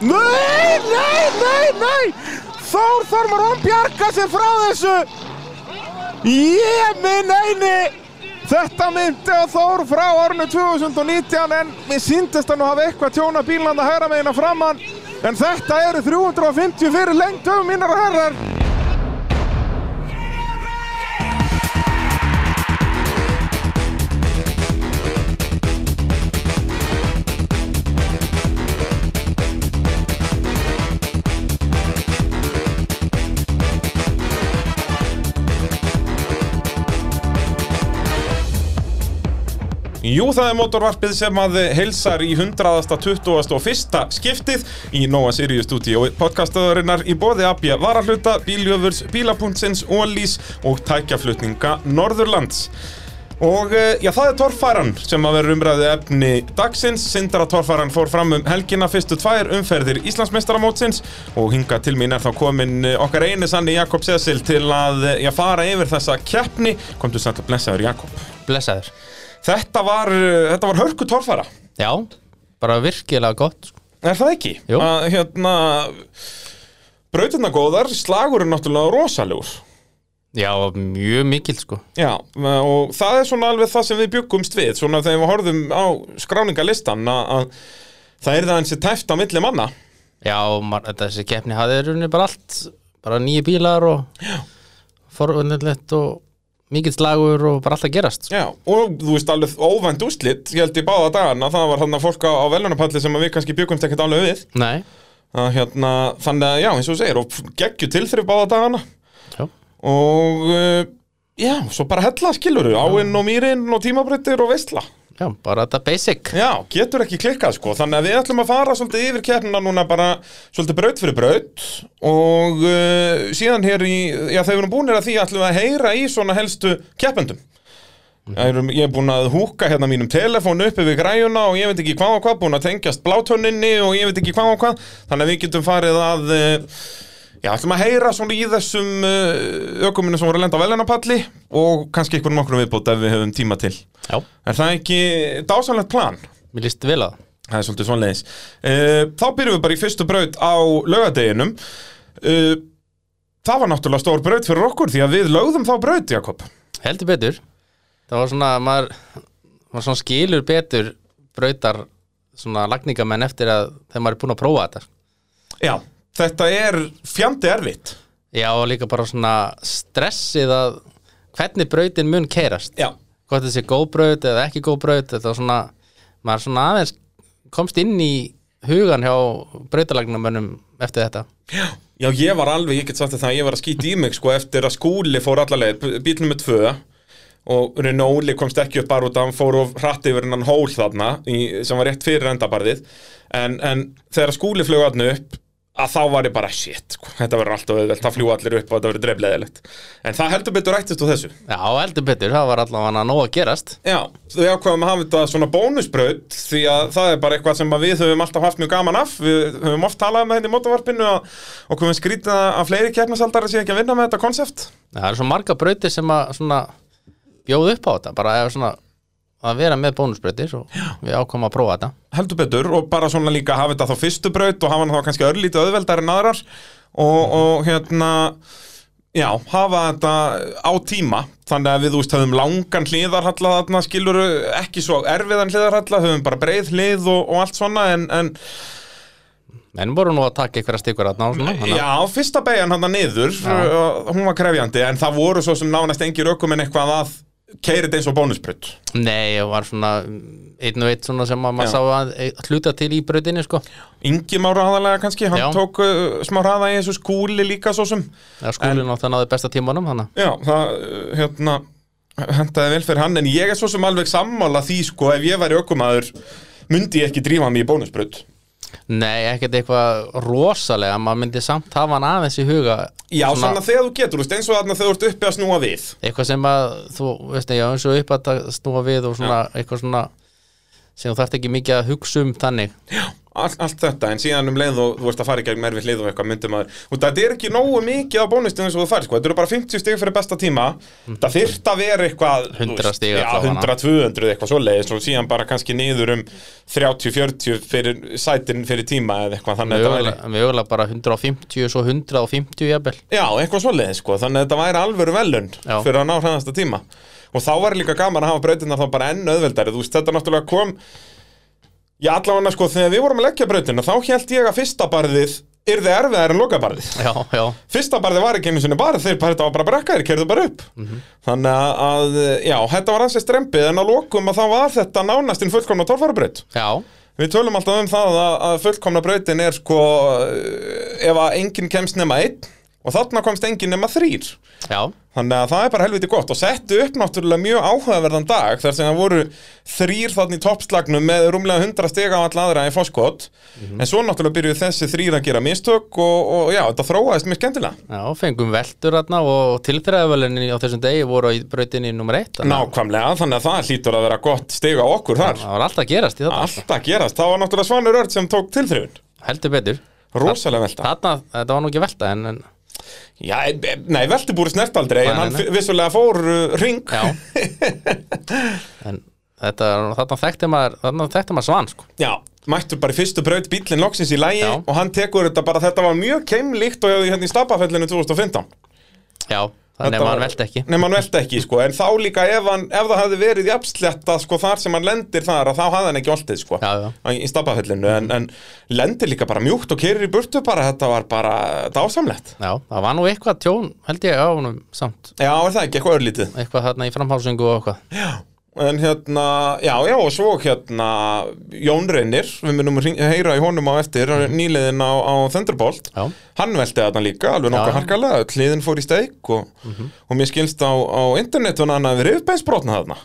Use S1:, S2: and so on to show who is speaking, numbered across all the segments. S1: Nei, nei, nei, nei! Þór Þormarón bjarga sér frá þessu! Ég minn eini! Þetta myndi á Þór frá árinu 2019 en mér síndist að nú hafa eitthvað tjóna bílanda hægra meginna framann hérna en þetta eru 350 fyrir lengdum minnar og herrar
S2: Jú, það er mótorvarpið sem að heilsar í 121. skiptið í Nóa Sirius stúdíu og podcastöðurinnar í bóði Abja Varahluta, Bíljöfurs, Bílapunktsins, Ólís og tækjaflutninga Norðurlands. Og eh, já, það er torfæran sem að vera umræðið efni dagsins. Sindara torfæran fór fram um helgina fyrstu tvær umferðir Íslandsmeistaramótsins og hinga til mín er þá komin eh, okkar eini sanni Jakob Sesil til að eh, já, fara yfir þessa keppni. Komdu sætt að blessaður Jakob.
S3: blessaður
S2: Þetta var, uh, þetta var hörku torfæra,
S3: Já, bara virkilega gott sko.
S2: er það ekki?
S3: Jú.
S2: Að, hérna, brautirna góðar, slagurinn náttúrulega rosalegur.
S3: Já, mjög mikil sko
S2: Já, og það er svona alveg það sem við byggumst við, svona þegar við horfðum á skráningalistan að, að það er það eins og tæft á milli manna.
S3: Já, man, þessi keppni hafði runni bara allt bara nýju bílar og forvöndilegt og mikill slagur og bara allt að gerast sko.
S2: Já, og þú veist alveg óvænt úslit, ég held í báða dagana, það var þarna fólk á, á velunapalli sem að við kannski byggumst ekkert alveg við.
S3: Nei,
S2: Að, hérna, þannig að já, eins og þú segir, og geggju tilþrif báða dagana.
S3: já,
S2: og uh, já, svo bara hella skilur áinn og mýrin og tímabreytir og veistla
S3: já, bara þetta basic
S2: já, getur ekki klikkað sko þannig að við ætlum að fara svolítið yfir keppnina núna bara svolítið braut fyrir braut og uh, síðan hér í já, þegar við erum búinir að því ætlum við að heyra í svona helstu keppendum Það erum- Ég er búin að húka hérna mínum telefónu uppi við græjuna og ég veit ekki hvað og hvað, búin að tengjast blátöninni og ég veit ekki hvað og hvað, þannig að við getum farið að uh, Já, ætlum að heyra svona í þessum uh, ökuminu sem voru að lenda á veljarnapalli og kannski einhvern okkur viðbót ef við höfum tíma til.
S3: Já,
S2: Er það ekki dásanlegt plan?
S3: mér líst vel að það.
S2: Það er svolítið svonleis. Uh, þá byrjum við bara í fyrstu braut á laugadeginum. Uh, það var náttúrulega stór braut fyrir okkur því að við lögðum þá braut, Jakob.
S3: Heldur betur Það var svona, maður, maður svona skilur betur brautar svona lagningamenn eftir að þegar maður er búinn að prófa þetta sko.
S2: Já, þetta er fjandi erfitt.
S3: Já, og líka bara svona stressið að hvernig brautin mun keirast
S2: Já.
S3: hvort það sé góð braut eða ekki góð braut þetta var svona, maður svona aðeins komst inn í hugan hjá brautalagnamönnum eftir þetta
S2: Já, ég var alveg, ég get sagt þér það, ég var að skýta í mig sko eftir að skúli fór allaleg, bíl nummer tvö og Rune Óli komst ekki upp bara út að hann fór of hratt yfir hennan hól þarna í, sem var rétt fyrir endabarðið en, en þegar skúli flög hann upp að þá var ég bara shit, sko, þetta verður alltaf auðvelt, það fljú allir upp og þetta verður dreifleðilegt en það heldur betur rættist úr þessu
S3: Já, heldur betur, það var allavega nóg að gerast
S2: Já, við ákveðum að hafa þetta svona bónusbraut því að það er bara eitthvað sem að við höfum alltaf haft mjög gaman af við höfum oft talað með þetta í mótavarpinu og okkur við skrýta að fleiri kefnasaldari sé ekki að vinna með þetta konsept
S3: Það eru svo marga brautir sem að svona bjóð upp á þetta, bara eða svona að vera með bónusbrautir og við ákomum að prófa þetta
S2: heldur betur og bara svona líka hafa þetta þá fyrstu braut og hafa hann þá kannski örlítið auðveldar en aðrar og, og hérna já, hafa þetta á tíma þannig að við úst höfum langan hliðarhalla þarna skilur ekki svo erfiðan hliðarhalla, höfum bara breið hlið og, og allt svona en, en
S3: En voru nú að taka einhverja stikkur að ná svona þannig að-
S2: já, fyrsta beigjan hann niður uh, hún var krefjandi en það voru svo sem nánast engir ökum en eitthvað að keiri þetta eins og bónusbraut
S3: Nei, það var svona einn og einn svona sem að
S2: Já.
S3: maður sá að að hluta til í brautinni sko
S2: Ingi Már aðalega kannski, hann
S3: Já.
S2: tók uh, smá hraða í þessu skúli líka svo sem
S3: Já, skúlinn átt að náði besta tímanum hana
S2: Já, það, uh, hérna, hendaði vel fyrir hann, en ég er svo sem alveg sammála því, sko, ef ég væri ökumaður, myndi ég ekki drífa mig í bónusbraut.
S3: Nei, ekkert eitthvað rosalega maður myndi samt hafa hann aðeins í huga
S2: Já, svona,
S3: Svona-
S2: þegar þú getur, þú veist, eins og þarna þegar þú ert uppi að snúa við.
S3: eitthvað sem að þú veist ekki, eins og upp að snúa við og svona eitthvað svona sem þú þarft ekki mikið að hugsa um þannig
S2: Já. all, allt þetta, en síðan um leið og þú ert að fara í gegn merfið leið og eitthvað myndum að þetta er ekki nógu mikið á bónustum eins og þú fær sko. þetta eru bara 50 stig fyrir besta tíma þetta þyrft að vera eitthvað þú
S3: 100
S2: veist,
S3: Mm. stig
S2: já,
S3: allavega.
S2: 100, 200 eitthvað svoleiðis og síðan bara kannski niður um 30-40 fyrir sætin fyrir tíma eða eitthvað þannig að þetta væri
S3: Mögulega mögulega bara 150 svo 150 jafnvel
S2: Já, eitthvað svoleiðið sko, þannig að þetta væri alvöru velun
S3: Já.
S2: fyrir að ná hraðasta tíma og þá var líka gaman að hafa brautina þá bara enn auðveldari, þú veist, þetta náttúrulega kom Já, allavega sko, þegar við vorum að leggja brautina þá held ég að fyrsta barðið yrði erfiðar en lokabarðið
S3: Já, já,
S2: Fyrsta barðið var ekki einu sinni barð, þeir bara, þetta var bara brekka, þeir kerðu bara upp Þannig að- að, já, þetta var ansið strempið en að lokum að þá var þetta nánastinn fullkomna torfarabraut
S3: já
S2: Við tölum alltaf um það að, að fullkomna brautin er sko eh, ef að enginn kemst nema einn og þarna komst enginn nema þrýr.
S3: Já,
S2: Þannig að það er bara helviti gott og settu upp náttúrulega mjög áhugaverðan dag þar sem það voru þrýr þarna í toppslagnum með rúmlega 100 stiga á alla aðra í foskot en svo náttúrulega byrjuðu þessi þrýr að gera mistök og, og já, þetta þróaðist mjög skemmtilega.
S3: já, fengum veldur þarna og tilþræðavölinni á þessum degi voru í brautinni nummer 1
S2: Nákvæmlega, þannig að það hlýtur að vera gott stiga okkur þar.
S3: Það var alltaf að gerast í þetta
S2: Allt að gerast, það var náttúrulega Svanur Örd sem tók tilþrifun.
S3: Heldur betur
S2: Ah. Rosalega velta.
S3: Þarna, þetta var nú ekki velta en, en
S2: Já, e- e- nei, veltibúri snert aldrei
S3: Nei,
S2: en hann
S3: nei, nei.
S2: f- vissulega fór uh, ring
S3: Já En þetta, þarna þekkti maður Þarna þekkti maður svan sko
S2: Já, mættur bara í fyrstu braut bílinn loksins í lægi
S3: Já.
S2: og hann tekur þetta bara, þetta var mjög keimlíkt og hérna í stapafellinu 2015
S3: Já, þannig
S2: Þetta
S3: að
S2: var-
S3: maður velti ekki
S2: Nei, hann velta ekki, sko, en þá líka ef, hann, ef það hafði verið í apsletta, sko, þar sem hann lendir þar að þá hafði hann ekki oltið, sko
S3: Já, já.
S2: Í stapafellinu, en, en lendir líka bara mjúkt og kerir í burtu bara, þetta var bara dásamlegt
S3: Já, það var nú eitthvað tjón held ég á honum samt
S2: Já, er það ekki eitthvað örlítið?
S3: Eitthvað þarna í framhásingu og eitthvað
S2: En hérna, já, já, og svo hérna Jón Reynir, við munum hring- heyra í honum á eftir, mm. nýliðin á, á Thunderbolt,
S3: Mhm. Já.
S2: hann velti þarna líka, alveg
S3: Já, Mhm.
S2: nokkuð
S3: já.
S2: harkalega, hliðin fór í steik og, og mér skilst á, á internetunum hann að við rifbeinsbrotna þarna.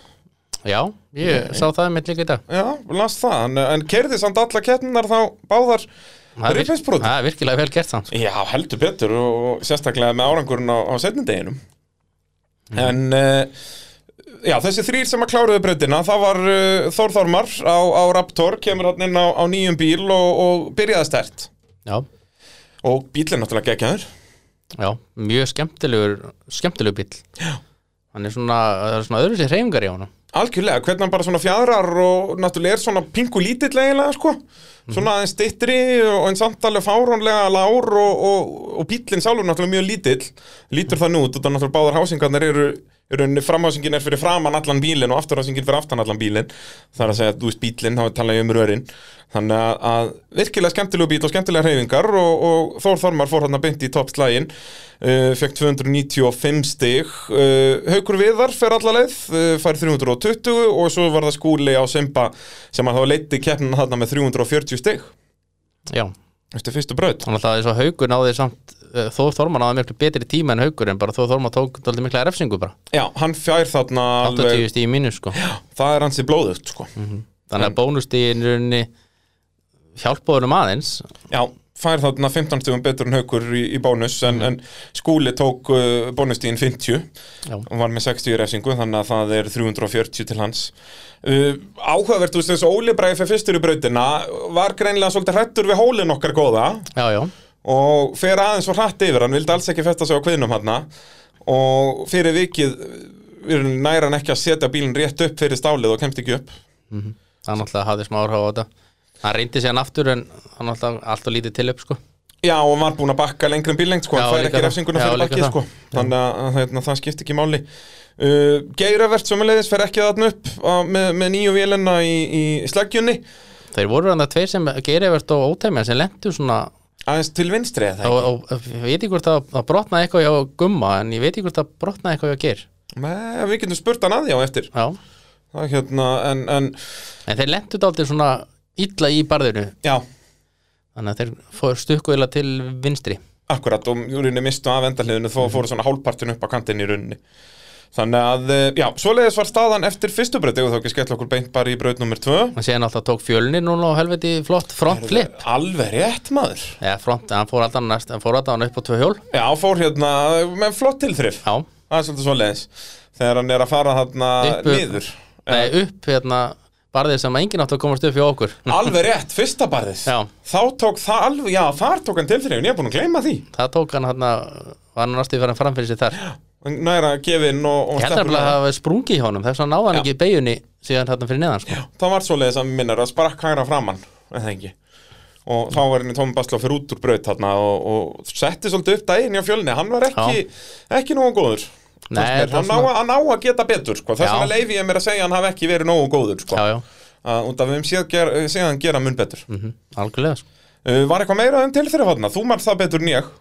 S3: Já, ég sá það mitt líka í dag
S2: Já, las það, en, en kerði samt alla kettnar þá báðar
S3: Það er vir-
S2: rifbeinsbrotna.
S3: Það er virkilega vel gert samt sko.
S2: Já, heldur betur og, og sérstaklega með árangurinn á, á setnindeginum En uh, Já, þessi þrýr sem að kláruðu breytina Það var uh, Þór Þormar á, á Raptor Kemur hann inn á, á nýjum bíl og, og byrjaði stert
S3: Já,
S2: Og bílinn náttúrulega geggjaður
S3: já, mjög skemmtilegur Skemmtilegur bíll Já Hann er svona, það er svona öðru sér hreyfingar í honum
S2: Algjörlega, hvernig hann bara svona fjadrar og náttúrulega er svona pingu lítill eiginlega sko Svona aðeins stittri og eins samtalið fárónlega lár og, og, og bíllinn sjálfur náttúrulega mjög lítill Lítur það nú út og það náttúrulega báðar hásingarnar eru í rauninni framhásingin er fyrir framan allan bílinn og afturhásingin fyrir aftan allan bílinn Það er að segja að þú veist bílinn, þá tala ég um rörin Þannig að, að virkilega skemmtilegu bíl og skemmtilega hreyfingar og, og Þór Þormar fór hann að beinti í toppslægin uh, fekk 295 stig uh, Haukur Viðar fer alla leið uh, fær 320 og svo var það skúli á Simba sem að þá leiti keppnina þarna með 340 stig
S3: Já,
S2: eftir fyrstu braut
S3: þannig að það er svo haugur náði samt eh, Þór Þormar náði miklu betri tíma en haugur en bara Þór Þormar tók dálítið mikla refsingu bara
S2: Já, hann fjær þarna
S3: 80
S2: alveg,
S3: stíð í mínus sko
S2: það er hansi blóðugt sko.
S3: þannig að bónustíðin runni hjálpaðurum aðeins
S2: Já, fær þarna 15 stugum betur en haukur í, í bónus en, en skúli tók uh, bónustíðin 50
S3: já,
S2: og var með 60 í refsingu þannig að það er 340 til hans uh, áhugavert, þú veist eins og Óli Bræði fyrir fyrstur í brautina var greinlega svolítið hrættur við hólinn okkar góða
S3: já, já,
S2: og fer aðeins og hrætt yfir hann vildi alls ekki festa sig á kviðnum hann og fyrir vikið uh, næra hann ekki að setja bílinn rétt upp fyrir stálið og kemst ekki upp
S3: hann alltaf hafði smá áhrá á þetta hann reyndi sér hann aftur en hann alltaf allt og lítið til upp sko
S2: Já, og var búinn að bakka lengri en bílengt sko,
S3: Já,
S2: hann fær
S3: líka
S2: ekki
S3: það.
S2: refsinguna
S3: Já,
S2: fyrir
S3: líka
S2: bakkið
S3: það.
S2: sko þannig að, að hérna, það skipti ekki máli uh, Geiravert sömulegis fer ekki þarna upp á, með, með nýju vélina í, í sleggjunni
S3: þeir voru hann tveir sem geirivert og ótemja sem lendu svona
S2: aðeins til vinstri eða
S3: og,
S2: ekki?
S3: og, og ég veit ekki hvort það, það brotnaði eitthvað hjá gumma en ég veit ekki hvort það brotnaði eitthvað hjá geir
S2: Nei, við getum spurt hann að því á eftir
S3: já,
S2: það er hérna, en, en
S3: en þeir lendu dálítið svona illa í barðinu
S2: já,
S3: þannig að þeir fór stukkuðila til vinstri
S2: akkurat og í rauninni mistu af endahliðinu
S3: Mhm.
S2: þó fóru svona hálpartin upp á kantinn í rauninni þannig að, eh, já, svoleiðis var staðan eftir fyrstu braut, eða þá ekki skella okkur beint bara í braut nummer 2
S3: hann séðan alltaf tók fjölni núna og helviti flott frontflip
S2: alveg rétt maður
S3: eða front, hann fór alltaf næst, hann fór alltaf hann upp á tvö hjól
S2: já, fór hérna, með flott tilþrif
S3: já,
S2: það er svolítið svoleiðis þegar hann er að fara þarna
S3: Upp-
S2: niður
S3: nei upp hérna barðið sem að enginn átti að komast upp hjá okkur
S2: Alveg rétt, fyrsta barðið
S3: Já.
S2: Þá tók það alveg, já þar tók hann tilþrifin, ég er búin að gleyma því
S3: það tók hann hann að var hann næstu fyrir framfyrir sér þar ég
S2: Næra gefin og, og
S3: heldur
S2: stelpurnar.
S3: nefnilega að það hafi sprungið hjá honum þess að ná hann
S2: Já.
S3: ekki í beigjunni síðan hann fyrir neðan sko.
S2: Það var svoleiðis að minnar að sprakk hægra framann en það ekki og þá var henni Tómi Bastlá fyrir út úr braut þarna og, og setti svolítið upp daginn hjá fjölni hann var ekki, ekki nógu góður
S3: Nei,
S2: Fannst mér.
S3: þetta var
S2: hann, á,
S3: svona-
S2: að- hann á að geta betur sko. þess
S3: Já.
S2: vegna leifi ég mér að segja að hann hafi ekki verið nógu góður sko.
S3: já, já,
S2: Að- út af við séð ger, séðan gera mun betur mm.
S3: algjörlega sko.
S2: var eitthvað meira um tilþrif þarna? þú marst það betur en ég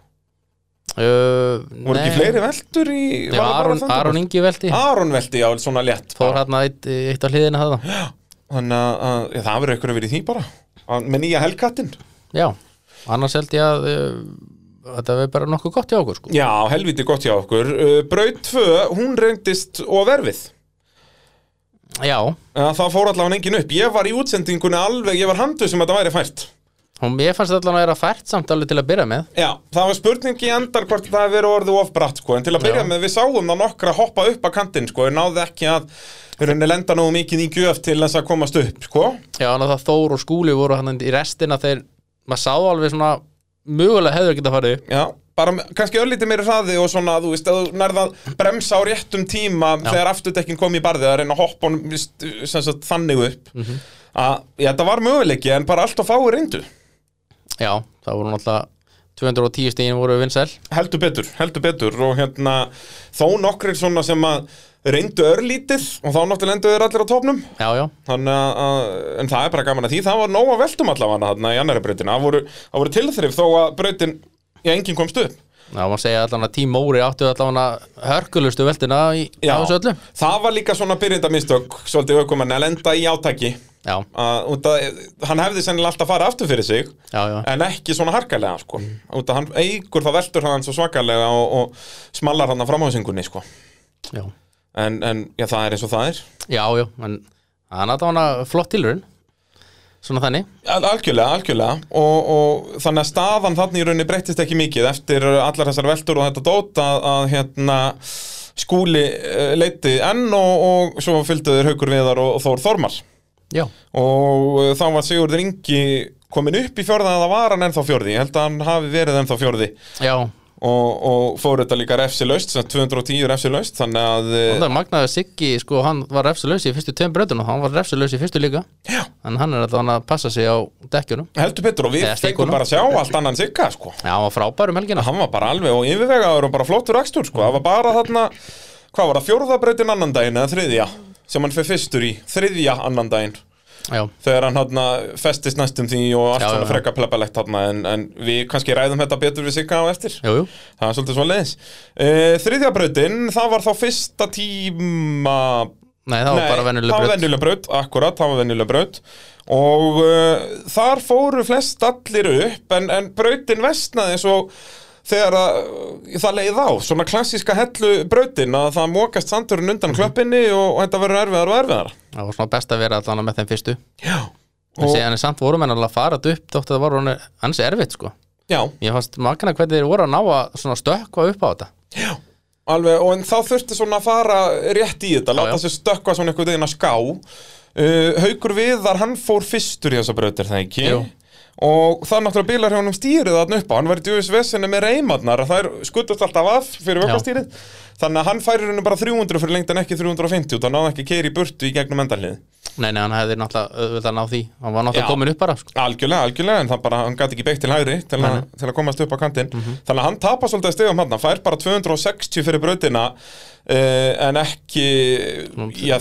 S3: uh,
S2: voru ekki fleiri veltur í
S3: Já, Aron, Aron Ingi velti
S2: Aron velti já, svona létt
S3: fór hann eitt, eitt á hliðina það
S2: þannig að, að já, það verður eitthvað verið í því bara Að- með nýja helgattinn
S3: já, annars held ég að uh, þetta er bara nokkuð gott hjá okkur sko.
S2: Já, helviti gott hjá okkur. Uh, Braut 2, hún reyndist overfið.
S3: já,
S2: Uh, Það fór allavega engin upp. Ég var í útsendingunni alveg, ég var handuð sem þetta væri fært.
S3: og ég fannst allan að vera fært samt alveg til að byrja með
S2: Já, það var spurning í endar hvort það hefur verið orðið of bratt, sko. En til að byrja
S3: Já.
S2: með, við sáum það nokkra hoppa upp að kantinn, sko. Ég náði ekki að í rauninni lenda nógu mikið í gjöf til þess að komast upp, sko.
S3: já, þannig að það Þór og Skúli voru hann í restina þeir, maður sá alveg svona mögulega hefur ekki það farið upp.
S2: Já, bara með- kannski öllítið meiri hraði og svona, þú veist, að þú nærða bremsa á réttum tíma þegar afturdekkin kom í barðið að reyna að hoppa honum víst, sem sagt, þannig upp að, já, þetta var möguleiki en bara allt og fáið reyndu
S3: já, það voru náttúrulega 210 stíðin voru vinsæl
S2: heldur betur, heldur betur og hérna þó nokkrir svona sem að reyndu örlítið og þá náttúrulega endur þeir allir á topnum
S3: já, já,
S2: Þannig að- að, en það er bara gaman að því, það var nóg að veltum allavega þarna í annari breytin, það voru, það voru tilþrif þó að breytin, já, enginn komst upp.
S3: já, maður segja allan að tím Móri áttu allan að hörkulustu veltina í á þessu öllu
S2: það var líka svona byrjindamistök svolítið aukumenni að lenda í átaki
S3: já,
S2: að, út að, hann hefði sennilega alltaf farið aftur fyrir sig
S3: já, já,
S2: en ekki svona harkalega sko. út að hann eigur það veltur hann svo svakalega og, og smallar hann að framhásingunni sko.
S3: já,
S2: en, en já, það er eins og það er
S3: já, já en hann að það var flott tilurinn svona þannig
S2: Al- Algjörlega, algjörlega og, og þannig að staðan þannig í rauninni breyttist ekki mikið eftir allar þessar veltur og þetta dót að, að hérna skúli uh, leiti enn og, og svo fylgduður Haukur Viðar og, og Þór Þormar
S3: já,
S2: og uh, þá var Sigurður Ingi komin upp í fjörða eða var hann ennþá fjörði ég held að hann hafi verið ennþá fjörði
S3: já,
S2: og, og fór þetta líka refsi laust sem sagt 210 refsi laust þannig að
S3: Og
S2: eh,
S3: það magnaði Siggi, sko, hann var refsilaus í fyrstu tveim bröðunum og hann var refsilaus í fyrstu líka
S2: Já.
S3: en hann er alltaf að passa sig á dekkjunum
S2: heldur Petur og við
S3: Eða
S2: fengum
S3: stíkunum.
S2: bara að sjá allt annan sigga sko
S3: Já, hann var frábær um helgina
S2: hann var bara alveg og yfirvegaður og bara flottur akstur sko það var bara þarna hvað var það fjórðabrautin annan daginn eða þriðja sem hann fyrir fyrstur í þriðja annan daginn
S3: Já,
S2: þegar hann hann festist næstum því og allt
S3: Já,
S2: svona
S3: já, já.
S2: freka plebalegt hann en, en við kannski ræðum þetta betur við sigga á eftir
S3: jú, jú,
S2: Það er svolítið svo leiðis Þriðja brautin, það var þá fyrsta tíma
S3: nei, það var bara venjuleg
S2: það var
S3: bröð
S2: venjuleg braut, akkurat, það var venjuleg braut Og uh, þar fóru flest allir upp En, en brautin vestnaði svo þegar að, uh, það leið á Svona klassíska hellu brautin Að það mókast sandurinn undan
S3: Mhm.
S2: klöppinni Og, og þetta verður erfiðar og erfiðar
S3: Það var svona best að vera alltaf með þeim fyrstu
S2: Já
S3: En
S2: og,
S3: síðan er samt voru menn alveg að fara þetta upp þótt að það voru hann hans erfitt, sko
S2: Já,
S3: Ég fannst magna hvernig þeir voru að ná að svona stökkva upp á þetta
S2: Alveg, og en þá þurfti svona að fara rétt í þetta, láta
S3: já.
S2: sér stökkva svona einhvern veginn að ská uh, Haukur Viðar, hann fór fyrstur í þessa brautir, það ekki?
S3: Jú.
S2: Og það náttúrulega bílar hjá honum stýrið þarna upp á, hann var í djöfis vesinni með reymarnar, þær skuttast alltaf af fyrir
S3: Já.
S2: vökkastýrið Þannig að hann færir henni bara 300 fyrir lengt en ekki 350 og það náði ekki keiri í burtu í gegnum endanlið
S3: Nei, nei, hann hefði náttúrulega auðvitað að ná því Hann var
S2: Já.
S3: náttúrulega komin upp bara, sko
S2: Algjörlega, algjörlega, en það bara, hann gæti ekki beitt til hægri til, a, til að komast upp á kantinn Þannig að hann tapar svolítið stegum hann, hann fær bara 260 fyrir brautina uh, en ekki, já,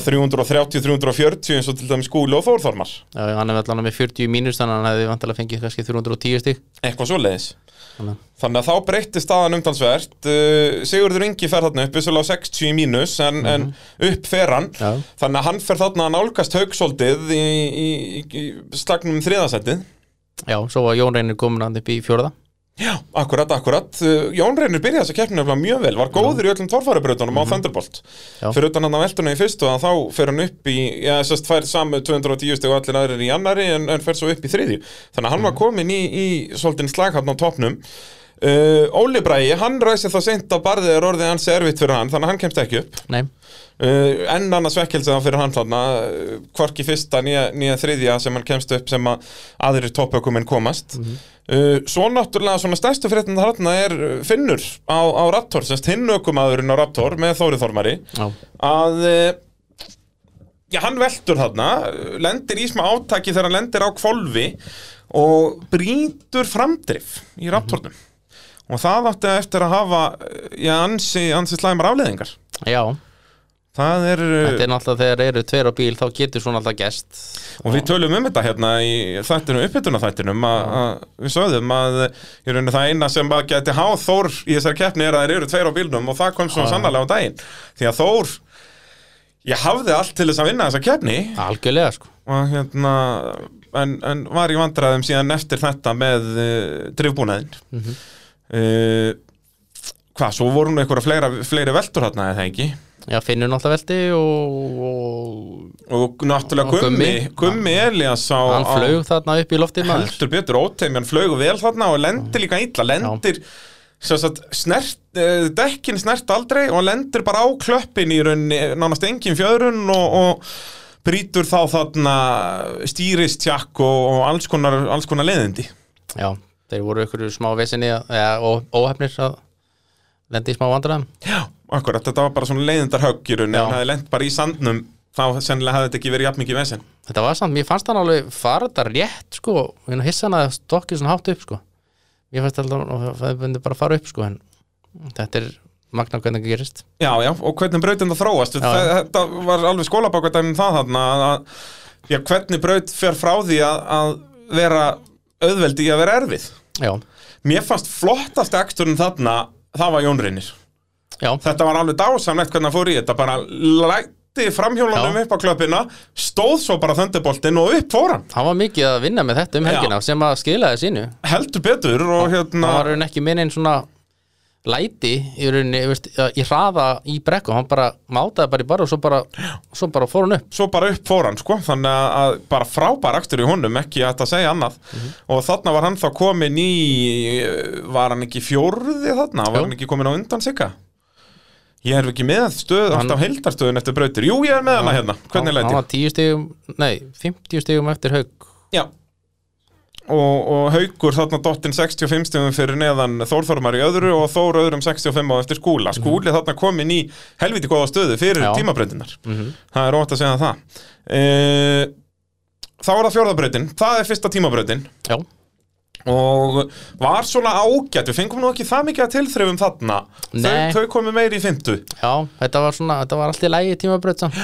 S2: 330-340 eins og til dæmis Skúli og Þórþormar
S3: Já, hann hefði allan með 40 mínus þannig að hann hefði vantilega fengið kannski 310 stig
S2: eitthvað svoleiðis
S3: Þannig.
S2: Þannig að þá breytti staðan umtalsvert uh, Sigurður Ingi fer þarna upp, vissulega á 60 í mínus en, en upp fer hann
S3: Já.
S2: Þannig að hann fer þarna að nálgast haugsóldið í, í, í, í slagnum þriðasettið
S3: Já, svo var Jón Reynir komin hann upp í fjórða
S2: Já, akkurat, akkurat Uh, Jón Reynir byrjaði þess að keppni nefnilega mjög vel Var góður í öllum torfærabrautunum á Thunderbolt
S3: Já.
S2: Fyrir utan hann að veltuna í fyrstu að Þá fer hann upp í, já, sérst fær samu 210 steg og allir aðrir í annari En, en fer svo upp í þriðju Þannig að hann var komin í, í svolítinn slaghafn á topnum Uh, Óli Bræi, hann ræsir þá seint að barðið er orðið hans erfitt fyrir hann þannig að hann kemst ekki upp
S3: Nei,
S2: uh, enn annars vekkelsið hann fyrir hann þarna uh, hvorki fyrsta nýja, nýja þriðja sem hann kemst upp sem að aðrir toppökuminn komast uh, svo náttúrulega svona stærstu fréttin þarna er uh, Finnur á, á Raptor semst hinn ökumaðurinn á Raptor með Þórið Þormari
S3: já,
S2: að uh, já, hann veltur þarna uh, lendir í smá átaki þegar hann lendir á kvolfi og brýtur framdrif í Raptornum og það átti eftir að hafa uh, já, ansi, ansi slæmar afleðingar
S3: já
S2: Það er, eh,
S3: Þetta er náttúrulega þegar eru tveir á bíl þá getur svona alltaf gest
S2: og við tölum um þetta hérna í þættinum, uppbytuna þættinum að að við sögðum að ég raunir það eina sem bara geti háð Þór í þessari keppni er að þeir eru tveir á bílnum og það kom svo sannarlega á daginn því að Þór, ég hafði allt til þess að vinna þessa keppni
S3: Algjörlega sko
S2: og hérna en, en var í vandræðum síðan eftir þetta með uh, drifbúnaðin mm
S3: Mhm.
S2: hvað, svo voru nú einhverja fleira, fleiri veltur þarna eða ekki
S3: Já, finnur náttúrulega veldi og,
S2: og náttúrulega
S3: Og
S2: Gummi
S3: Gummi.
S2: Gummi Elias á,
S3: og hann
S2: á-
S3: flög þarna upp í loftið maður
S2: heldur betur óteimjan flög vel þarna og lendir líka illa, lendir sem sagt, snert, eh, dekkin snert aldrei og lendir bara á klöppin í rauninni, nánast engin fjöðrun og, og brýtur þá þarna stýristjakk og, og alls konar, alls konar leðindi
S3: Já, þeir voru ykkur smá vesinni eða ó- óhefnir að lendi í smá vandræðum
S2: Já, akkurat, þetta var bara svona leiðindarhögg í rauninni,
S3: Já.
S2: hann hafði lent bara í sandnum þá sennilega hafði þetta ekki verið jafn mikið vesinn
S3: Þetta var samt, mér fannst hann alveg fara þetta rétt sko, hérna hissan að stokkið svona hátt upp sko. Mér fannst alltaf að það myndi bara fara upp sko, en þetta er magna hvernig það gerist.
S2: Já, já, og hvernig brautin það þróast
S3: Já, já.
S2: þetta var alveg skólabakvæðdæmi það þarna að, að, já, hvernig braut fer frá því að, að vera auðveld í að vera erfið
S3: Já,
S2: Mér fannst flottast akturinn þarna það var Jón Reynir
S3: já,
S2: Þetta var alveg dásamlegt hvernig hann fór í þetta bara lætti framhjólanum
S3: Já.
S2: upp á klöppina stóð svo bara þönduboltinn og upp fór hann
S3: hann var mikið að vinna með þetta um helgina sem að skilaði sínu.
S2: heldur betur og
S3: Ná.
S2: hérna
S3: Hann var raun ekki minn einn svona læti í rauninni, þú veist, í hraða í brekku, hann bara mátaði bara í bara og svo bara, svo bara fór hann upp.
S2: svo bara upp fór hann sko þannig að- að bara frábær akstur í honum ekki hægt að segja annað
S3: Mhm.
S2: og þarna var hann þá komin í var hann ekki fjórði þarna var
S3: Jú.
S2: hann ekki komin á undan sigga ég er ekki með stöð
S3: Hann-
S2: alltaf heildarstöðun eftir brautir jú ég er með hana hérna hvernig
S3: Hann-
S2: læti
S3: Hann
S2: ég?
S3: var tíu stigum, nei, 50 stigum eftir haug.
S2: já Og, og haukur þarna dottinn 65 stegum fyrir neðan Þórþormar í öðru og Þór öðrum 65 á eftir skúla. Skúli þarna komin í helviti góða stöðu fyrir
S3: Mhm. Já. Mhm.
S2: tímabreytinnar. Það er ótt að segja það uh, Þá er það fjórðabrautin Það er fyrsta tímabrautin
S3: Já,
S2: Og var svona ágætt Við fengum nú ekki það mikið að tilþrifum þarna
S3: Nei.
S2: þau, þau komu meiri í fymtu
S3: já, þetta var svona, þetta var allt í lægi tímabröð samt.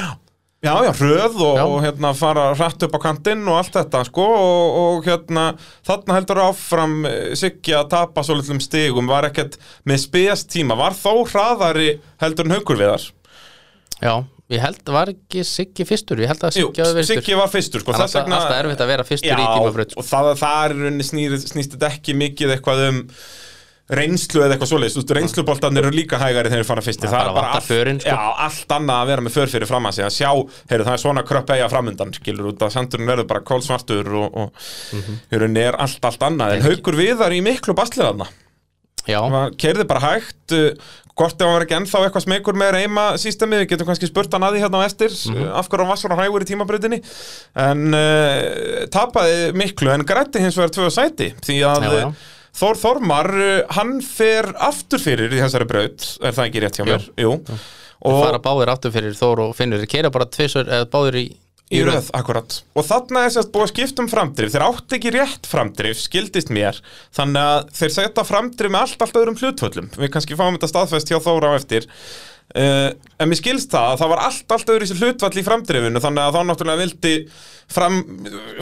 S2: Já, já, röð og,
S3: Já.
S2: og hérna fara rætt upp á kantinn og allt þetta sko og, og hérna þarna heldur áfram eh, Siggi að tapa svo litlum stigum var ekkert með spes tíma var þó hraðari heldur en haukur við þar
S3: Já, ég held, var ekki Siggi fyrstur, ég held að
S2: Jú,
S3: Siggi hafi verið fyrstur
S2: Siggi var fyrstur sko
S3: Það er
S2: þess
S3: alltaf,
S2: vegna-
S3: alltaf erfitt að vera fyrstur í sko. tímabröð
S2: og það, það er í rauninni snýr, snýst þetta ekki mikið eitthvað um reynslu eða eitthvað svoleiðis, þú veist, reynsluboltarnir eru líka hægari þegar þeir fara fyrst
S3: Það er bara að vanda förin, sko.
S2: já, allt annað að vera með för fyrir fram að sig að sjá, heyrðu, það er svona kröpp eiga framundan skilur út að sandurinn verður bara kólsvartur og, og
S3: Mhm.
S2: í rauninni er allt, allt annað en haukur viðar í miklu bastliðarna
S3: Já,
S2: hann keirði bara hægt uh, hvort ef hann var ekki ennþá eitthvað smekur með reyma sístemi, við getum kannski spurt hann að því hérna á eftir
S3: Mhm.
S2: uh, af hverju hann var svona hægur í tímabröðinni en uh, tapaði miklu en grætti hins vegar tvö sæti því að
S3: Já, já.
S2: uh, Þór Þormar uh, hann fer aftur fyrir í þessari braut er það ekki rétt hjá mér? Jú,
S3: og
S2: og
S3: fara báðir aftur fyrir Þór og Finnur Þeir keira bara tvisur, eða báðir í,
S2: í röð, akkurat og þarna er sérst búið að skipta um framdrif þeir átti ekki rétt framdrif, skildist mér þannig að þeir setja framdrif með allt, allt öðrum hlutvöllum, við kannski fáum þetta staðfest hjá Þóra á eftir uh, en mér skilst það að það var allt, allt öðru hlutvall í framdrifinu, þannig að þá náttúrulega vildi fram,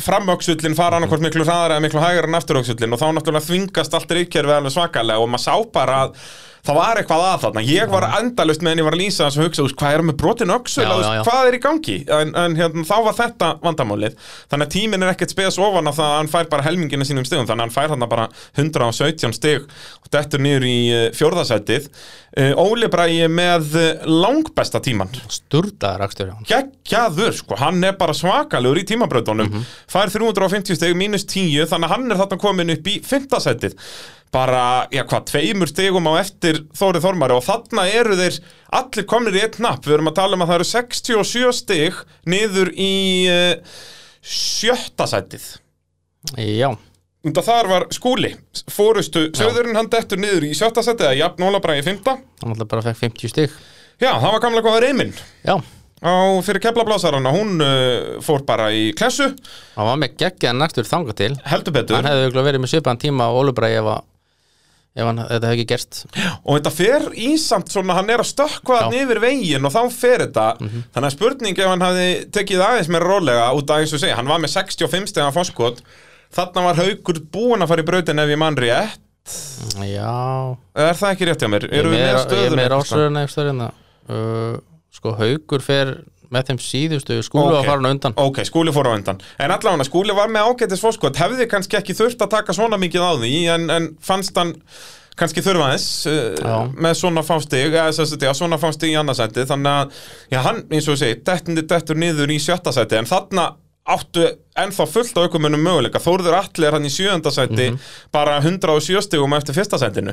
S2: framöksullin fara annarkvort miklu hraðar eða miklu hægar en afturöksullin og þá náttúrulega þvingast allt reykjörfi alveg svakalega og maður sá bara að það var eitthvað að þarna, ég var endalust meðan ég var að lýsa þessu og hugsa, þú veist, hvað er með brotin öksul
S3: Já,
S2: Þú veist,
S3: já, já.
S2: hvað er í gangi en, en hérna, þá var þetta vandamálið þannig að tíminn er ekkert spes ofan af það að hann fær bara helmingina sínum stigum þannig að hann fær hann bara 117 stig og dettur niður í eh, fjórðasætið Eh, Óli Bræi með eh, langbesta tíman
S3: sturdaðar akstur já.
S2: geggjaður sko, hann er bara svakalegur í tímabröðunum, fær 350 steg mínus 10 þannig að hann er þarna komin upp í fymtasætið bara, já hvað, tveimur stegum á eftir Þórið Þormari og þarna eru þeir allir komnir í einn napp, við erum að tala um að það eru 67 steg niður í uh, sjötta sætið
S3: Já,
S2: Unda þar var skúli, fórustu söðurinn hann dettur niður í sjötta sætið eða jafn Ólabræði í fymta
S3: hann alltaf bara fekk 50 stig
S2: Já, það var gamla góða reyminn
S3: Já,
S2: á fyrir keflablásaranna, hún uh, fór bara í klessu,
S3: hann var með geggjaðan nægstur þanga til
S2: heldur betur
S3: Hann hefði auðvitað verið með svipaðan tíma á Ólubræði ef, að- ef hann, þetta hefði ekki gerst
S2: og þetta fer í samt svona hann er að stökkva hann
S3: Já. Mhm.
S2: yfir veginn og þá fer þetta þannig að spurning ef hann hafði tekið aðeins meira rólega út af eins og segja, hann var með 65 stegan fórskot, þarna var haukur búin að fara í brautin ef ég mann rétt
S3: Já,
S2: er það ekki rétt hjá mér?
S3: ég
S2: Eru við
S3: með-
S2: með
S3: ég
S2: stöðum?
S3: með
S2: einhvers staðar?
S3: rásröðuna eftir hérna uh, Sko, haugur fer með þeim síðustu skúlu okay.
S2: Ok.
S3: að fara hann undan
S2: Ok, skúli fór á undan En allavega skúli var með ágætis fórskot Hefði kannski ekki þurft að taka svona mikið á því En, en fannst hann kannski þurfa þess uh,
S3: Já.
S2: Með svona fástig eða, sem sagt, já, Svona fástig í annarsæti Þannig að já, hann, eins og ég segi, dettur, dettur niður í sjötta sæti En þarna áttu ennþá fullt á aukumunum möguleika Þórður Atli er hann í sjöunda sæti bara 107 stigum eftir fyrsta sætinu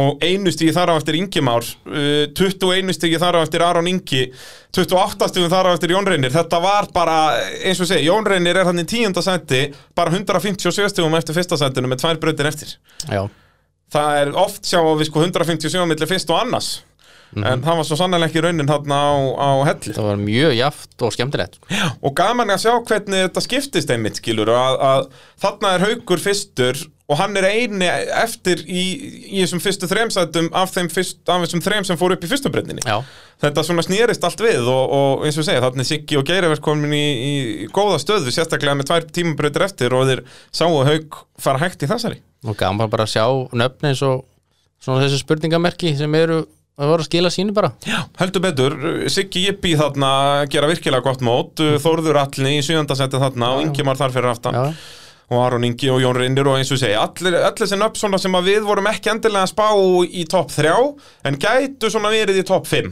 S2: og einu stigi þar á eftir Ingimár uh, 21 stigi þar á eftir Aron Ingi 28 stigum þar á eftir Jón Reynir þetta var bara, eins og ég segi, Jón Reynir er hann í tíunda sæti bara 157 stigum eftir fyrsta sætinu með tvær brautir eftir
S3: Já,
S2: það er oft sjáum við sko 157 millir fyrst og annars en það var svo sannlega ekki raunin þarna á, á helli
S3: það var mjög jaft og skemmtilegt sko.
S2: og gaman að sjá hvernig þetta skiptist einmitt skilur að, að þarna er haukur fyrstur og hann er eini eftir í, í þessum fyrstu þremsætum af, þeim fyrst, af þessum þrem sem fór upp í fyrstu breytinni
S3: Já,
S2: þetta svona snýrist allt við og, og eins og segja þarna er Siggi og Geiri verð komin í, í góða stöðu sérstaklega með tvær tímabreytir eftir og þeir sáu að haug fara hægt í þessari
S3: og gaman bara að sjá nöfni eins og svona þessi spurningamerki sem eru að voru að skila sínu bara
S2: Já, heldur betur, Siggi Jippi þarna gera virkilega gott mót, Þórður Allni í sjöndasætti þarna og Ingimar þar fyrir aftan
S3: Mhm. Já,
S2: og Aron Ingi og Jón Reynir og eins og ég segi allir, allir sem upp svona sem að við vorum ekki endilega að spá í topp 3 en gætu svona verið í topp 5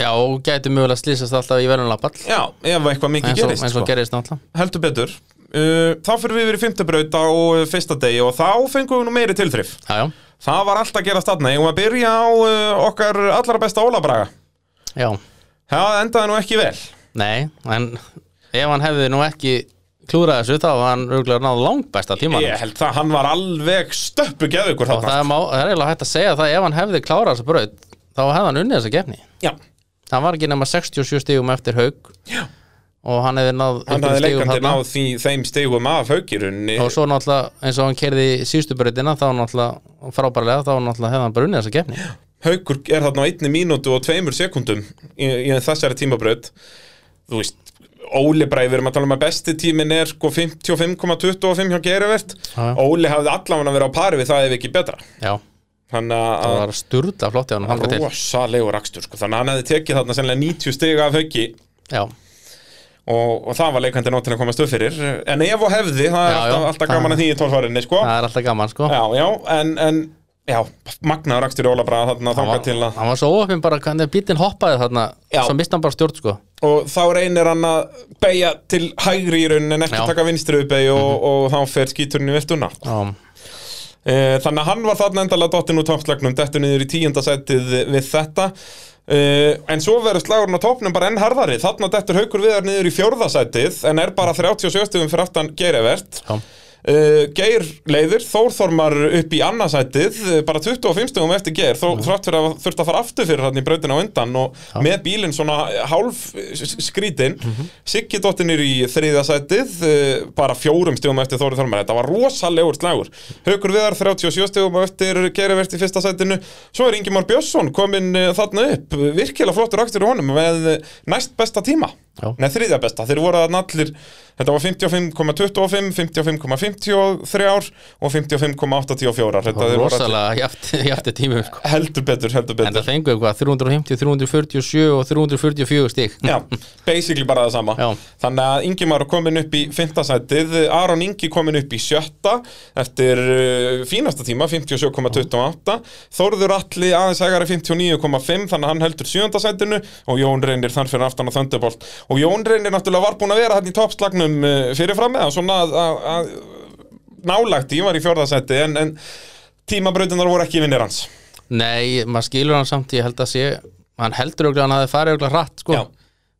S3: já og gæti mögulega að slýsast alltaf í verðunlapall
S2: Já, ef eitthvað mikið
S3: eins og,
S2: gerist
S3: eins og
S2: sko.
S3: gerist náttúrulega
S2: heldur betur uh, þá fyrir við verið fymtubraut á uh, fyrsta degi og þá fengum við nú meiri tilþrif
S3: Já, já,
S2: það var allt að gera stanna, ég var að byrja á uh, okkar allra besta ólabraga
S3: já
S2: það endaði nú ekki vel
S3: Nei, en ef hann hefði nú ekki klúrað þessu þá var hann örgulega náð langt besta tímanum
S2: ég held það, hann var alveg stöppu geðugur
S3: og
S2: þarna
S3: það er, má, það er eiginlega hægt að segja það ef hann hefði klárað þessa braut þá hefði hann unnið þessa gefni
S2: Já,
S3: hann var ekki nema 67 stigum eftir haug Já. og hann hefði náð
S2: hann
S3: einhverjum
S2: hafði
S3: stigum
S2: leikandi
S3: þarna.
S2: náð því, þeim stegum af haugirunni
S3: og svo náttúrulega eins og hann kerði síðustu brautina þá náttúrulega frábærlega þá náttúrulega hefði hann bara unnið þessa gefni
S2: Haukur er þarna á einni mínútu og tveimur sekundum í, í þessari tímabraut þú veist, Óli Bræði við erum að tala um að besti tímin er sko 55,25 hjá Gerivert
S3: Já, já.
S2: Óli hafði allan að vera á pari við það ef ekki betra
S3: Já,
S2: þannig
S3: það
S2: að
S3: var sturla flott í hann hanga til
S2: rosalegu rakstur sko. þannig að hann hefði tekið þarna sennilega 90 stiga af hauki
S3: Já,
S2: og, og það var leikandi nót til að komast upp fyrir en ef og hefði, það er
S3: Já, já.
S2: alltaf, alltaf gaman að því í tólfárinni sko.
S3: það er alltaf gaman sko
S2: já, já, en, en já, magnaður rakstur í Óla Bræði þarna
S3: hann,
S2: þangað til
S3: var,
S2: að
S3: hann var svo ofinn bara hvernig bílinn hoppaði þarna
S2: Já.
S3: svo misti hann bara stjórn sko
S2: og þá reynir hann að beigja til hægri í raunin en ekki
S3: Já. Mhm.
S2: taka vinstri uppeyju og, og þá fer skíturinn í viltuna
S3: Já,
S2: e, þannig að hann var þarna endalega dottinn úr toppslagnum dettur niður í tíundasætið við þetta e, en svo verður slagurinn á toppnum bara enn harðari þarna dettur haukur viðar niður í fjórðasætið en er bara 37 stugum fyrir aftan geirivert
S3: já,
S2: Uh, Geir leiðir, Þórþormar upp í annarsætið, uh, bara 25 stugum eftir Geir, þó þrátt fyrir að þurft að fara aftur fyrir hann í brautina á undan og með bílinn svona hálf eh, skrítin mm -hmm. Siggi dottinir í þriðasætið, uh, bara fjórum stugum eftir Þórþormar, þetta var rosalegur slagur Haukur Viðar 37 stugum eftir Geirivert í fyrsta sætinu svo er Ingimar Björnsson komin uh, þarna upp virkilega flottur akstur í honum með uh, næst besta tíma
S3: Já.
S2: Nei, þriðja besta, þeir voru að allir Þetta var 55,25, 55,53 og 55,84 Þetta
S3: það
S2: þeir
S3: var
S2: voru allir
S3: rosalega jafti, jafti tímum sko
S2: Heldur betur, heldur
S3: En það
S2: betur
S3: fengu eitthvað 350, 347 og 344 stík
S2: Já, basically bara það sama
S3: Já.
S2: Þannig að Ingimar er komin upp í fintasætið, Aron Ingi komin upp í sjötta eftir uh, fínasta tíma, 57,28 Þórður Atli aðeins ægari 59,5 þannig að hann heldur sjöndasætinu og Jón Reynir þar fyrir aftan á Thunderbolt og Jón Reynir náttúrulega var búin að vera hann í toppslagnum eh, uh, fyrirfram eða svona að, að, að nálægt í, var í fjórðasæti en, en Tímabrautunar voru ekki vinnir hans
S3: Nei, maður skilur hann samt ég held að sé hann heldur auðvitað að hann hafi farið auðvitað hratt sko.
S2: Já,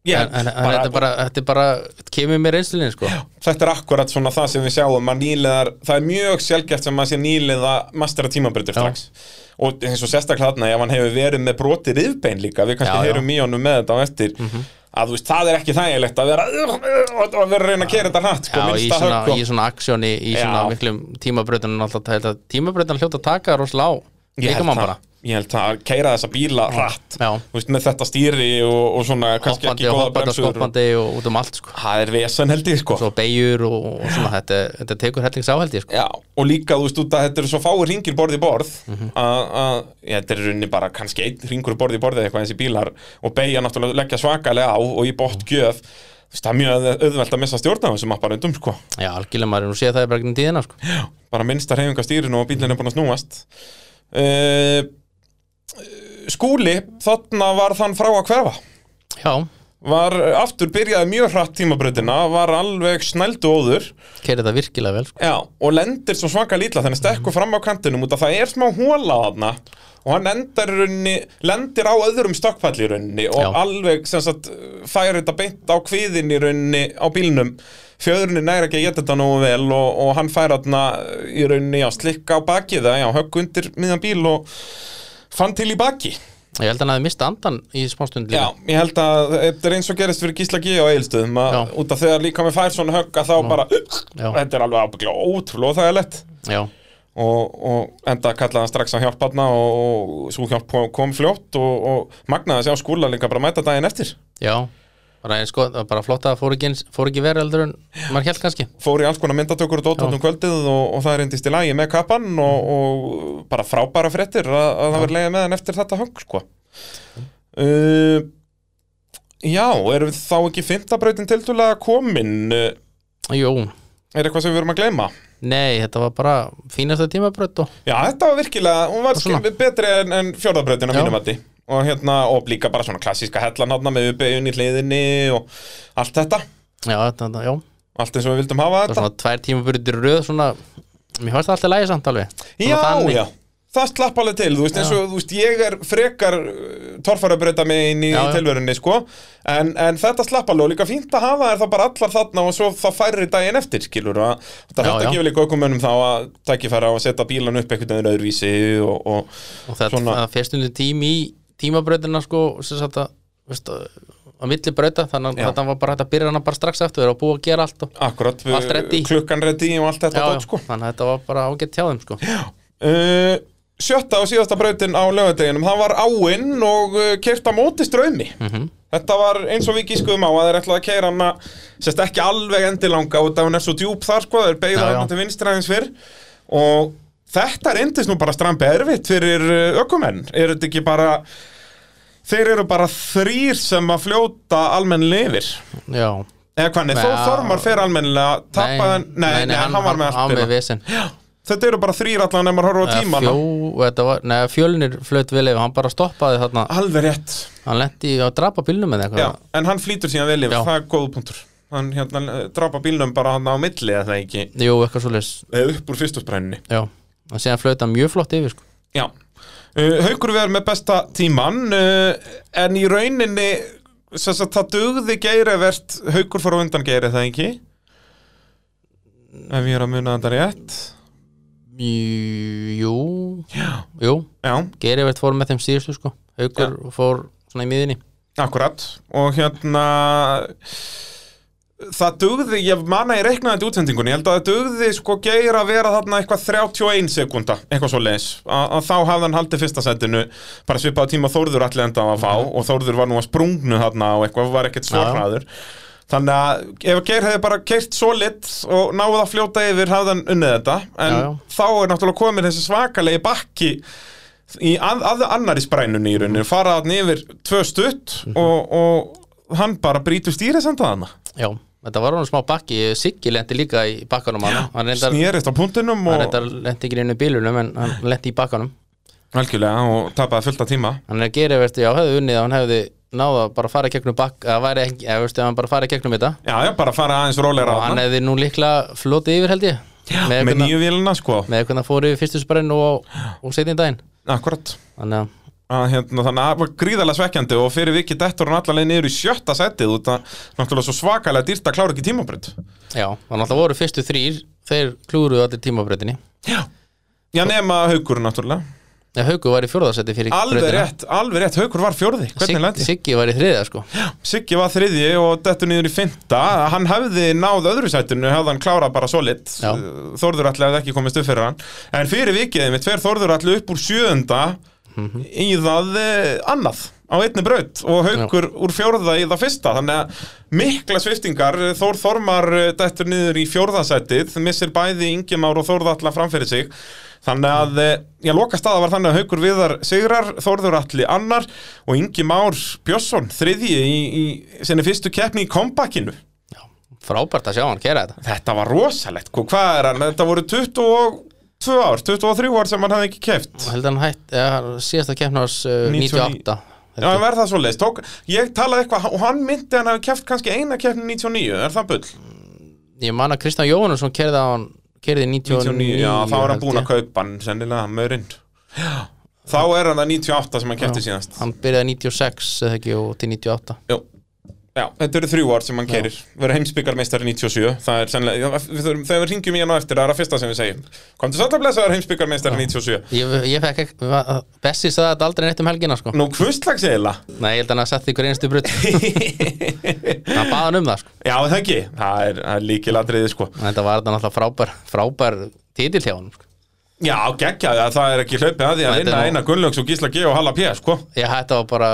S2: Ég,
S3: en, en, en
S2: bara-
S3: þetta, er bara, þetta er bara kemur mér einslinni sko.
S2: þetta er akkurat svona það sem við sjáum að nýliðar, það er mjög sjálfgæft sem maður sé nýliða mastera tímabreytur
S3: Já.
S2: strax og eins og sérstaklega þarna ef hann hefur verið með brotið yfbein líka við
S3: Já,
S2: kannski
S3: já. Mhm.
S2: heyrum í honum með þetta á eftir að þú veist, það er ekki þægilegt að vera og að vera að reyna að kera þetta hratt sko,
S3: Já, í
S2: minnsta
S3: svona,
S2: högg og-
S3: í svona aksjóni í svona
S2: Já.
S3: miklum tímabrautunum alltaf, það- þetta- tímabrautan hljóta að taka rosalega á
S2: Ég held
S3: líka mann
S2: það-
S3: bara
S2: Ég held það að keira þessa bíla hratt
S3: Já.
S2: Þú veist, með þetta stýri og, og svona kannski
S3: hoppandi
S2: ekki
S3: og
S2: góða
S3: hoppandi og
S2: bremsur og-
S3: skoppandi og út um allt sko.
S2: Það er vesen held ég sko
S3: svo beigjur og, og svona þetta, þetta tekur hellings áhaldi sko.
S2: Já, og líka þú veist út að þetta eru svo fáir ringir borð í borð að að- já, þetta eru runni bara kannski einn ringur borð í borð eða eitthvað eins í bílar og beigja náttúrulega leggja svakalega á og í bótt gjöf Þú veist, það er mjög auðvelt að missa stjórna á þessum apparöndum sko
S3: já, algjörlega maður nú sé það í bregnum tíðina sko.
S2: bara minnsta hreyfinga stýrinu og bílinn er búin að snúast uh, Skúli, þarna var þann frá að hverfa
S3: já,
S2: var eh, aftur byrjaði mjög hratt tímabrautina var alveg snældu óður
S3: keiri það virkilega vel sko.
S2: já, og lendir svo svaka lítla þannig stekkur fram á kantinum út að það er smá hóla þarna og hann endar í rauninni, lendir á öðrum stökkpall í rauninni og
S3: Já.
S2: alveg sem sagt fær þetta beint á kviðin í rauninni á bílnum fjöðurinn næri ekki að geta þetta nógu vel og, og hann fær þarna í rauninni já, slikka á bakið það, já, högg undir miðan bíl og fann til í baki
S3: ég held að hann hafi mista andan í smástund
S2: Já,
S3: líka
S2: ég held að þetta er eins og gerist fyrir Gísla G á Egilstöðum að
S3: Já.
S2: út af þegar líka með fær svona högg að þá bara
S3: Já.
S2: þetta er alveg ábygglega ótrúlega þægilegt
S3: já,
S2: og, og enda kallaði hann strax á hjálp hana og, og svo hjálp kom fljótt og, og magnaði sig á skúla líka bara að mæta daginn eftir
S3: já. Bara, eins, sko, bara flott að það fór ekki, eins- fór ekki verið heldur en maður held kannski
S2: fór í alls konar myndatökur og dóttöndum kvöldið og, og það reyndist í lagi með kappan og, og bara frábæra fréttir að, að það verið leiða með hann eftir þetta högg sko. uh, Já, erum við þá ekki fymtabrautin tildulega komin uh,
S3: jú,
S2: er eitthvað sem við erum að gleyma?
S3: nei, þetta var bara fínasta tímabröð og
S2: Já, þetta var virkilega, hún var
S3: Svona.
S2: skil, betri en, en fjórðabrautin að
S3: Já.
S2: mínum mati og hérna, og líka bara svona klassíska hellan hátna með uppeigun í hliðinni og allt þetta,
S3: já, þetta, þetta- já,
S2: allt eins og við vildum hafa
S3: það var
S2: þetta
S3: svona tvær tímabröður röð svona, mér fannst það alltaf lægi samt alveg Svona
S2: Já,
S3: þannig.
S2: já, það slapp alveg til, þú veist, eins og, þú veist, ég er frekar torfarabrauta með inn í
S3: Já, já.
S2: tilverunni, sko en, en þetta slapp alveg og líka fínt að hafa er það bara allar þarna og svo það færri daginn eftir, skilur, að þetta
S3: Já, já.
S2: gefur líka okkur mönnum þá að tækifæra og setja bílan upp einhvern veginn öðruvísi og, og
S3: og það
S2: Svona.
S3: svona... fyrstundu tími í tímabrautina sko, sem sagt að veist, að milli brauta, þannig
S2: Já.
S3: að þetta var bara hægt að byrja hana bara strax eftir og búið að gera allt og,
S2: Akkurat,
S3: Allt ready.
S2: klukkan reddi og allt þetta dót, sko.
S3: þannig að þetta var bara ágætt hjá þeim sko.
S2: Uh, sjötta og síðasta brautin á lögadeginum það var áinn og uh, keirt á móti strömi
S3: Mhm.
S2: þetta var eins og við gískuðum á að þeir ætlaði að keira hana sérst ekki alveg endilanga út af hún er svo djúb þar sko, þeir beigða
S3: Já, já.
S2: hana til vinstri aðeins fyrr og þetta reyndist nú bara strambi erfitt fyrir uh, ökumenn er þetta ekki bara þeir eru bara þrýr sem að fljóta almennilega yfir
S3: já,
S2: eða hvað, nei,
S3: Nei,
S2: þó
S3: já.
S2: Þormar fer almennilega tappaðan, nei, nei, nei, hann, var með
S3: hann,
S2: allt
S3: með vesen
S2: þetta eru bara þrýr allan ef maður horfður á
S3: Eða
S2: tíman
S3: fjó, þetta var, neða, fjölnir flöt vel yfir, hann bara stoppaði þarna
S2: Alveg rétt
S3: hann lendi á að drapa bílnum eða
S2: Já,
S3: eitthvað
S2: En hann flýtur síðan vel yfir,
S3: Já.
S2: það er góð punktur Hann hérna, eh, drapa bílnum bara hann á milli eða það ekki
S3: jú, eitthvað svo leys,
S2: eh, upp úr fyrstusbræninni
S3: já og síðan flöta mjög flott yfir sko.
S2: Já uh, Haukur við með besta tíman uh, en í rauninni sem sagt, það dugði geirivert Haukur fór á undan geiri það ekki Ef ég er að muna þetta rétt
S3: jú,
S2: Já,
S3: jú
S2: Já
S3: Gerivert fór með þeim síðustu sko Haukur fór svona í miðinni
S2: akkurat og hérna það dugði, ég man að ég reiknaði þetta í útsendingunni, ég held að það dugði sko geir að vera þarna eitthvað 31 sekunda eitthvað svo leis, að þá hafði hann haldið fyrsta setinu, bara svipað tíma Þórður allir enda að fá og Þórður var nú að sprungnu þarna og eitthvað, var ekkert svo
S3: Já.
S2: hraður þannig að ef geir hefði bara keirt svo lit og náði að fljóta yfir hafði hann unnið þetta, en
S3: Já, já.
S2: þá er náttúrulega komin þessi svakalegi bakki í að, að annari sprænunni í rauninu, fara þarna yfir tvö stutt
S3: Mhm.
S2: og, og hann bara brýtur stýrisendaðana
S3: Já, þetta var hann smá bakki Siggi lendi líka í bakkanum hann Hann reyndar,
S2: snýrist á puntinum
S3: hann
S2: og
S3: reyndar lendi ekki inn í bílunum en hann lendi í bakkanum
S2: algjörlega og tapaði fullt af tíma
S3: Hann er Gerivert, já, hefði unnið að hann hefði náða bara að fara í gegnum bakk að væri ekki, eða veistu, hann bara fara í gegnum þetta
S2: já, já, bara fara aðeins rólegra
S3: og hann
S2: þarna.
S3: hefði nú líklega flotið yfir held ég með
S2: með
S3: einhvern
S2: nýju vélina sko
S3: með einhvern að fóru í fyrstu sprenn og, og setjum daginn
S2: akkurat
S3: þannig að
S2: að hérna, þannig að það var gríðarlega svekkjandi og fyrir vikið dettur hann allavega niður í sjötta setið út að náttúrulega svo svakalega dýrt að klára ekki tímabrönd
S3: já, þannig að það voru fyrstu þrýr þeir klúruðu allir tímabreytinni
S2: Já Já, nema haukur náttúrulega
S3: Já, Hauku var í fjórðarsetti fyrir
S2: Alveg
S3: brautina.
S2: rétt, alveg rétt, haukur var fjórði Hvernig
S3: Sig,
S2: lendi?
S3: Siggi var í þriða sko
S2: Siggi var þriðji og dettur niður í fynda Hann hefði náð öðru sætinu, hefði hann klárað bara solid
S3: Já.
S2: Þórður allir hefði ekki komist upp fyrir hann En fyrir vikið mitt fer Þórður allir upp úr sjöunda Í það eh, annað á einni braut og haukur úr fjórða í það fyrsta þannig að mikla sviftingar Þór Þormar eh, dettur niður í fjórðasætið missir bæði Ingemár og Þórða alla framfyrir sig þannig að eh, já, loka staða var þannig að haukur viðar sigrar Þórður allir annar og Ingemár Björnsson þriðji í, í sinni fyrstu keppni í kompakinu
S3: já, Frábært að sjá hann kera þetta
S2: þetta var rosalegt, Hva- hvað er hann þetta voru 22 ár 23 ár sem hann hafði ekki keft
S3: Ég held að hann hætt, ja, síðasta keppnars uh,
S2: 99.
S3: 98
S2: Já, en verð það svo leist, tók, ég talaði eitthvað og hann myndi að hann hafi keft kannski eina keppni 99, er það bull?
S3: Ég man að Kristján Jóhannesson kerði á hann kerði 99,
S2: 99, já, þá er hann
S3: held
S2: búin
S3: ég.
S2: að kaupa hann, sennilega, maurinn Þá er hann að 98 sem hann kefti
S3: Já.
S2: síðast
S3: Hann byrjaði 96 eða ekki og til 98
S2: Jú. Já, þetta eru þrjú ár sem hann kerir Verður heimsbyggarmeistari 97 Það er sennilega, já, við þurfum, þegar við ringjum í hann á eftir Það er að fyrsta sem við segjum Komdu satt að blessaður heimsbyggarmeistari 97
S3: Ég, ég fekk ekki, va- Bessi sagði þetta aldrei neitt um helgina sko
S2: Nú, hvustlags eiginlega
S3: Nei, ég held að hann að setja ykkur einstu brutt Hann baða hann um það sko
S2: Já, það ekki, það er, það er líkilatriði sko
S3: En þetta var þetta náttúrulega frábær frábær titill hjá hann sko.
S2: Já, geggja, það er ekki hlaupið að því að
S3: Þetta er
S2: vinna
S3: nú-
S2: eina Gunnlaugs og Gísla G og Halla P, sko
S3: Ég hætti á bara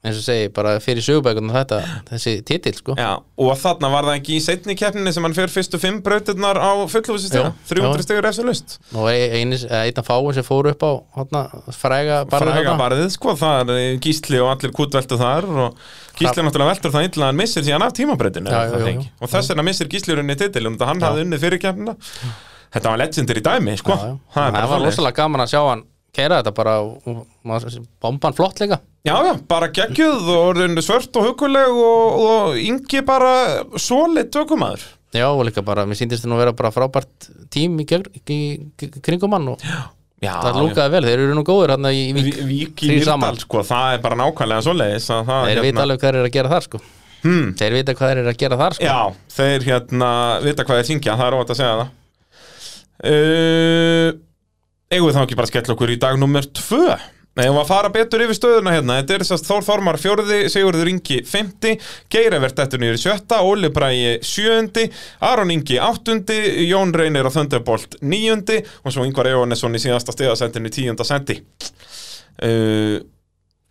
S3: eins og segi, bara fyrir sögubækunum þetta þessi titill sko
S2: Já, og þarna var það ekki í setni keppninni sem hann fer fyrstu fimm brautirnar á fullhúsistega
S3: Jú,
S2: 300
S3: jú.
S2: stegur eftir lust
S3: Nú var einu, einn af fáum sem fóru upp á hátna, fræga barðið
S2: Fræga
S3: þarna.
S2: barðið, sko, það er Gísli og allir kútveltu þar og Gísli náttúrulega veltur það illa að hann missir síðan af tímabrautinu
S3: Já,
S2: er það
S3: jú, jú,
S2: ekki? og þess vegna missir Gísli runni titilum það hann hafði unnið fyrir keppnina Þetta var legendir í dæmi, sko
S3: Já, já.
S2: Það er bara
S3: Það var
S2: svoleiðis.
S3: rosalega gaman að sjá hann keira þetta bara og- og maður- bomban flott líka
S2: Já, já, bara geggjuð og orðin svört og huguleg og, og yngi bara solid tökumæður
S3: Já, og líka bara, mér síndist það nú vera bara frábært tím í, gegn, í, í kringum hann og
S2: Já,
S3: það lúkaði vel, þeir eru nú góður hann í, í vík,
S2: Vík, vík í
S3: þrír
S2: Mýrdal,
S3: saman.
S2: sko, það er bara nákvæmlega svoleiðis að það, hérna
S3: þeir vita alveg hvað þeir eru að gera þar sko hmm. Þeir vita hvað þeir eru að gera þar sko
S2: Já, þeir hérna vita hvað þeir syngja, það er óvægt að segja það uh, Eigum við þá ekki bara að skella okkur í dag nummer tvö Nei, um að fara betur yfir stöðuna hérna Þetta er sérst Þór Þormar fjórði, Sigurður Ingi fymti, Geirivert þetta nýri sjötta, Óli Bræi sjöundi Aron Ingi áttundi, Jón Reynir og Thunderbolt níundi og svo Ingvar Ejónesson í síðasta stigasendinu í tíunda sendi uh,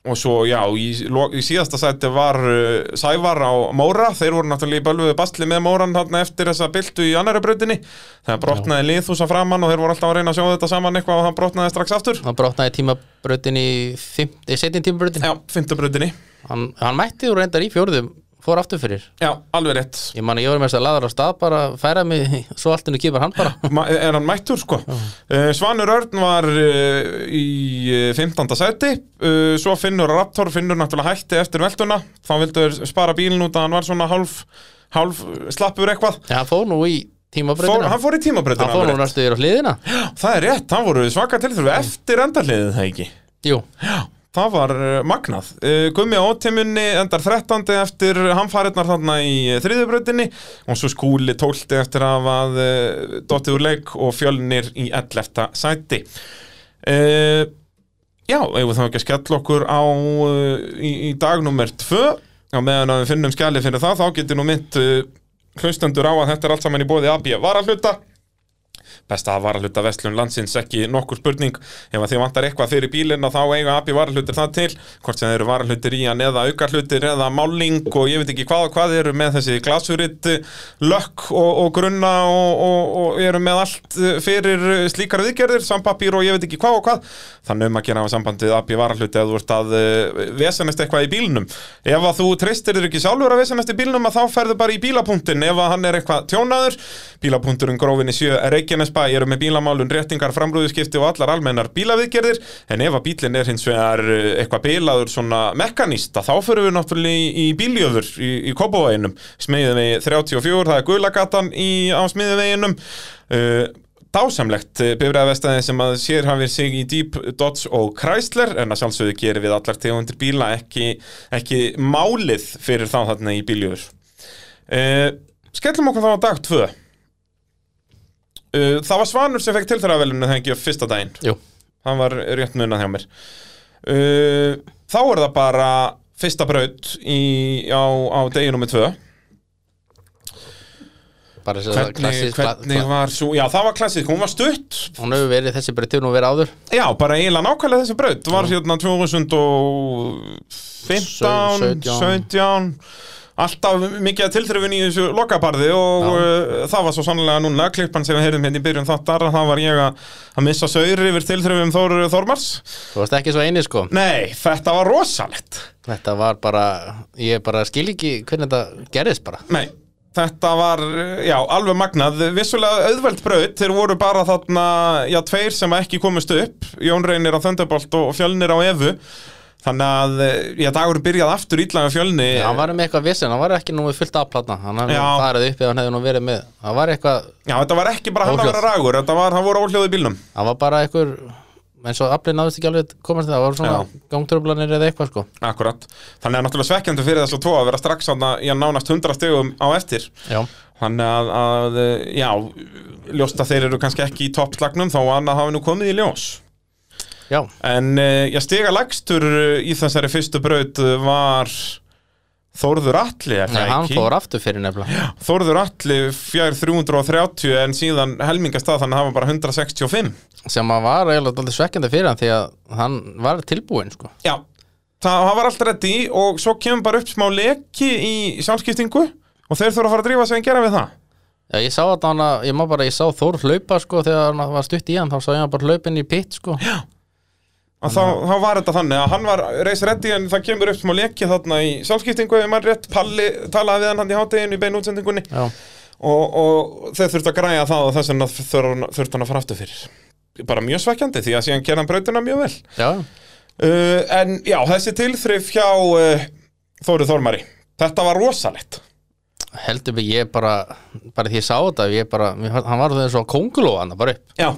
S2: og svo já, í, lo- í síðasta sæti var uh, Sævar á Móra þeir voru náttúrulega í bölvuðu bastli með Móran þarna eftir þessa byltu í annari brautinni það brotnaði liðhúsa framann og þeir voru alltaf að reyna að sjá þetta saman eitthvað og hann brotnaði strax aftur
S3: Hann brotnaði tímabrautin í, fimm- í setjum tímabrautin
S2: já, fymtu brautinni,
S3: hann, hann mætti úr reyndar í fjórðum, fór aftur fyrir
S2: já, alveg rétt
S3: Ég man að ég voru með þess að laður á stað bara færa mig, svo alltinu kýpar hann bara
S2: Ma- er hann mættur sko uh, Svanur Örn var uh, í uh, 15. seti uh, svo Finnur Raptor, Finnur náttúrulega hætti eftir velduna, þá vildu þeir spara bílinn út að hann var svona hálf, hálf slappur eitthvað
S3: En hann fór nú í
S2: Fór,
S3: tímabrautina
S2: hann fór í tímabrautina
S3: Hann fór
S2: alveg rétt.
S3: nú næstu yfir á hliðina
S2: Það er rétt, það voru svaka tilþröf eftir endarliðið það ekki
S3: Jú,
S2: Það var eh, magnað Eh, Gummi á ótimunni endar 13. eftir hamfarirnar þarna í þriðubrautinni og svo skúli 12. eftir að að dottið úr leik og fjölnir í 11. sæti Eh, Já, eigum við þá ekki að skella okkur á eh, í, í dag nummer 2 á meðan að við finnum skjalið fyrir það þá getur nú mynd hlustendur á að þetta er allt saman í bóði AB varahluta besta að varahluta vestlun landsins ekki nokkur spurning ef að þið vantar eitthvað fyrir bílinn og þá eiga AB varahlutir það til hvort sem þeir eru varahlutir í hann eða aukarhlutir eða máling og ég veit ekki hvað og hvað eru með þessi glasurit lökk og, og grunna og, og, og eru með allt eh, fyrir eh, slíkar viðgerðir sambapír og ég veit ekki hvað og hvað þannig um að gera á sambandið AB varahluti að þú ert að eh, vesenast eitthvað í bílnum ef að þú treystir þér ekki sjálfur að vesenast í bílnum að þá ferðu bara í bílapunktin ef að hann er eitthvað tjónaður bílapunkturinn grófinni sjö er Reykjanesbæ eru með bílamálun, réttingar, framrúðuskipti og allar almennar bílaviðgerðir en ef að bílinn er hins vegar eh, eitthvað bilaður svona mekanísta þá förum við náttúrulega í, í bíljöfur í, í Kópavoginum, smiðinvegi 34 það er Guðlagatan í, á smiðinveginum uh, dásamlegt bifræðavestæði sem að sér hafið sig í Jeep, Dodge og Chrysler en að sjálfsögðu gerir við allar tegundir bíla ekki, ekki málið fyrir þá þarna í bíljöfur uh, Skellum okkur þá á dag 2 Uh, það var Svanur sem fekk tilþræðavelunni þegar ekki á fyrsta daginn
S3: Jú,
S2: Hann var rétt munað hjá mér uh, Þá er það bara fyrsta braut í, á, á degi nummer tvö
S3: bara þess að
S2: Hvernig, hvernig var svo Já, það var klassísk, hún var stutt
S3: hún hefur verið þessi breytið nú verið áður
S2: Já, bara eiginlega nákvæmlega þessi braut Það var hérna 2015
S3: 17.
S2: 17 Alltaf mikið að tilþrifin í þessu lokabarði og
S3: Já.
S2: uh, það var svo sannlega núna klippan sem við heyrðum hérna í byrjun þáttar að það var ég að, að missa saur yfir tilþrifum Þór Þormars
S3: þú varst ekki svo eini sko
S2: Nei, þetta var rosalegt
S3: þetta var bara, ég bara skil ekki hvernig þetta gerðist bara
S2: Nei, þetta var, eh, já, alveg magnað Vissulega auðveld braut, þeir voru bara þarna Já, tveir sem ekki komust upp Jón Reynir á Thunderbolt og Fjölnir á Evu Þannig að, eh, já, dagurinn byrjaði aftur ítla með Fjölni
S3: hann var með eitthvað vissin, hann var ekki nú með fullt afplatna hann hefði
S2: Já.
S3: nú farið upp eða hann hefði nú verið með hann var eitthvað,
S2: Já, þetta var ekki bara hann að
S3: Óhljóð.
S2: vera ragur Þetta var, það voru óhljóð í bílnum
S3: hann var bara eitthvað eins og aflið náðist ekki alveg að komast það var
S2: Já.
S3: svona gangtröflanir eða eitthvað sko
S2: Akkurat, þannig að náttúrulega svekkjandi fyrir þessu tvo að vera strax þarna, já, nánast 100 stegum á eftir
S3: já,
S2: Þannig að, að, já, ljóst að þeir eru kannski ekki í toppslagnum þá annað hafi nú komið í ljós
S3: já,
S2: En uh, ég stiga lagstur eh, í þessari fyrstu braut eh, var Þórður Atli, er
S3: Nei,
S2: það
S3: hann
S2: ekki?
S3: fór aftur fyrir nefnilega
S2: Þórður Atli fjær 330 en síðan helmingast að þannig að hafa bara 165.
S3: sem að var eiginlega dálítið svekkjandi fyrir hann því að hann var tilbúinn sko
S2: Já, það, það var allt reddi og svo kemur bara upp smá leki í sjálfskiptingu og þeir þurfa að fara að drífa sig en gera við það.
S3: Já, ég sá að hann að, ég má bara, ég sá Þór hlaupa sko þegar hann var stutt í hann, þá sá ég hann bara hlaupin í pitt sko Já,
S2: Og þá, þá var þetta þannig að hann var reis reddi en það kemur upp smá leki þarna í sjálfskiptingu ef maður rétt palli talaði við hann hann í háteginu í beinu útsendingunni. og, og þeir þurftu að græja það og þess vegna þurftu þurftu hann að fara aftur fyrir bara mjög svekkjandi því að síðan gera hann brautina mjög vel
S3: já,
S2: uh, en já, þessi tilþrif hjá uh, Þóru Þormari þetta var rosalegt
S3: heldur mig, ég bara, bara því ég sá þetta, ég bara, mér, fannst- hann var þess að kóngulóa hann bara upp
S2: já,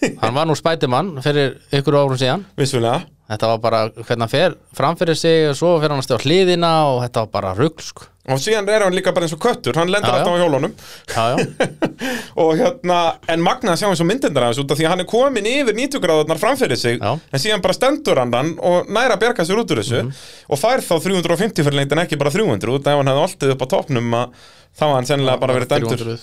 S3: Hann var nú spætimann fyrir ykkur árum síðan
S2: vissulega
S3: Þetta var bara, hvernig hann fer framfyrir sig og svo fer hann að stjá hliðina og þetta var bara rugl sko
S2: og síðan er hann líka bara eins og köttur hann lendur
S3: Já, já.
S2: alltaf á hjólunum
S3: Já, já,
S2: og hérna, en Magna sjá eins og myndindar hans út af því að hann er komin yfir 90 gráðarnar framfyrir sig,
S3: Já. Mhm.
S2: en síðan bara stendur hann hann og næra að berga sér út úr þessu og fær þá 350 fyrir lengt en ekki bara 300 út af ef hann hefði alltið upp á toppnum að þá hafði hann sennilega bara verið dæmdur
S3: 300.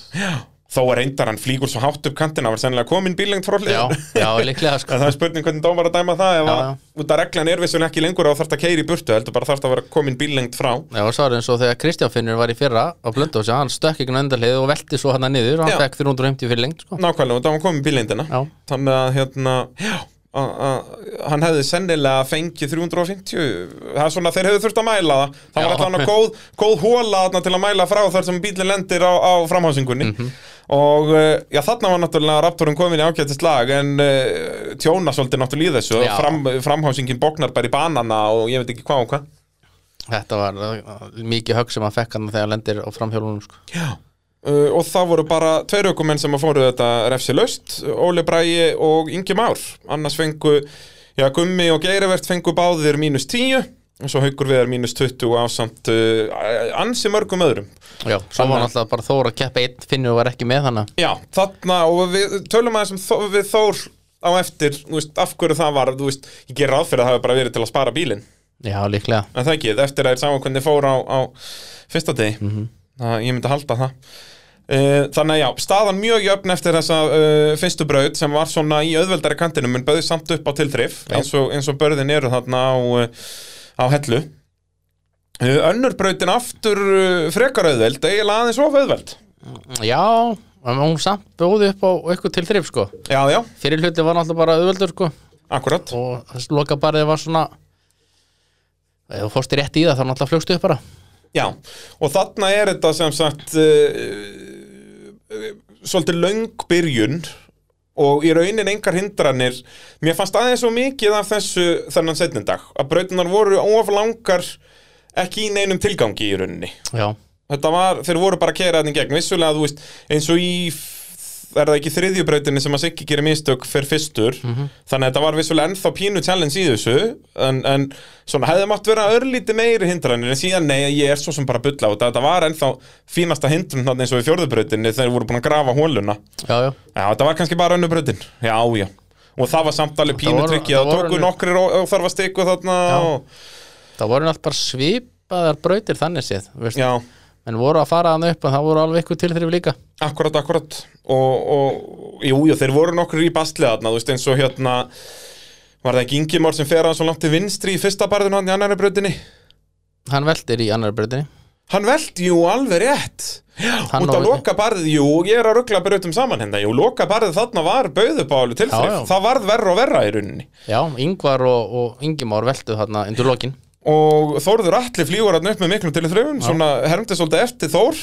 S2: þó að reyndar hann flýgur svo hátt upp kantina var sennilega komin bílengt frá
S3: já,
S2: hliðin
S3: já, líklega
S2: en
S3: sko
S2: það er spurning hvernig dómar að dæma það ef
S3: Já,
S2: að,
S3: já.
S2: út af reglan er vissulega ekki lengur og þarf að keiri í burtu, heldur bara þarf að vera komin bílengt frá
S3: Já, og svo er eins og þegar Kristján Finnur var í fyrra á Blöndósi, hann stökk ekki undarlið og velti svo hann niður, hann
S2: Já.
S3: fekk 350 fyrir lengt sko
S2: nákvæmlega, og það var komin bílengdina
S3: Já,
S2: þannig að hérna já, að, að, hann hefði sennilega fengið 350 það er svona þeir hefðu þurft að mæla það það var
S3: Já.
S2: alltaf hann góð, góð hóla þarna til að mæla frá þar sem bílinn lendir á, á framhásingunni
S3: Mhm.
S2: og uh, já þarna var náttúrulega raptorinn komin í ágættist lag en uh, tjóna svolítið náttúrulega í þessu
S3: Já.
S2: fram, framhásingin bóknar bara í banana og ég veit ekki hvað og hvað
S3: Þetta var uh, mikið högg sem hann fekk hann þegar hann lendir á framhjólunum sko.
S2: Uh, og það voru bara tveir aukumenn sem að fóru þetta refsi laust, Óli Bræi og Ingi Már, annars fengu já, Gummi og Geirivert fengu báðir mínus 10 og svo haukur viðar mínus 20 ásamt uh, ansi mörgum öðrum
S3: Já, svo var hann alltaf bara Þór að keppa einn finnur og var ekki með hann
S2: já, þarna og við tölum aðeins um Þó- við Þór á eftir, þú veist, af hverju það var þú veist, ég ger ráð fyrir að það hafi bara verið til að spara bílinn
S3: Já, líklega
S2: en það ekki, eftir að þeir sáum hvernig fór á, á fyrsta degi það, ég myndi halda það uh, þannig að já, staðan mjög jöfn eftir þessa uh, fyrstu braut sem var svona í auðveldari kantinum en bauði samt upp á tilþrif eins og, eins og börðin eru þarna á, uh, á hellu uh, önnur brautin aftur uh, frekar auðveld, eiginlega aðeins of auðveld
S3: Já, en hún samt bjóði upp á eitthvað til þrif sko.
S2: já, já,
S3: Fyrir hluti var hann alltaf bara auðveldur sko.
S2: akkurat
S3: og þessi loka bara var svona ef þú fórst rétt í það þá náttúrulega flugstu upp bara
S2: Já, og þarna er þetta sem sagt uh, uh, svolítið löng byrjun og í raunin engar hindranir mér fannst aðeins svo mikið af þessu þennan setnindag að brautinar voru of langar ekki í neinum tilgangi í rauninni
S3: já,
S2: þetta var, þeir voru bara að kera þetta í gegn vissulega, þú veist, eins og í f- er það ekki þriðju brautinni sem að Siggi gerir mistök fyrir fyrstur,
S3: Mhm.
S2: þannig að þetta var vissulega ennþá pínu challenge í þessu en, en svona hefði mátt vera örlítið meiri hindranir en síðan nei, ég er svo sem bara að bulla á þetta, þetta var ennþá fínasta hindrun þarna eins og í fjórðu brautinni þegar þeir voru búin að grafa hóluna
S3: já, já
S2: Já, þetta var kannski bara önnur brautin Já, já Og það var samt alveg pínu
S3: voru-
S2: tryggið
S3: það
S2: Það
S3: voru
S2: tóku
S3: alveg-
S2: nokkrir óþarfa stikku þarna
S3: Já.
S2: og,
S3: það voru allt bara svipaðar brautir þannig séð veist.
S2: Já,
S3: en voru að fara hann upp en það voru alveg ykkur tilþrif líka
S2: akkurat, akkurat Og, og jú, jú, þeir voru nokkur í bastlið þarna Þú veist eins og hérna Var það ekki Ingimár sem fer aðeins svo langt til vinstri Í fyrsta barðinu hann í annari brautinni
S3: hann veltir í annar brautinni
S2: Hann velt, jú, alveg rétt
S3: Hann
S2: Út að
S3: og-
S2: loka barðið, jú, ég er að ruggla brautum saman hérna Jú, loka barðið þarna var bauðubálu til
S3: Já,
S2: þrif
S3: já.
S2: Það varð verra og verra í rauninni
S3: já, Ingvar og, og Ingimár veltuð þarna undir lokin
S2: og Þórður Atli flýgur hann upp með miklum til þröfun, svona hermdi svolítið eftir Þór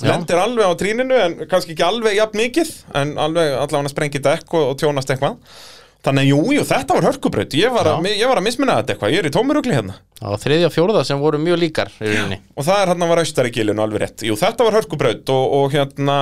S3: Já.
S2: lendir alveg á tríninu en kannski ekki alveg jafn mikið en alveg allavega sprengið dekk og, og tjónast eitthvað þannig að jú, jú, þetta var hörkubraut ég var, að,
S3: Já.
S2: ég var að mismuna þetta eitthvað, ég er í tómurugli hérna
S3: það var þriðja og fjórða sem voru mjög líkar í rauninni
S2: og það er hann að var austarigilinu alveg rétt jú, þetta var hörkubraut og, og hérna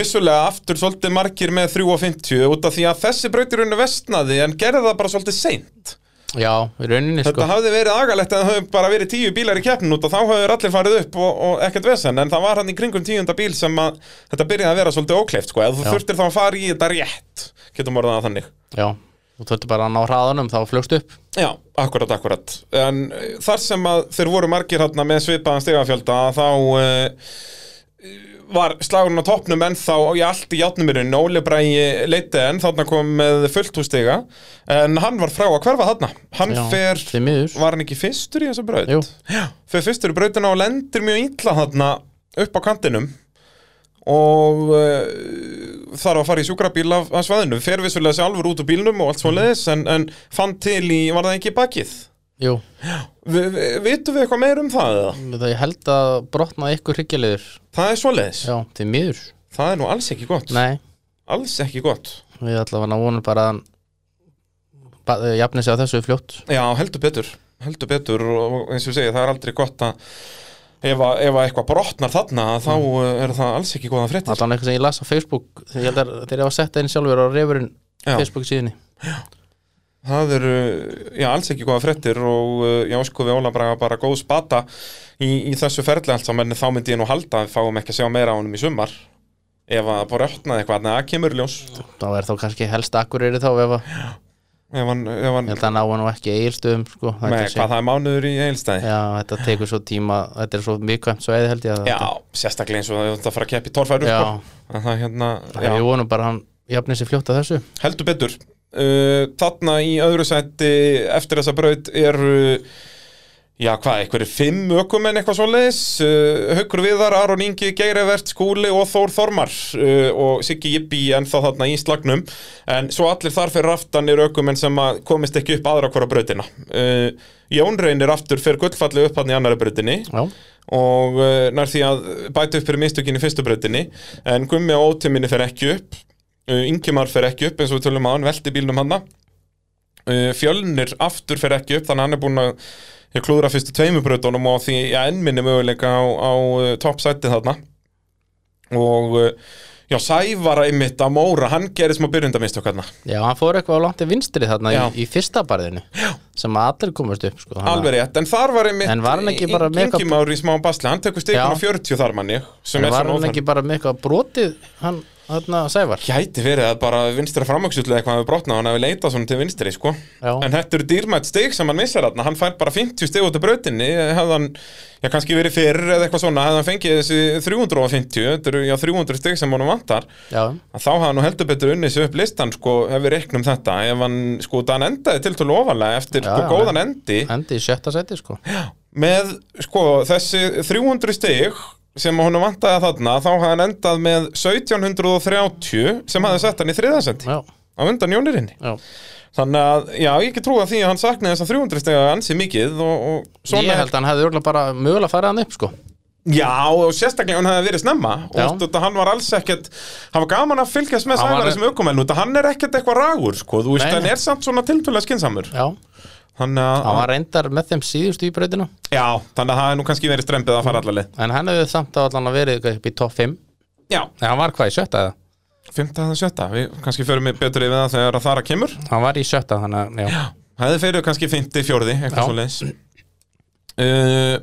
S2: vissulega aftur svolítið margir með 3.50 út af því að þessi brautirunni vestnaði en gerði það bara svolítið seint
S3: já, í rauninni
S2: Þetta
S3: sko
S2: hafði verið agalegt að það hafði bara verið tíu bílar í keppnin út og þá hafði allir farið upp og, og ekkert vesen en það var hann í kringum tíunda bíl sem að þetta byrjaði að vera svolítið ókleift sko eða þú
S3: Já.
S2: þurftir þá að fara í þetta rétt getum orðað það þannig
S3: já, þú þurfti bara að ná hraðanum þá flögst upp
S2: Já, akkurat, akkurat en eh, þar sem að þeir voru margir hérna með svipaðan stegafjölda þá uh, var slagurinn á toppnum en þá í allt í játnumirinn Óli Bræi leiti en þarna kom með fullt hústega en hann var frá að hverfa þarna hann
S3: já,
S2: fer
S3: því miður
S2: Var hann ekki fyrstur í þessa braut?
S3: Jú.
S2: Já, fyrir fyrstur í brautina og lendir mjög illa þarna upp á kantinum og uh, þarf að fara í sjúkrabíl af, af svaðinu fer vissulega sér alveg út úr bílnum og allt svo leiðis en, en fann til í, var það ekki í bakið?
S3: jú,
S2: Vi, vi, vitum við eitthvað meir um það eða?
S3: það ég held að brotnaði ykkur hryggjulegur
S2: Það er svo leiðis
S3: já, því miður
S2: Það er nú alls ekki gott
S3: nei,
S2: Alls ekki gott
S3: við allavega vonum bara að hann ba- eh, jafni sig á þessu fljótt
S2: Já, heldur betur heldur betur og eins og segja það er aldrei gott að ef, að, ef að eitthvað brotnar þarna þá mm. er það alls ekki góða fréttir
S3: Allan eitthvað sem ég las á Facebook Ég held að þeir hafa sett það inn sjálfur á reyfurinn
S2: Já.
S3: Facebook síðinni
S2: Það eru, já, alls ekki góða frettir og uh, já, sko við Óla Braga bara góð spata í, í þessu ferli allt saman en þá myndi ég nú halda að við fáum ekki að sjá meira á honum í sumar ef að bara ötnaði eitthvað, en það kemur í ljós
S3: Þá er þá kannski helst akkurýri þá ef að,
S2: ef hann, ef hann
S3: Ég held að ná hann nú ekki eigilstöðum sko, það
S2: með
S3: er
S2: hvað það er mánuður í eilstæði Já,
S3: Já, þetta tekur svo tíma Þetta er svo mikvæmt svæði held ég að
S2: sérstaklega eins og það það fara að keppa í torfæru
S3: Já.
S2: sko. En það hérna,
S3: Það er vonum bara að hann jafni sig fljótt að þessu
S2: heldur betur uh, þarna í öðru sætti eftir þessa braut eru já hvað, einhverjir fimm ökumenn eitthvað svoleiðis, uh, Haukur Viðar Aron Ingi, Geirivert, Skúli og Þór Þormar uh, og Siggi Jippi ennþá þarna í slagnum en svo allir þar fyrir aftan eru ökumenn sem að komist ekki upp aðra hvora brautina uh, Jón reynir aftur fyrir gullfalli upp hann í annari brautinni
S3: Já,
S2: og uh, nær því að bæta upp fyrir mistökin í fyrstu breytinni en Gummi á ótiminni fer ekki upp uh, Ingimar fer ekki upp eins og við tölum að hann velti bílnum hann uh, Fjölnir aftur fer ekki upp þannig að hann er búinn að ég klúðra fyrstu tveimu breytunum og á því ja, enn minni möguleika á, á uh, toppsætti þarna og uh, já, Sævara einmitt að Móra, hann gerir smá byrjundamistök hann
S3: já hann fór eitthvað á langt í vinstri þarna í,
S2: Já.
S3: í fyrsta barðinu já. sem að allir komast upp sko, þannig að-
S2: Alveg rétt, en þar var einmitt
S3: En var hann ekki bara með eitthvað-
S2: Ingimar í smá basli, hann tekur stikun
S3: Já.
S2: á 40 þar manni sem
S3: En
S2: er svona
S3: var hann
S2: óþarfi.
S3: ekki bara með eitthvað brotið hann, þarna sævar
S2: Gæti verið að bara vinstra framöksull eða eitthvað hafi brotnað og hann hafi leitað svona til vinstri sko.
S3: Já.
S2: en þetta eru dýrmætt stig sem hann missar þarna hann fær bara 50 stig út af brautinni hefði hann, já kannski verið fyrr eða eitthvað svona hefði hann fengið þessi 350 þetta eru já 300 stig sem honum vantar
S3: Já,
S2: að þá hafa nú heldur betur unnið sér upp listan sko ef við reiknum þetta ef hann sko það hann endaði til til ofalega eftir
S3: Já,
S2: sko
S3: já,
S2: góðan endi
S3: endi í sjötta sæti sko
S2: með sko þessi 300 stig sem honum vantaði þarna þá hafði hann endað með 1730 sem hafði sett hann í þriðasendi
S3: Já,
S2: á undan Jónirinni
S3: já
S2: þannig að, já, ég ekki trúa því að hann saknaði þess að 300 stega ansi mikið og, og svona
S3: ég held að hann hefði örgulega bara mögulega farið hann upp sko
S2: Já, og sérstaklega hún hefði verið snemma og
S3: Já.
S2: þetta, hann var alls ekkert hann var gaman að fylgjast með
S3: Hann var- e-
S2: Sævari sem aukumenn út að hann er ekkert eitthvað ragur sko, þú veist,
S3: Nei,
S2: hann
S3: nei.
S2: er samt svona tiltölulega skinsamur
S3: Já,
S2: þannig að,
S3: hann var reyndar með þeim síðustu í brautina
S2: já, þannig að það er nú kannski verið strempið að fara allalið
S3: En hann hefði samt að allan að verið eitthvað upp í topp 5
S2: Já,
S3: Nei, hann var hvað í sjötta eða?
S2: 15. og 7. Við kannski förum við betur yfir það þegar að þara kemur
S3: Hann var í sjötta, þannig að já.
S2: Það hefði fyrir kannski 50, 40, eitthvað
S3: Já.
S2: svo leins uh,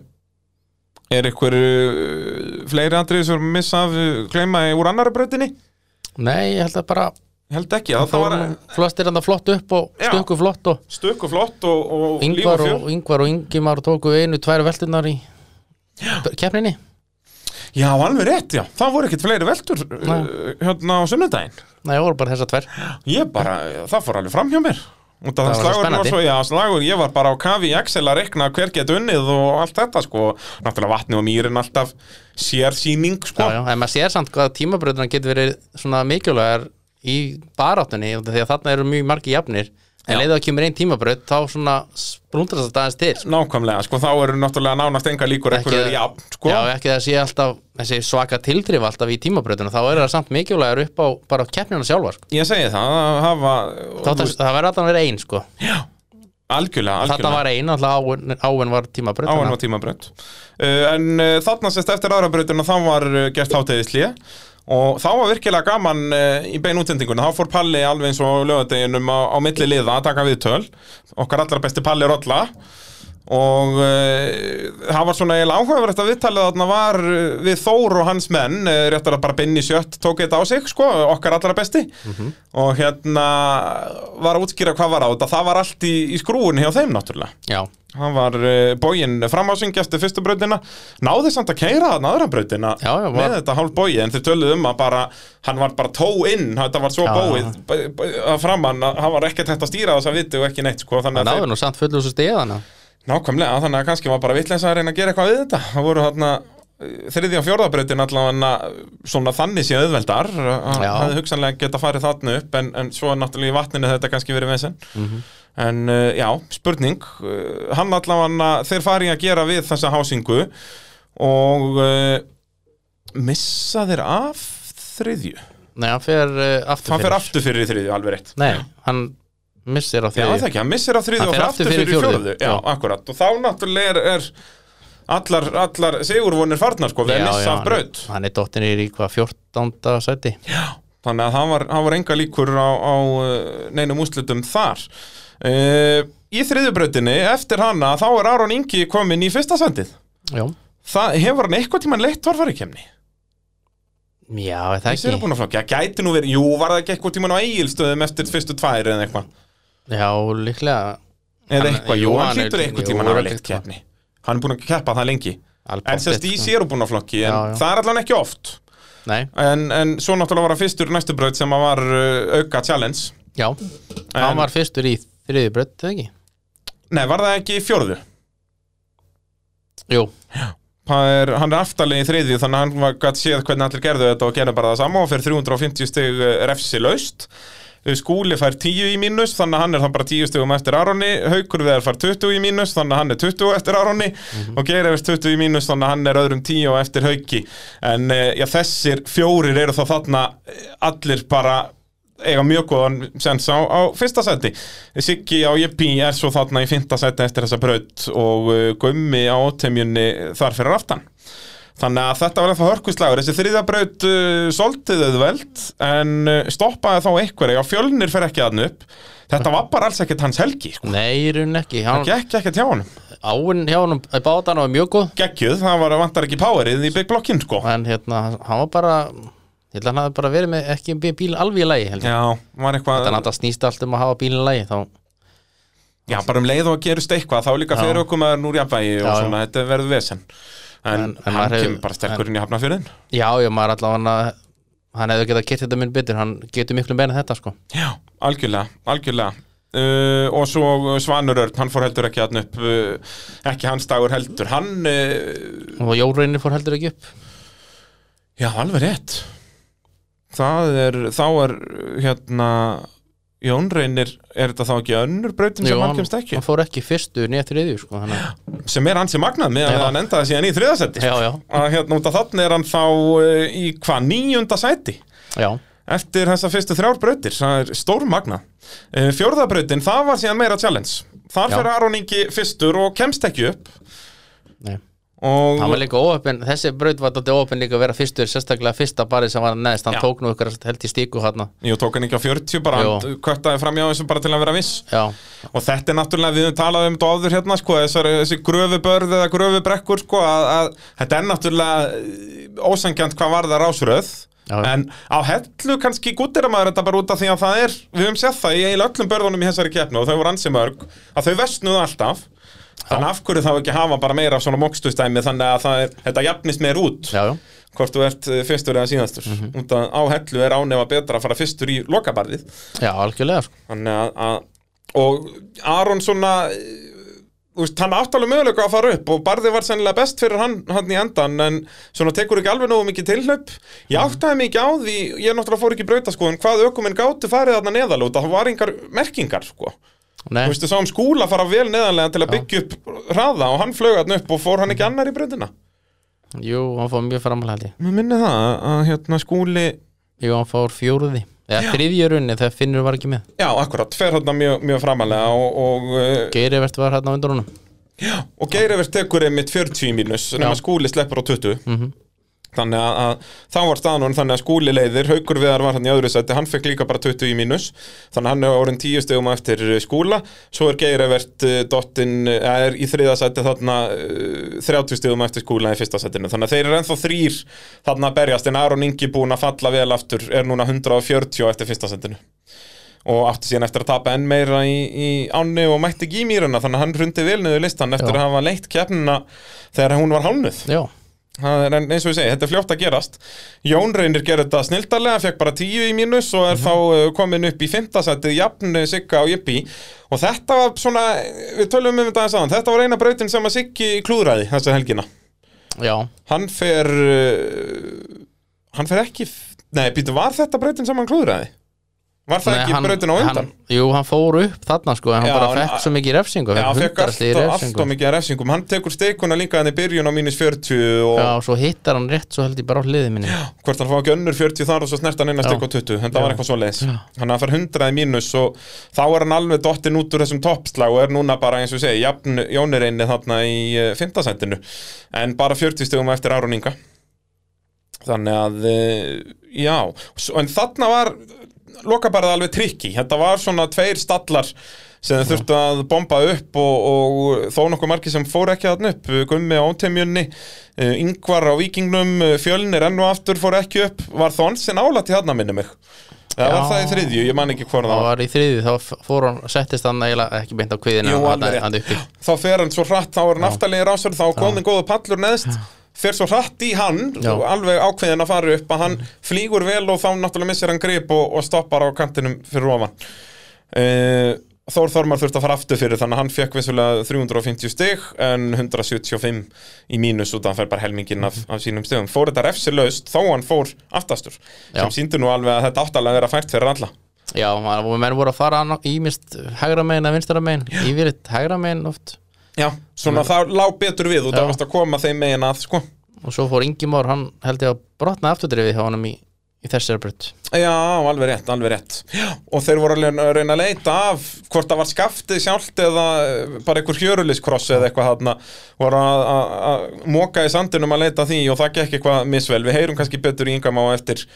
S2: Er ykkur uh, fleiri andrið sem missa af uh, gleyma í- úr annari brautinni?
S3: Nei, ég held að bara
S2: Ég Held ekki, það, það var
S3: var... flestir hann það flott upp og
S2: Já.
S3: stökku flott og
S2: stökk og flott og, og líf og
S3: Yngvar
S2: fjör
S3: og, Yngvar og Ingimar tóku einu, tvær veltunar í keppninni
S2: Já, alveg rétt, já. Það voru ekkert fleiri veltur uh,
S3: Nei.
S2: hérna á sunnudaginn.
S3: Nei, það voru bara þessar tvær
S2: Ég bara, það fór alveg fram hjá mér. Út af það
S3: Það var svo
S2: slagur var
S3: spennandi.
S2: svo, já, slagur, ég var bara á kafi í Excel að rekna hver get unnið og allt þetta, sko. Náttúrulega vatni og mýrin alltaf sér síning, sko.
S3: Já, já, en maður sér samt hvað tímabröðunar getur verið svona mikilvægar í baráttunni út af því að þarna eru mjög margi jafnir en
S2: Já.
S3: leiðu að kemur einn tímabröð þá svona sprúndrast þetta aðeins til sko.
S2: Nákvæmlega, sko, þá eru náttúrulega nánast enga líkur
S3: Ekki-
S2: ekkur er jafn, sko.
S3: Já, ekki það sé alltaf þessi svaka tiltrif alltaf í tímabröðuna þá er það samt mikilvægar upp á bara á keppnina sjálfar sko.
S2: Ég segi það, að hafa,
S3: Þá þarf- það verður alltaf að vera ein sko.
S2: algjörlega,
S3: þetta
S2: algjörlega.
S3: var ein, alltaf áin, áin var tímabröð
S2: áhenn á tímabraut uh, en uh, þarna sérst eftir aðra brautina þá var uh, gert hátegðislið og þá var virkilega gaman uh, í bein útsendinguna, þá fór Palli alveg eins og á lögadeginum á, á milli liða að taka viðtöl okkar allra besti Palli Rolla og uh, það var svona eiginlega áhugaverð þetta viðtalið þarna var eh, við Þór og hans menn uh, réttar að bara Binni Sjött tók þetta á sig sko, okkar allra besti og hérna var að útskýra hvað var á þetta það var allt í, í skrúin hjá þeim náttúrulega
S3: Já,
S2: Hann var uh, bógin framhásingi eftir fyrstu brautina Náði samt að keira þarna aðra brautina
S3: Já, já,
S2: Með
S3: var-
S2: þetta hálf bógi En þeir töluðu um að bara Hann var bara tó inn Þetta var svo
S3: Já,
S2: bóið
S3: já.
S2: b- b- að Framan að hann var ekkert hægt að stýra þess að viti Og ekki neitt sko
S3: það
S2: Þannig að
S3: náður
S2: þeir,
S3: nú samt fullu þessu stegðana
S2: nákvæmlega Þannig að kannski var bara vitleins að reyna að gera eitthvað við þetta Það voru þarna eh, þriðja og fjórða brautin allavega svona þannig sé auðveldar hann
S3: Já.
S2: hafði hugsanlega geta farið þarna upp en, en svo er náttúrulega í vatninu þetta kannski verið vesinn En uh, já, spurning uh, Hann allavega, þeir fari að gera við þessa hásingu Og uh, Missa þeir af þriðju
S3: Nei, hann fer uh, aftur
S2: Hann
S3: fyrir
S2: fer aftur fyrir í þriðju, alveg rétt
S3: Nei, hann missir á
S2: Já, það
S3: þriðju
S2: ekki, hann missir af þriðju
S3: Hann
S2: og fer aftur fyrir, fyrir
S3: fjórðu.
S2: fjóruðu Já,
S3: Já.
S2: akkurat, og þá náttúrulega er, er Allar, allar sigurvonir farnar sko Við að missa af
S3: hann-
S2: braut
S3: Hann er dottin í hvað 14. sæti
S2: Þannig að hann var, hann var enga líkur á, á uh, neinum úslitum þar uh, Í þriðjubrautinni, eftir hana Þá er Aron Ingi komin í fyrsta sendið
S3: Já,
S2: Það hefur hann eitthvað tímann leitt varfarikemni
S3: já er það
S2: Þessi eru
S3: ekki
S2: búin að flokki, það gæti nú verið Jú, var það ekki eitthvað tímann á eigilstöðum eftir fyrstu tvær eða eitthvað
S3: Já, líklega
S2: Eða
S3: Hann-
S2: eitthvað,
S3: jú,
S2: jú, hann
S3: hann er-
S2: hlýtur eitthvað
S3: jú,
S2: tímann að hafa
S3: örugglega
S2: leitt
S3: eitthvað.
S2: keppni Hann er búin að keppa það lengi
S3: alpottþétt,
S2: En sérst í
S3: sko.
S2: sér eru búin að flokki En
S3: Já, já.
S2: það er allan ekki oft
S3: Nei,
S2: En, en svo náttúrulega var hann fyrstur í næstu braut sem að var uh, auka challenge
S3: já,
S2: En-
S3: hann var fyrstur í þriðju brödd, eða ekki?
S2: Nei, var það ekki í fjórðu?
S3: Jú,
S2: Það Er, hann er aftalegi í þriðju þannig að hann var gætt séð hvernig allir gerðu þetta og gerði bara það sama og fyrir 350 stig eh, refsi laust Skúli fær 10 í mínus þannig að hann er þá bara 10 stigum eftir Aroni Haukur Veðar fær 20 í mínus þannig að hann er 20 eftir Aroni
S3: Mhm.
S2: og Geir eftir 20 í mínus þannig að hann er öðrum 10 og eftir Hauki en eh, já, þessir fjórir eru þá þarna eh, allir bara eiga mjög góðan sens á, á fyrsta seti Siggi á Jeppi er svo þarna í fynda seti eftir þessa braut og uh, Gummi á ótemjunni þar fyrir aftan Þannig að þetta var eitthvað hörkuslagur, þessi þriðabraut uh, soltið auðveld en uh, stoppaði þá einhverja, já fjölnir fer ekki aðn upp, þetta var bara alls ekkert hans helgi, sko.
S3: nei, í rauninni ekki hann,
S2: gekk ekkert hjá honum,
S3: Áin hjá hann, bátan var mjög góð
S2: geggjuð, það var vantar ekki powerið í big blockin, sko.
S3: En hérna, hann var bara Ég held að hann hafði bara verið með ekki með bíl alveg í lagi held ég.
S2: Já, var eitthvað,
S3: Þannig að það snýst allt um að hafa bílinn í lagi þá,
S2: já bara um leið og að gerist eitthvað, þá líka
S3: Já.
S2: fyrir okkur maður núr jafnvægi og
S3: Já, já.
S2: svona, þetta verður vesen. En,
S3: En- en
S2: hann
S3: maður hefur-
S2: kemur bara sterkur inn í hafnafjörðin.
S3: Já, já, maður allavega hann hefði getað kert þetta minn betur, hann getur miklu meira en þetta sko
S2: Já, algjörlega, algjörlega uh, og svo Svanur Örn, hann fór heldur ekki hann upp uh, ekki hans dagur heldur hann, uh,
S3: og Jórunni fór heldur ekki upp
S2: já alveg rétt það er, þá er hérna Jón reynir, er þetta þá ekki önnur brautin sem hann kemst ekki?
S3: hann fór ekki fyrstu nýja þriðju sko, þannig að-
S2: Sem er hans í magnað með
S3: Já.
S2: að hann endaði síðan í þriðasetti
S3: já, já,
S2: að hérna út af þannig er hann þá eh, í hvað níunda sæti
S3: já,
S2: eftir þessa fyrstu þrjár brautir það er stór magna fjórðabrautin, það var síðan meira challenge þar
S3: Já.
S2: fyrir Aron Ingi fyrstur og kemst ekki upp
S3: nei
S2: og
S3: hann var líka óöppin, þessi braut var þetta óöppin líka að vera fyrstur, sérstaklega fyrsta barið sem var neðst, hann
S2: Já.
S3: tók nú ykkur held í stíku hann
S2: Jú, tók hann ekki á 40 bara,
S3: Jú.
S2: hann kvöttaði fram hjá þessu bara til að vera viss
S3: já,
S2: og þetta er náttúrulega, við höfum talað um þetta áður hérna, sko, þessar, þessi gröfubörð eða gröfubrekkur, sko, að, að þetta er náttúrulega ósangjant hvað var það rásröð,
S3: Já.
S2: en á hellu kannski gúttir maður þetta bara út af því að það er, við höfum séð það í eiginlega öllum börðunum í þessari keppnu og þau voru ansi mörg, að þau vestnuðu alltaf, þannig af hverju þá ekki hafa bara meira af svona mókstustæmi þannig að það er, þetta jafnist meir út
S3: já, Mhm. já,
S2: hvort þú ert eh, fyrstur eða síðastur mm að á hellu er ánefa betra að fara fyrstur í lokabarðið
S3: já, algjörlega sko.
S2: Þannig að, að og Aron svona úst, hann átt alveg möguleika að fara upp og barði var sennilega best fyrir hann, hann í endan en svona tekur ekki alveg nógu mikið tilhlaup ég áttaði mikið á því, ég náttúrulega fór ekki í brautaskoðun hvað ökuminn gátu farið þarna neðalóta það var engar merkingar sko
S3: nei,
S2: þú veist, þú sáum skúla fara vel neðanlega til að byggja upp hraða og hann flög hann upp og fór hann ekki annar í brautina
S3: jú, hann fór mjög framhaldi
S2: Mhm. mér minni það að, að hérna skúli
S3: jú, hann fór fjórði eða þriðju runni þegar Finnur var ekki með
S2: já, akkurat, fer hann mjög, mjög framalega og, og eh,
S3: Geirivert var hérna á undur honum
S2: Og Geirivert tekur einmitt 40 í mínus nema skúli sleppur á 20 Þannig að, að þá var staðan hún þannig að skúli leiðir Haukur Viðar var hann í öðru sætti, hann fekk líka bara 20 í mínus Þannig að hann er orðin 10 stegum eftir eh, skúla Svo er Geirivert eh, dottinn, eh, er í þriða sætti þarna eh, 30 stegum eftir skúla í fyrsta sættinu Þannig að þeir eru ennþá þrýr þarna að berjast En Aron Ingi búin að falla vel aftur, er núna 140 eftir fyrsta sættinu og átti síðan eftir að tapa enn meira í, í ánni og mætti ekki í mýruna þannig að hann hrundi vel niður listan eftir
S3: Já.
S2: að hafa leitt keppnina þegar hún var hálnuð
S3: já,
S2: Það er- en eins og ég segi, þetta er fljótt að gerast Jón reynir gerði þetta snildarlega, fekk bara tíu í mínus og
S3: Mhm.
S2: er þá uh, komin upp í fymtasættið jafn eh, Sigga og Jippi og þetta var svona, við tölum um þetta aðeins aðan þetta var eina brautin sem að Siggi klúðraði þessa helgina
S3: já,
S2: hann fer uh, hann fer ekki f- nei, býtu, var þetta brautin sem hann klúðraði? Var það
S3: Nei,
S2: ekki brautin á undan?
S3: hann, jú, hann fór upp þarna sko, en hann
S2: Já,
S3: bara
S2: hann-
S3: fekk svo mikið refsingu
S2: Já, fekk
S3: hundraðstig í
S2: alltaf, alltaf
S3: refsingu.
S2: mikið af refsingum Hann tekur steikuna líka hann í byrjun á mínus 40 og
S3: já, og svo hittar hann rétt svo held ég bara á hliði minni
S2: hvort hann fá ekki önnur 40 þar og svo snert hann inn að
S3: Já.
S2: steik á 20 en það var
S3: Já.
S2: eitthvað svo leiðis
S3: Já.
S2: Þannig að hann fær 100 í mínus og þá er hann alveg dottinn út úr þessum toppslag og er núna bara eins og ég segi, jafn Jónir einni þarna í 5. sendinu en bara 40 stegum eftir Aron Inga Þannig að eh, já, Svo- en þarna var lokabarðið alveg trikki þetta var svona tveir stallar sem þau þurftu að bomba upp og, og þó nokkuð margir sem fór ekki þarna upp Gummi á átemjunni, eh, Ingvar á Víkingnum, eh, Fjölnir enn og aftur fór ekki upp, var Þonsin álætt í þarna minni mig eða var
S3: Já.
S2: það í þriðju, ég man ekki hvort
S3: og
S2: það var
S3: var í þriði, þá f- fór hann settist hann eiginlega ekki beint á kviðina
S2: Jú,
S3: hann,
S2: alveg
S3: hann uppi
S2: rétt, þá fer hann svo hratt þá er hann aftalegi rásur, þá komin góðu pallur neðst fer svo hratt í hann
S3: Já. Mm.
S2: og alveg ákveðin að fara upp að hann flýgur vel og þá náttúrulega missir hann grip og, og stoppar á kantinum fyrir ofan uh, Þór Þormar þurfti að fara aftur fyrir þannig að hann fekk vissulega 350 stig en 175 í mínus út að hann fær bara helmingin af, af sínum stigum fór þetta refsilaust þó hann fór aftastur
S3: Já.
S2: sem síndi nú alveg að þetta áttalega er að fært fyrir alla
S3: já, hann- og menn voru að fara annað- ímist hægra megin að vinstara megin yfirleitt hægra megin oft
S2: Já, svona það lá betur við og
S3: Já.
S2: það varst að koma þeim megin að sko
S3: og svo fór Ingimár, hann held ég að brotna afturdrifið hjá honum í, í þessari brut
S2: Já, alveg rétt, alveg rétt Já, Og þeir voru alveg að reyna að leita af hvort það var skaftið sjálft eða eh, bara einhver hjöruliskross eða eitthvað þarna voru að- að að moka í sandinum að leita að því og það gekk eitthvað misvel Við heyrum kannski betur í yngam á eftir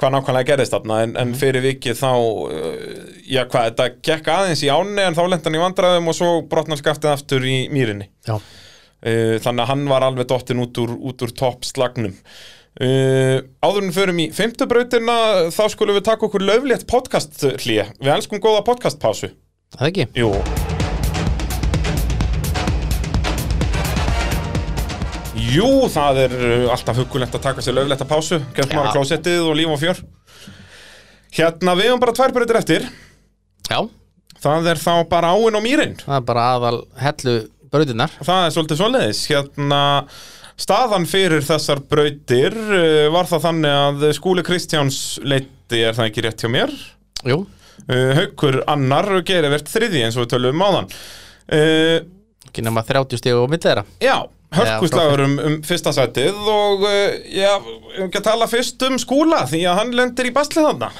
S2: hvað nákvæmlega gerðist þarna en, en fyrir vikið þá eh, já hvað, þetta gekk aðeins í áni en þá lent hann í vandræðum og svo brotnar skaftið aftur í mýrinni
S3: já,
S2: uh, þannig að hann var alveg dottinn út úr, út úr toppslagnum uh, áður en við förum í fymtu brautina þá skulum við taka okkur löflétt podcast hlýja, við elskum góða podcastpásu
S3: það ekki
S2: Jú Jú, það er uh, alltaf hugulegt að taka sér löflétta pásu Kemst
S3: Já.
S2: maður á klósettið og líf og fjör Hérna, við höfum bara tvær brautir eftir
S3: já,
S2: Það er þá bara áin og mýrin
S3: það er bara aðal hellu brautinnar
S2: Það er svolítið svoleiðis hérna, Staðan fyrir þessar brautir eh, var það þannig að Skúli Kristjáns leiti er það ekki rétt hjá mér
S3: jú,
S2: uh, Haukur annar og Gerivert þriði eins og við tölum áðan uh,
S3: ekki nema 30 stíg og mitt þeirra
S2: Já, hörkuslagur um, um fyrsta sætið og uh, já, við um ekki að tala fyrst um skúla því að hann lendir í baslið þarna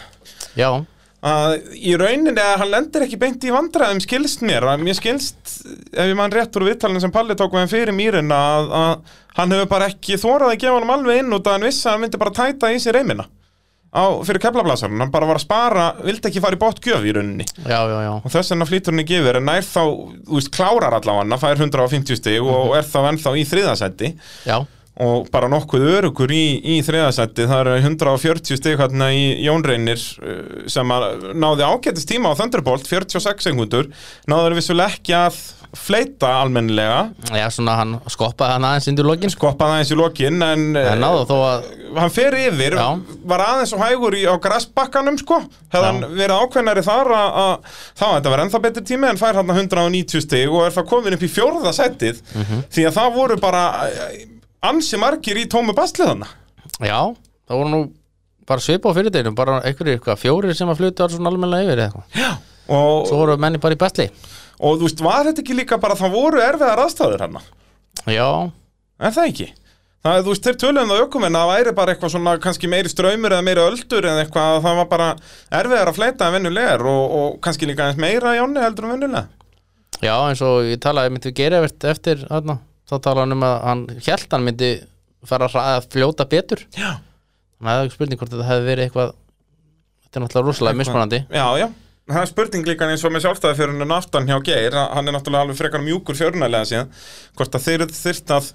S3: já,
S2: að í rauninni að hann lendir ekki beint í vandræðum skilst mér að mér skilst ef ég mann rétt úr viðtalinu sem Palli tók við hann fyrir mýrin að, að hann hefur bara ekki þórað að gefa hann alveg inn út að hann vissi að hann myndi bara tæta í sér reymina á, fyrir keflablasarinn, hann bara var að spara vildi ekki fara í bótt gjöf í rauninni
S3: já, já, já
S2: og þess vegna flýtur hann ekki yfir en nær þá, þú veist, klárar allavega fær 150 stig og er þá ennþá í þriðasendi
S3: já,
S2: og bara nokkuð örugur í, í þriðasetti, það eru 140 stig hérna í Jón Reynir uh, sem að náði ágættist tíma á Thunderbolt 46 sekundur, náður vissulega ekki að fleita almennilega
S3: já svona hann skoppaði hann aðeins inn í lokin sko.
S2: skoppaði aðeins í lokin en uh,
S3: en náðu þó að
S2: hann fer yfir,
S3: Já.
S2: var aðeins og hægur í, á grassbakkanum sko hefði hann verið ákveðnari þar að að- þá að þetta var ennþá betur tími en fær hann 190 stig og er það komin upp í fjórða settið
S3: Mhm.
S2: því að það voru bara eh, ansi margir í tómu baslið þarna
S3: já, það voru nú bara svipa á fyrirdeginu, bara einhverju eitthvað fjórir sem að flutu var svona almennilega yfir eða eitthvað
S2: og,
S3: svo voru menni bara í bestli
S2: og þú veist, var þetta ekki líka bara það voru erfiðar aðstæður hann
S3: já,
S2: en það ekki það, þú veist, þeir töluðum það ökum en það væri bara eitthvað svona kannski meiri ströymur eða meiri öldur eða eitthvað, að það var bara erfiðar að fleita en vennulegar og, og kannski líka eins meira Jónni heldur en vennulega
S3: já, eins og ég talaði myndi við gerivert eftir þarna, þá talaði hann um að hann hjælt hann myndi fara að hra- að fljóta betur
S2: já,
S3: þannig að það er ekki spurning hvort þetta hefði verið eitthvað þetta er náttúrulega rosalega mismunandi
S2: já, já Það er spurning líka eins og með sjálfstæðafjörunum aftan hjá Geir, að hann er náttúrulega alveg frekar mjúkur fjörunarlega síðan, hvort að þeir þyrft að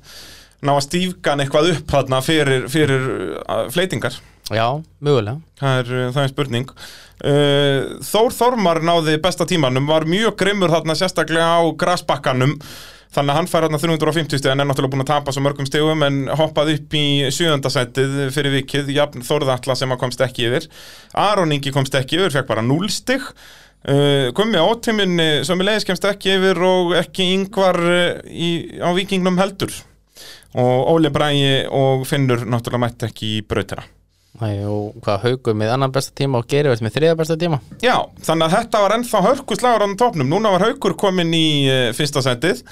S2: ná að stífgan eitthvað upp þarna fyrir, fyrir uh, fleitingar.
S3: já, mögulega
S2: Það er, eh, það er spurning uh, Þór Þormar náði besta tímanum var mjög grimmur þarna sérstaklega á grassbakkanum þannig að hann fær þarna 350 stig en er náttúrulega búin að tapa svo mörgum stigum en hoppaði upp í sjöðundasætið fyrir vikið jafn Þórðatla sem að komst ekki yfir Aron Ingi komst ekki yfir, fekk bara 0 stig Uh, Gummi átiminni sem í leiðis kemst ekki yfir og ekki yngvar uh, í, á vikingnum heldur og Óli Bræi og Finnur náttúrulega mætti ekki í brautina
S3: Æ, og hvað haugum með annan besta tíma og gerivert með þriða besta tíma
S2: Já, þannig að þetta var ennþá hörkuslagur á topnum, núna var Haukur kominn í uh, fyrsta sendið,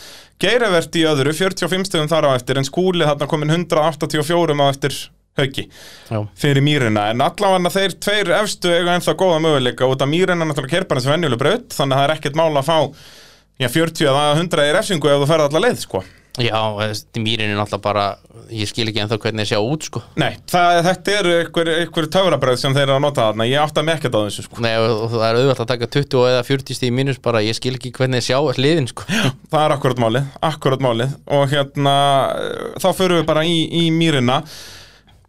S2: Geirivert í öðru 45 stöðum þar á eftir en skúli þarna kominn 184 á eftir Hauki
S3: já,
S2: fyrir mýrina en allavega þeir tveir efstu eiga ennþá góða möguleika út af mýrina náttúrulega kerparins venjuleg braut þannig að það er ekkert mála að fá já, 40 eða 100 í refsingu ef þú ferð alla leið sko.
S3: já þessi mýrin er náttúrulega bara ég skil ekki ennþá hvernig ég sjá út sko
S2: Nei, það, þetta eru einhver, einhver töfrabröð sem þeir eru að nota þarna, ég átta mig ekkert á þessu sko.
S3: Nei, og, og það er auðvitað að taka 20 eða 40 stíð mínus bara, ég skil ekki hvernig ég sjá hliðin sko.
S2: það er akkurat málið, akkurat málið og hérna, eh, þá förum við bara í, í mýrina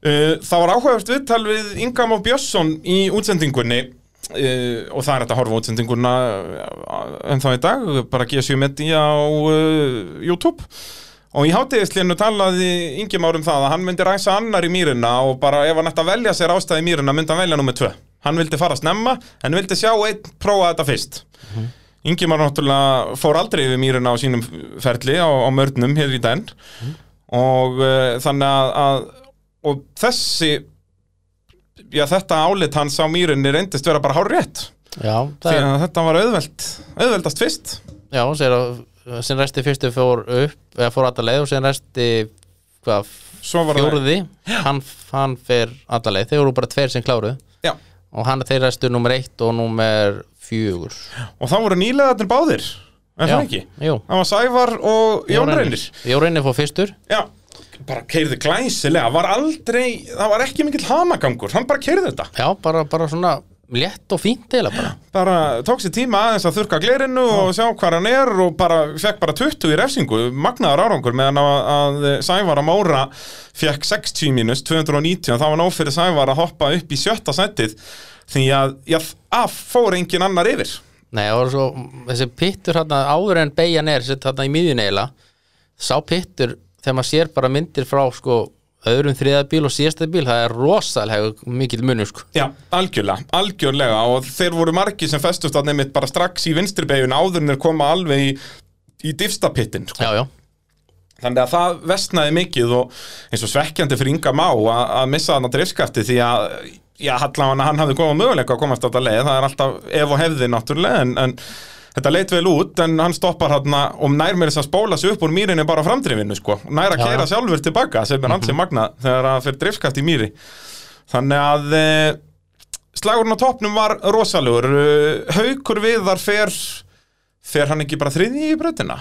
S2: Eh, það var áhugavert viðtal við Ingam og Björnsson í útsendingunni uh, og það er þetta að horfa á útsendinguna eh, en þá í dag, bara G7 Media á uh, YouTube og í hátíðislinu talaði Ingemar um það að hann myndi ræsa annar í mýrina og bara ef hann ætti að velja sér ástæði í mýrina myndi hann velja nummer 2 hann vildi fara snemma en vildi sjá einn prófa þetta fyrst Ingimar náttúrulega fór aldrei yfir mýruna á sínum ferli á, á mörnum hér í den og uh, þannig að, að og þessi já þetta álit hans á mýrunni reyndist vera bara hár rétt
S3: Já, það
S2: því
S3: er,
S2: að þetta var auðveld auðveldast fyrst
S3: já, sér að sem resti fyrstu fór upp eða fór alla leið og sem resti hvað,
S2: Svo var það-
S3: fjórði hann, hann fer alla leið, þeir voru bara tveir sem kláruð
S2: já.
S3: og hann þeir restu nummer 1 og nummer 4
S2: og þá voru nýlegaðarnir báðir en það ekki
S3: Jú,
S2: það var Sævar og Jón Reynir
S3: Jón Reynir fór fyrstur
S2: já bara keirði glæsilega, var aldrei það var ekki mikill hamagangur, hann bara keirði þetta
S3: Já, bara, bara svona létt og fínt eða bara
S2: bara tók sér tíma aðeins að þurka glerinu og sjá hvað hann er og bara fekk bara 20 í refsingu, magnaður árangur meðan að, að Sævar að Móra fekk 60 mínus, 290 og það var nóg fyrir Sævar að hoppa upp í sjötta sættið því að, já, að fór engin annar yfir
S3: Nei, það var svo, þessi pittur hérna áður en beigjan er, sett hérna í miðjun eiginlega sá pittur, þegar maður sér bara myndir frá sko öðrum þriða bíl og síðasta bíl, það er rosalega mikill munur sko
S2: Já, algjörlega, algjörlega og þeir voru margir sem festust að nefnitt bara strax í vinstribegjun áður en þeir koma alveg í, í diffstapittin sko.
S3: Já, já,
S2: Þannig að það vestnaði mikið og eins og svekkjandi fyrir Inga Má að að missa þarna drifskafti því að já, allavega hann hafði góða möguleika að komast á þetta leið, það er alltaf ef og hefði náttúrulega, en, en þetta leit vel út, en hann stoppar hann og nær mér þess að spóla sig upp úr mýrinni bara á framdrifinu, sko, nær að
S3: Já, Mhm.
S2: keira
S3: já.
S2: sjálfur tilbaka, sem er hans sem magnað þegar að fyrir driftskast í mýri þannig að e, slagurinn á toppnum var rosalegur Eh, haukur viðar fer fer hann ekki bara þriðji í brötina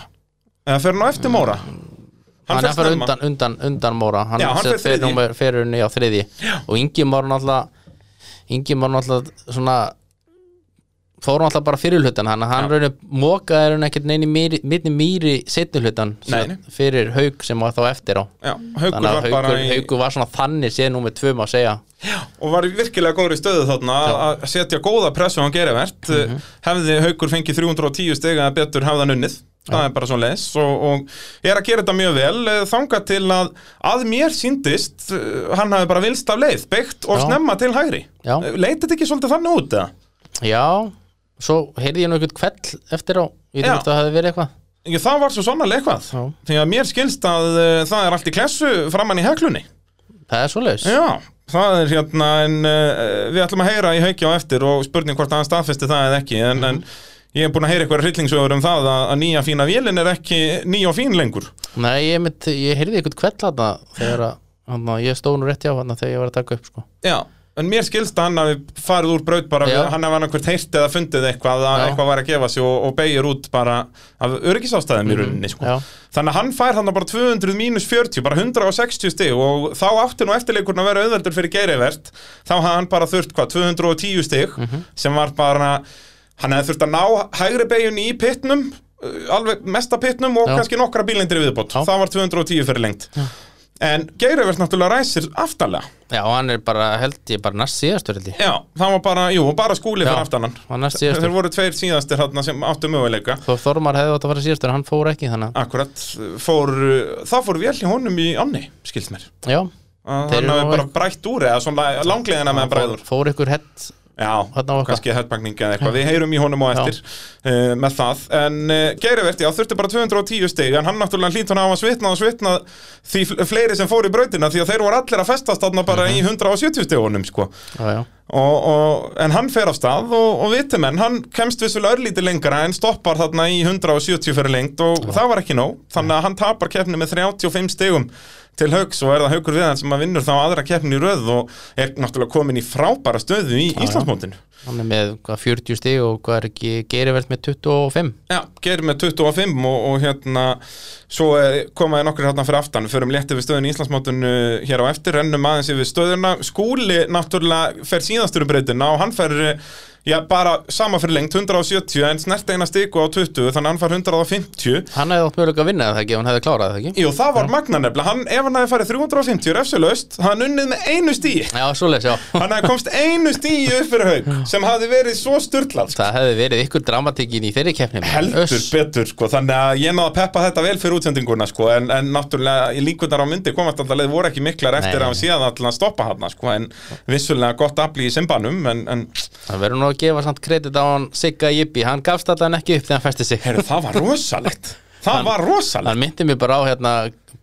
S2: eða fer hann á eftir móra
S3: hann
S2: fer
S3: er fyrir
S2: snemma.
S3: undan, undan, undan Móra hann,
S2: Já, hann fer
S3: fer
S2: þriðji.
S3: númer, fer unni á þriði og Ingi Móra náttúrulega Ingi Móra náttúrulega svona fór náttúrulega bara fyrir hlutan hann hann
S2: Já.
S3: raunir mokaði raunir ekkert neini mýri, mitni mýri setni hlutan
S2: Nei,
S3: sem-
S2: nei.
S3: fyrir haug sem var þá eftir á
S2: Já, haukur
S3: þannig
S2: var
S3: að
S2: bara
S3: haugur,
S2: í,
S3: haugur var svona þannig séð númer tvö má segja
S2: og var í virkilega góður í stöðu þarna að- að setja góða pressu á hann gerivert mm
S3: Mhm.
S2: hefði haukur fengið 310 stig eða betur hefði hann unnið það er bara svo leis og, og er að gera þetta mjög vel eh, þangað til að að mér síndist eh, hann hafi bara vilst af leið, beigt og
S3: Já.
S2: snemma til hægri
S3: Já.
S2: Eh, leit þetta ekki svolítið þannig út eða?
S3: já, svo heyrði ég nú eitthvað kvell eftir á, ég veit
S2: Já.
S3: ekki hvort það hefði verið eitthvað
S2: Ég, það var svo sannarlega eitthvað
S3: Já.
S2: því að mér skilst að uh, það er allt í klessu framann í heklunni
S3: það er svoleiðis
S2: Já, það er hérna en uh, við ætlum að heyra í haukja á eftir og spurning hvort hann staðfesti það eða ekki en, en ég er búin að heyra eitthvað hryllingsögur um það að, að nýja fína vélin er ekki nýja og fín lengur
S3: Nei, ég, mynd, ég heyrði eitthvað kveld hana þegar að hana, ég stóð nú rétt hjá hana þegar ég var að taka upp sko.
S2: Já, en mér skilst að hann hafi farið úr braut bara,
S3: Já.
S2: hann hafi annarkvært heyrt eða fundið eitthvað að
S3: Já.
S2: eitthvað væri að gefa sig og, og beigir út bara af öryggisástæðum í rauninni sko.
S3: Mhm. Já.
S2: þannig að hann fær hann bara 200 mínus 40 bara 160 stig og þá átti nú eftirleikurinn að vera auðveldur fyrir geirivert þá hafði hann bara þurft hvað 210 stig
S3: Mhm.
S2: sem var bara hann hefði þurft að ná hægri beigjunni í pitnum uh, alveg mesta pitnum og
S3: Já.
S2: kannski nokkra bílindri viðbót
S3: Já.
S2: það var 210 fyrir lengt en geirivert náttúrulega ræsir aftalega
S3: Já, og hann er bara, held ég, bara næst síðastur held ég.
S2: Já, það var bara, jú, bara skúli fyrir aftan hann
S3: Hann næst
S2: Þeir
S3: síðastur.
S2: voru tveir síðastir þarna sem áttu möguleika
S3: Þó Þormar hefði átt að fara síðastur, hann fór ekki þannig.
S2: Akkurat, fór, uh, það fór vel í honum í ánni, skilst mér
S3: að- Já,
S2: Að
S3: Þeir
S2: Hann
S3: eru
S2: hafi
S3: nú
S2: bara brætt úr eða svona langleiðina með bræður
S3: fór, fór ykkur hett.
S2: Já,
S3: Þarna var eitthvað.
S2: kannski headbangning eða eitthvað Við heyrum í honum á eftir uh, með það En uh, Geirivert, já, þurfti bara 210 stig En hann náttúrulega hlýt hann á að svitna og svitna Því fl- fleiri sem fóru í brautina Því að þeir voru allir að festast þarna bara
S3: Mhm.
S2: í 170 stigunum sko.
S3: Já, já.
S2: og, og, en hann fer af stað og, og vitimenn, hann kemst vissulega örlítið lengra en stoppar þarna í 170 fyrir lengt og það var ekki nóg þannig að hann tapar keppni með 35 stegum til haugs og er það haugur við hann sem að vinnur þá aðra keppni í röð og er náttúrulega komin í frábæra stöðu í Íslandsmótinu
S3: Hann er með hvað, 40 stig og hvað er ekki gerivert með 25.
S2: Já, gerir með 25 og, og hérna svo er- komaði nokkur hérna fyrir aftan fyrir um létti við stöðun í Íslandsmótinu hér á eftir, rennum aðeins yfir stöðuna Skúli náttúrulega fer síðastur um breytina og hann fer já, bara sama fyrir lengt 170 en snert eina stiku á 20 þannig að hann fær 150
S3: Hann hefði átt mögulega að vinna það ekki, ef hann hefði klárað það ekki.
S2: Jú, það var magna nefnilega, hann, ef hann hefði farið 350 refsilaust, hann unnið með einu stíi
S3: Já, svoleiðis, já.
S2: hann hefði komst einu stíi upp fyrir haug sem hafði verið svo sturglað
S3: Það hefði verið ykkur dramatíkin í þeirri keppni. maður.
S2: heldur
S3: Uss.
S2: betur sko, þannig að ég náði að peppa þetta vel fyrir útsendinguna sko, en, en náttúrulega í líkunar á myndi komast alltaf leið voru ekki miklar eftir
S3: Nei.
S2: að hann síðan alltaf að stoppa hann sko, en vissulega gott afli í simbanum en, en
S3: Það verður nú að gefa samt kredit á hann Sigga Jippi, hann gafst allan ekki upp þegar hann festi sig.
S2: heyrðu, það var rosalegt það var rosalegt
S3: Hann myndi mér bara á hérna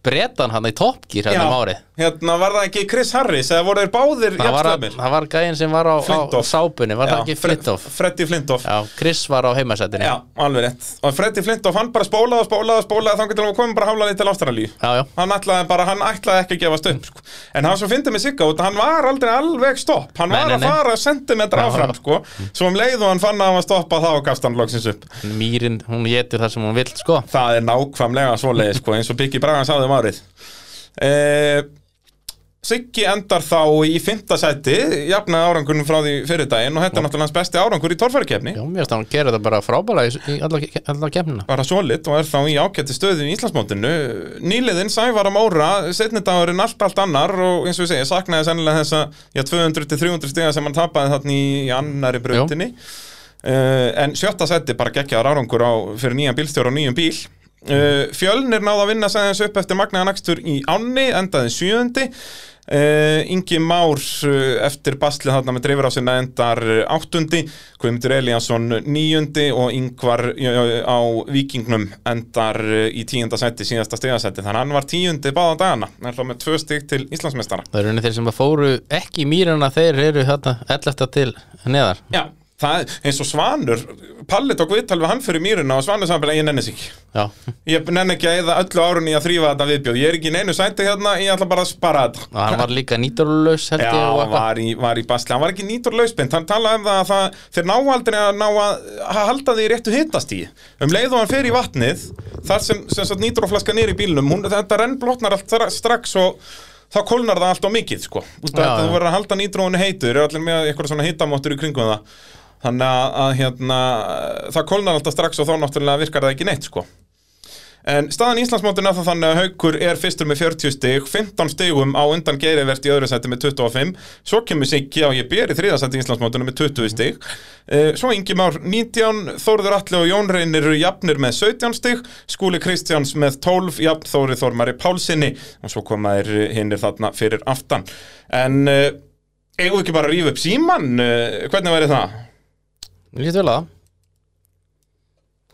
S3: Bretan hann í toppgýr hérna um árið
S2: hérna var það ekki Chris Harris eða voru þeir báðir
S3: Það var, að-
S2: jafnstæðir?
S3: það var gæinn sem var á, á
S2: Flintoff.
S3: sápunni, var það
S2: Já,
S3: ekki
S2: Fre-
S3: Flintoff?
S2: Freddy Flintoff
S3: Já, Chris var á heimasættinni
S2: Já, alveg rétt Og Freddy Flintoff, hann bara spólaði og spólaði og spólaði þangar til að koma bara hálfa leið til Ástralíu
S3: já, já.
S2: hann ætlaði bara, hann ætlaði ekki að gefast upp sko. en hann svo fyndi með Sigga út, að hann var aldrei alveg stopp, hann
S3: Nei,
S2: var
S3: nei,
S2: að
S3: nei.
S2: fara sentimetra
S3: Já.
S2: áfram sko. svo um leið og hann fann að hann var stoppað þá gafst hann loksins upp
S3: Mýrin, hún getur það sem hún vill, sko
S2: það er nákvæmlega svoleiði sko, eins og Biggi Bragan sáði um árið e Siggi endar þá í fymta sæti, jafnaði árangunum frá því fyrir daginn og þetta er náttúrulega hans besti árangur í torfærikefni
S3: Já, mér finnst að hann gera það bara frábæla í, í alla, alla kemnina
S2: bara solid og er þá í ágætti stöðu í Íslandsmótinu nýliðin Sævar að Móra setni dagurinn allt allt annar og eins og ég segi saknaði sennilega þessa já, 200-300 stiga sem hann tapaði þannig í annari Eh, brautinni uh, en sjötta seti bara geggjaðar árangur á, fyrir nýjan bílstjóra og nýjum bíl Uh, Fjölnir náða að vinna sæðins upp eftir magnaðan akstur í ánni, endaði sjöundi uh, Ingi Már uh, eftir baslið þarna með dreifur á sinna endar uh, áttundi Guðmundur Eliasson níundi og Ingvar uh, á vikingnum endar uh, í tíunda seti, síðasta stegasæti þannig að hann var tíundi báða dagana hann er þá með tvö stig til Íslandsmeistara
S3: Það eru henni þeir sem að fóru ekki í mýrana þeir eru þarna 11. til neðar
S2: Já, það, eins og Svanur Palli tók viðtal við hann fyrir mýruna og Svanur sagði bara, ég nenni sig ekki
S3: Já,
S2: Ég nenni ekki að eða öllu árunni í að þrýfa þetta viðbjóð Ég er ekki í neinu sæti hérna, ég ætla bara að spara þetta
S3: og hann var líka nýtturlaus held
S2: Já,
S3: ég og eitthvað
S2: var í, var í basli, hann var ekki nýtur lausbind Hann talaði um það að það, þeir ná aldrei að ná að að halda því réttu hittast í Um leið og hann fer í vatnið Þar sem, sem satt nýtur og flaska nýr í bílnum hún, Þetta rennblotnar allt stra- strax og þá kólnar það allt á mikið sko. Út af
S3: Já,
S2: þetta
S3: já.
S2: þú verður að halda nýtróinu heitur Þeir eru allir með eitthvað svona hittamóttur í kringum það Þannig að, að hérna, það kólnar alltaf strax og þá náttúrulega virkar það ekki neitt sko. En staðan í Íslandsmótinu er það þannig að Haukur er fyrstur með 40 stig, 15 stigum á undan Geirivert í öðru seti með 25, svo kemur Siggi á ég í þriða seti í Íslandsmótinu með 20 stig, Eh, svo Ingi Már 19, Þórður Atli og Jón Reynir eru jafnir með 17 stig, Skúli Kristjáns með 12, jafn Þóri Þormari Pálsini og svo koma þér hinnir þarna fyrir aftan. En eh, eigum við ekki bara að rífa upp síman, hvernig væri það?
S3: Lítið vel að það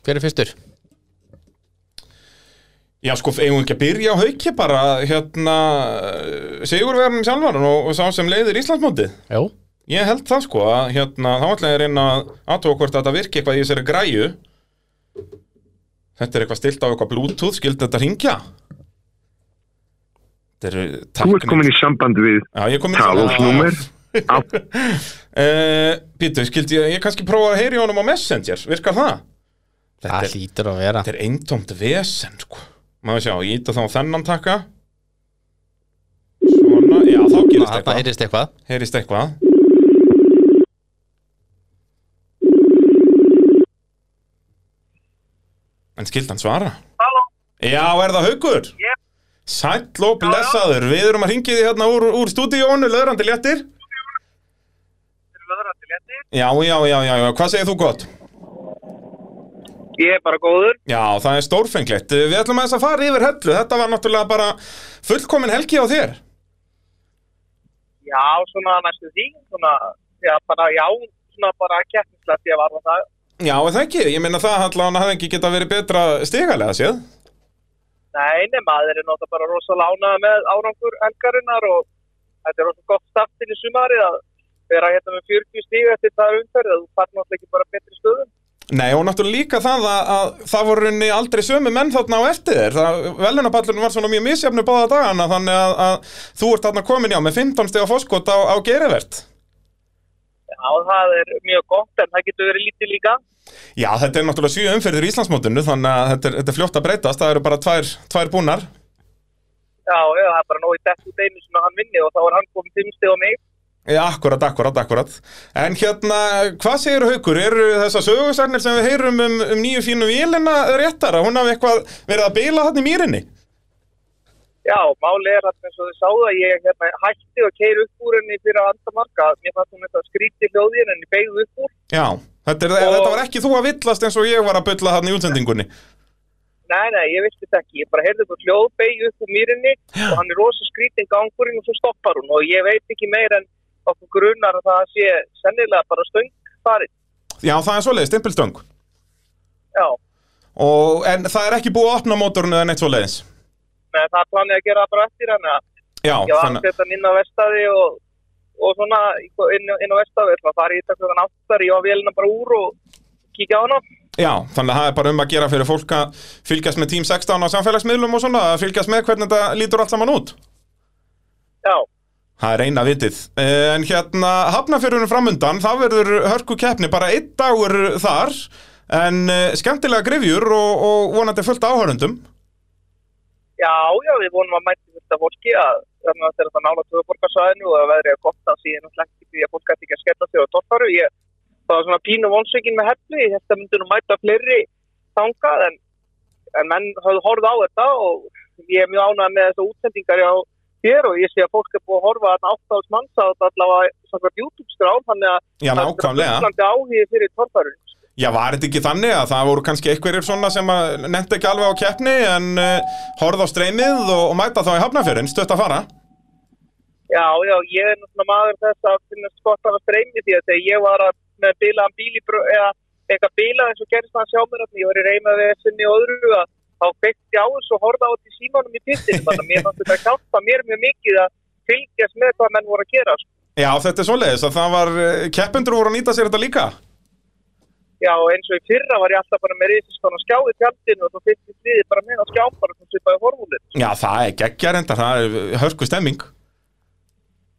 S3: Hver er fyrstur?
S2: Já, sko, eigum við ekki að byrja á hauki bara, hérna, sigurverðanum sjálfan og, og sá sem leiðir Íslandsmótið.
S3: Jó
S2: Ég held það, sko, að hérna, þá ætla ég að reyna að aðtóa hvort þetta virki eitthvað í þessari græju. Þetta er eitthvað stilt á eitthvað Bluetooth, skildi þetta hringja? Þetta eru
S4: Þú ert komin í samband við
S2: Já, ég kom í
S4: talósnúmer. Á-
S2: Uh, Býtu, skildi ég, ég kannski prófa að heyri honum á Messenger, virkar það? Þetta
S3: Það
S2: er,
S3: hlýtur að vera
S2: þetta er eintómt vesen, sko. Má við sjá, ég íta þá á þennan takka. Svona, já, þá gerist
S3: Þarna
S2: eitthvað.
S3: heyrist eitthvað
S2: Heyrist eitthvað En skildi hann svara? Halló Já, er það haugur? Yeah. Sæll og blessaður Við erum að ringið þið hérna úr, úr stúdíónu Löðrandi léttir
S5: Löðrandi léttir.
S2: Já, já, já, já, já, hvað segir þú gott?
S5: Ég er bara góður.
S2: Já, það er stórfenglegt Við ætlum að þess að fara yfir hellu Þetta var náttúrulega bara fullkomin helgi á þér
S5: Já, svona næstu því, svona, já, bara, já, svona bara keppnislegt ég var á það.
S2: Já, er það ekki, ég meina það allan hafði ekki geta verið betra stigalega séð
S5: Nei, nei, maður er náttúrulega bara rosa lánað með árangur helgarinnar og þetta er rosa gott startin í sumarið að vera hérna með 40 stíg eftir það er umferðið, þú fær náttúrulega ekki bara betri stöðum.
S2: Nei og náttúrulega líka það að, að það voru henni aldrei sömu menn þarna á eftir þér það velunapallurinn var svona mjög misjafnu báða dagana þannig að, að þú ert þarna komin já með 15 steg á fóskot á, á gerivert
S5: Já, það er mjög gott en það getur verið lítið líka.
S2: Já þetta er náttúrulega sjö umferðir í Íslandsmótinu þannig að þetta er, þetta er fljótt að breytast það eru bara tvær, tvær búnar
S5: Já, já, það er bara nógu í dætt út einu sem hann vinni og þá er hann komið tímsteg og mig.
S2: Já, akkurat, akkurat, akkurat En hérna, hvað segir haukur? Eru þessar sögursagnir sem við heyrum um, um nýju fínu vélina réttar að hún hafi eitthvað verið að beila þarna í mýrinni?
S5: Já, máli er að eins og þið sáðu að ég hérna, hætti og keir upp úr henni fyrir að andamarka. Mér fannst hún eitthvað skríti hljóðin en ég beigð upp úr.
S2: Já, þetta, er,
S5: Og-
S2: þetta var ekki þú að villast eins og ég var að bylla þarna í útsendingunni
S5: Nei, nei, ég vissi þetta ekki. Ég bara heyrði eitthvað hljóð, beigð upp úr mýrinni og hann er rosa skrítin gangurinn og svo stoppar hún. Og ég veit ekki meir en okkur grunar að það sé sennilega bara stöng farið.
S2: Já, það er svoleiðis, stimpilstöng
S5: Já,
S2: og, En það er ekki búið að opna mótorinu eða neitt svoleiðis
S5: nei, það planið að gera það bara eftir hann.
S2: Já,
S5: Ég var
S2: þannig
S5: aftur þetta inn á vestaði og, og svona inn, inn á vestaði. Það farið í þetta hverjan áttar, ég var vélina bara úr og kíkja á hana.
S2: Já, þannig að það er bara um að gera fyrir fólk að fylgjast með Team 16 á samfélagsmiðlum og svona að fylgjast með hvernig þetta lítur allt saman út
S5: Já.
S2: Það er eina vitið Eh, En hérna, hafnafjörunum framundan það verður hörku keppni, bara einn dagur þar en uh, skemmtilega grifjur og, og vonandi fullt af áhörundum
S5: Já, já, við vonum að mæti þetta fólki að þannig að þetta er þetta nála tvöborgarsvæðinu og að veðrið er gott að síðan og slengt því að fólk ætti ekki að skella sig á torfaru. Ég það var svona pínu vonsveikin með hefni, ég held að myndi nú mæta fleiri þangað en, en menn hafði horfð á þetta og ég er mjög ánægð með þessu útsendingar á þér og ég sé að fólk er búið að horfa að áttafs manns á þetta allavega svona YouTube skrá þannig að
S2: Já,
S5: það er
S2: nákvæmlega
S5: fullandi áhigi fyrir torfarun.
S2: Já, var þetta ekki þannig að það voru kannski einhverjir svona sem að nefndi ekki alveg á keppni en uh, horfð á streymið og, og mæta þá í hafnafjörðin, stutt að fara?
S5: Já, já, ég er náttúrulega maður þess að finnast gott af að streymi því að þegar ég var að með bilaðan bíl í bröð, eða eitthvað bilað eins og gerist það sjá mér að ég var í reyma við sinni og öðru að þá kveikti á þessu og horfði á þetta í símanum í pittin þannig að mér fannst þetta að hjálpa mér mjög mikið að fylgjast með hvað menn voru að gera sko.
S2: Já, þetta er svoleiðis að það var, eh, keppendur voru að nýta sér þetta líka.
S5: Já, og eins og í fyrra var ég alltaf bara með reyðsistón og skjáði tjaldinu og þú fyrst í sliði bara með að skjá bara sem svipaði horfúlið.
S2: Já, það er geggjar enda, það er eh, hörku stemming.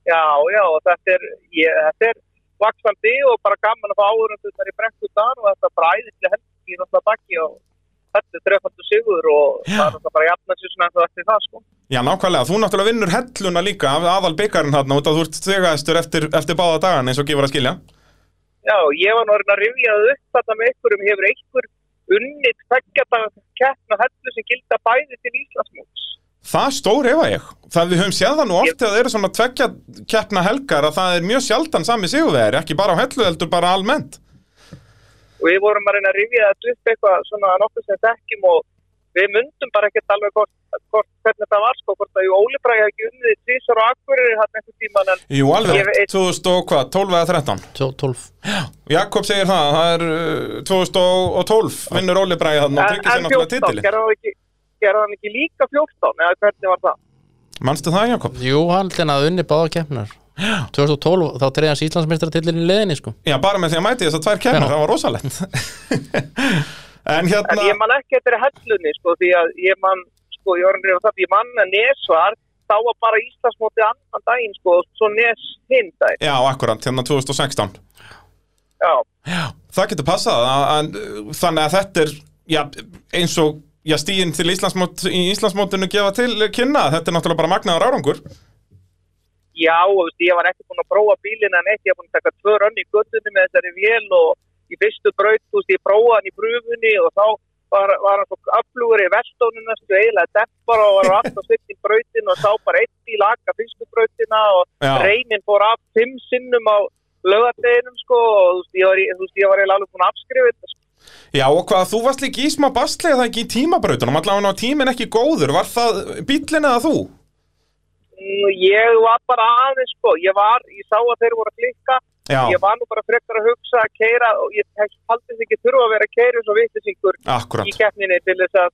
S5: Já, já, og þetta er, ég, þetta er vaksandi og bara gaman að fá áhörundu þar í brekku þar og þetta er bara æðislega helgi í náttúrulega bakki og þetta er trefaldur sigur og
S2: Já.
S5: það er náttúrulega bara jafn að sér svona eins og eftir það sko.
S2: Já, nákvæmlega, þú náttúrulega vinnur helluna líka af aðal byggarinn þarna út að þú ert stegastur eftir, eftir báða dagan eins og gefur að skilja.
S5: Já, ég var náttúrulega að rifja það upp þarna með einhverjum hefur einhver unnið tveggjata keppna hellu sem gilda bæði til Íslandsmóts.
S2: Það stór hefa ég. Það við höfum séð það nú oft að það eru svona tveggja keppna helgar að það er mjög sjaldan sami sigurvegir, ekki bara á hellu heldur bara almennt.
S5: og við vorum að reyna að rifja þetta upp eitthvað svona nokkuð sem þekkjum og við myndum bara ekkert alveg hvort, hvort hvernig það var sko, hvort að jú Óli Bragi hafði ekki unnið tvísar og akkurir hann einhvern tíman en
S2: Jú, alveg,
S5: Ég veit-
S2: 2012 eða 13.
S3: 12
S2: Jakob segir það, það er uh, 2012, vinnur Óli Bræði þarna og
S5: en,
S2: tryggir sér
S5: en
S2: náttúrulega
S5: 14,
S2: titili.
S5: gerði hann ekki gerði hann ekki líka 14 eða hvernig var það?
S2: Manstu það, Jakob?
S3: Jú, hann til að unni báða keppnar 2012, þá treyði hans Íslandsmeistratillin í leðinni sko
S2: Já, bara með því að mæti þess að tvær kemur,
S3: Já.
S2: það var rosalegt. en
S5: En ég
S2: hérna,
S5: man ekki eftir hellunni sko því að ég man, sko ég var að reyna það ég man að Nesvar þá var bara Íslandsmóti annan daginn sko og svo Nes hinn daginn
S2: já, akkurat, hérna 2016.
S5: já,
S2: Það getur passað, að, að, þannig að þetta er, já, eins og, já, stíin til Íslandsmót, í Íslandsmótinu gefa til kynna, þetta er náttúrulega bara magnaður árangur.
S5: Já, og veist, ég var ekki búin að prófa bílina en ekki, ég var búin að taka tvö rönni í guttunni með þessari vél og í fyrstu braut, þú veist, ég prófaði hann í pröfunni og þá var, var hann svo aflugur í vestónu næstu eiginlega deppar og var alltaf svitt í brautin og sá bara eitt bíl akka fyrstu brautina og
S2: Já.
S5: reynin fór af fimm sinnum á lögadeginum, sko, og þú veist, ég var, í- þú veist, ég var eiginlega alveg búin að afskrifa þetta, sko.
S2: Já, og hvað, þú varst líka í smá bastlega það ekki í tímabrautunum, allavega var tíminn ekki góður, var það bíllinn eða þú?
S5: Nú, Ég var bara aðeins, sko, ég var, ég sá að þeir voru að klikka
S2: Já,
S5: Ég var nú bara frekar að hugsa að keira og ég haldi þess ekki þurfa að vera að keira svo vittisingur
S2: akkurat.
S5: í keppninni til þess að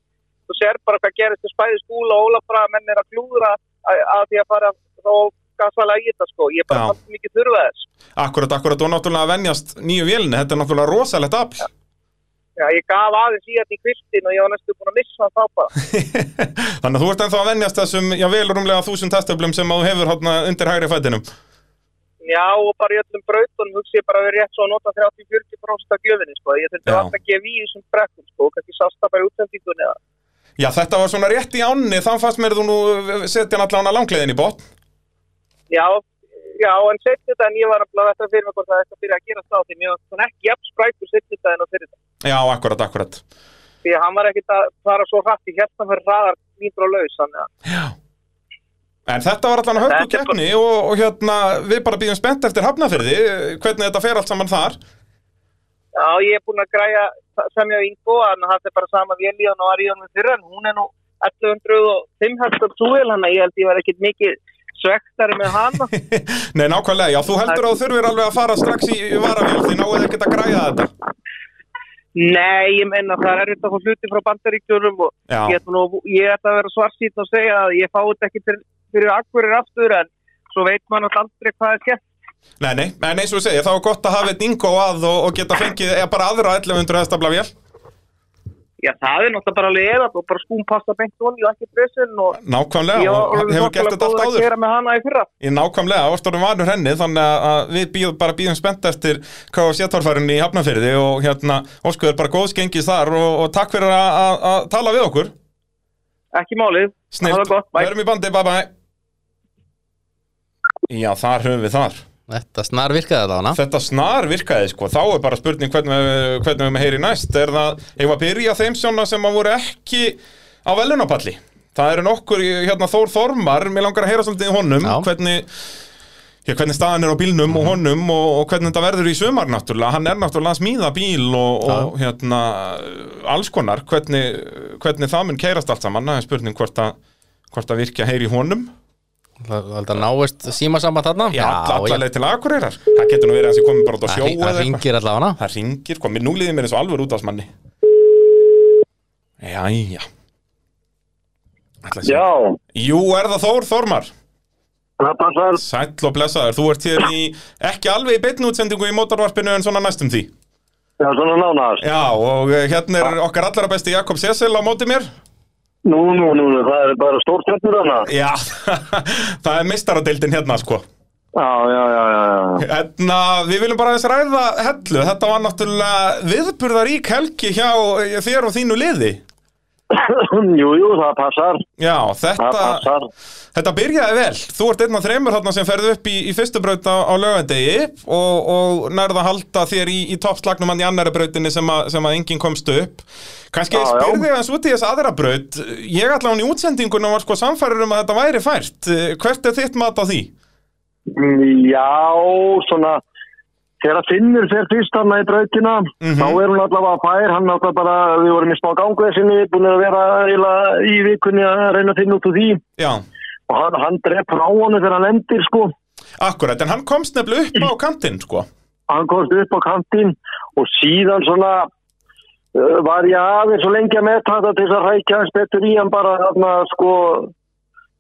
S5: þú sér bara hvað gerist í spæði skúla og ólafra menn er að klúðra að, að því að fara og gasalega í þetta sko. Ég bara
S2: Já.
S5: haldi mikið þurfa þess.
S2: Akkurat, akkurat og náttúrulega að venjast nýju vélni, þetta er náttúrulega rosalegt afl.
S5: Já, ég gaf aðeins í þetta í kviltin og ég var næstu búin að missa hann þá bara.
S2: Þannig að þú ert ennþá að venjast þessum, já, vel rúmlega þúsund testöflum sem að þú hefur hátna undir hægri fætinum.
S5: Já, og bara í öllum brautunum hugsi ég bara að vera rétt svo að nota 30-40% af gjöfinni sko. Ég þurfti
S2: Já.
S5: alltaf að gefa í þessum brekkum sko, og kannski sást það bara í útsendingunni eða.
S2: Já, þetta var svona rétt í ánni, þá fannst mér þú nú eh, setja hann allan að langleiðin í botn.
S5: Já, já, en setjum þetta en ég var að þetta fyrir mig hvort það þetta fyrir að gera stáð því mér var svona ekki jafn sprækur setjum þetta en á fyrir þetta.
S2: Já, akkurat, akkurat.
S5: Því að hann var ekkit að fara svo hratt í hérna fyrir hraðar nýtur og laus, þannig að
S2: En þetta var allan að hörku
S5: Þetta er bara-
S2: keppni og, og hérna, við bara býðum spennt eftir hafnafyrði, hvernig þetta fer allt saman þar.
S5: já, ég er búin að græja semja yngo en hann er bara sama vél í hann og var í hann fyrir en hún er nú 1105 hestar túvel hann að ég held ég var ekkit mikið svektari með hana.
S2: Nei, nákvæmlega, já, þú heldur að þú þurfir alveg að fara strax í varavél, því náið ekkert að græja þetta.
S5: Nei, ég menna það er erfitt að fá hluti frá bandaríkjunum og
S2: Já.
S5: ég ætla, nú, ég ætla að vera svarsýtt og segja að ég fái þetta ekki fyrir, fyrir akkurir aftur en svo veit maður náttúrulega aldrei hvað er skemmt.
S2: Nei, nei, en eins og við segja, þá er gott að hafa eitt ingó að og, og geta fengið eða bara aðra 1100 hestabla vél.
S5: Já, það er náttúrulega bara leðat og bara skúm pasta beint onni og ekki brösun og
S2: Nákvæmlega,
S5: ég
S2: og
S5: orðin
S2: hefur gert
S5: þokkalega
S2: þetta
S5: góður
S2: allt
S5: að
S2: áður.
S5: gera með hana í fyrra.
S2: Ég nákvæmlega, orðstórum vanur henni, þannig að- að við býðum bara býðum spennt eftir KFC-torfærinni í Hafnafyrði og hérna, óskuður bara góðs gengis þar og, og takk fyrir að- að að tala við okkur.
S5: Ekki málið.
S2: Snilt,
S5: Það var gott, bæ.
S2: við erum í bandi, bye bye. Já, þar höfum við þar.
S3: Þetta snar virkaði þetta hana
S2: Þetta snar virkaði sko, þá er bara spurning hvernig, við- hvernig við með heyri næst er það, ég var að byrja þeim sjóna sem að voru ekki á velunapalli það eru nokkur, hérna Þór Þormar mér langar að heyra svolítið í honum
S3: Já. Mhm.
S2: hvernig, hér, hvernig staðan er á bílnum og honum og, og hvernig þetta verður í sumar náttúrulega, hann er náttúrulega að smíða bíl og, og hérna alls konar, hvernig, hvernig það mun keirast allt saman, það er spurning hvort að hvort að virkja heyri í honum
S3: Það það náist síma saman þarna
S2: já, alla
S3: já.
S2: leið til akureyrar það getur nú verið hans ég komið bara út á sjó
S3: Það hring-
S2: eða
S3: það
S2: eitthvað.
S3: ringir allavega hana
S2: það ringir, komið núliðið mér eins og alveg út af smanni jæja Ætla að sé-
S6: Já,
S2: Jú, er það Þór Þormar?
S6: það passar.
S2: Sæll og blessaður, þú ert hér í ekki alveg í beinni útsendingu í mótarvarpinu en svona næstum því
S6: Já, svona nánast.
S2: Já, og eh, hérna er okkar allara besti Jakob Sesil á móti mér
S6: Nú, nú, nú, nú, það er bara stórstjörnur hana.
S2: Já, það er meistaradeildin hérna sko
S6: Já, já, já, já, já.
S2: Hérna, við viljum bara aðeins ræða hellu Þetta var náttúrulega viðburðarík helgi hjá þér og þínu liði
S6: jú, jú, það passar.
S2: Já,
S6: Það
S2: þetta,
S6: passar.
S2: þetta byrjaði vel Þú ert einn af þreymur þarna sem ferði upp í, í fyrstu braut á, á laugandegi og, og nærða að halda þér í, í toppslagnum hann í annari brautinni sem, að sem að enginn komst upp Kannski
S6: Já,
S2: ég
S6: já.
S2: spyrði aðeins út í þess aðra braut Ég ætla hún í útsendingunum var sko samfærir um að þetta væri fært Hvert er þitt mat á því?
S6: Mm, Já, svona, þegar Finnur fer fyrst hann í brautina, þá er hún allavega fær, hann allavega bara, við vorum í smá gangveðsynni, búin að vera eila, í vikunni að reyna að finna út úr því
S2: Já,
S6: og hann, hann dref frá honum þegar hann endir, sko.
S2: akkurat, en hann komst nefnilega upp á kantinn sko
S6: hann komst upp á kantinn og síðan svona uh, var ég aðeins svo lengi að metta þetta til þess að rækja hans betur í hann bara þarna sko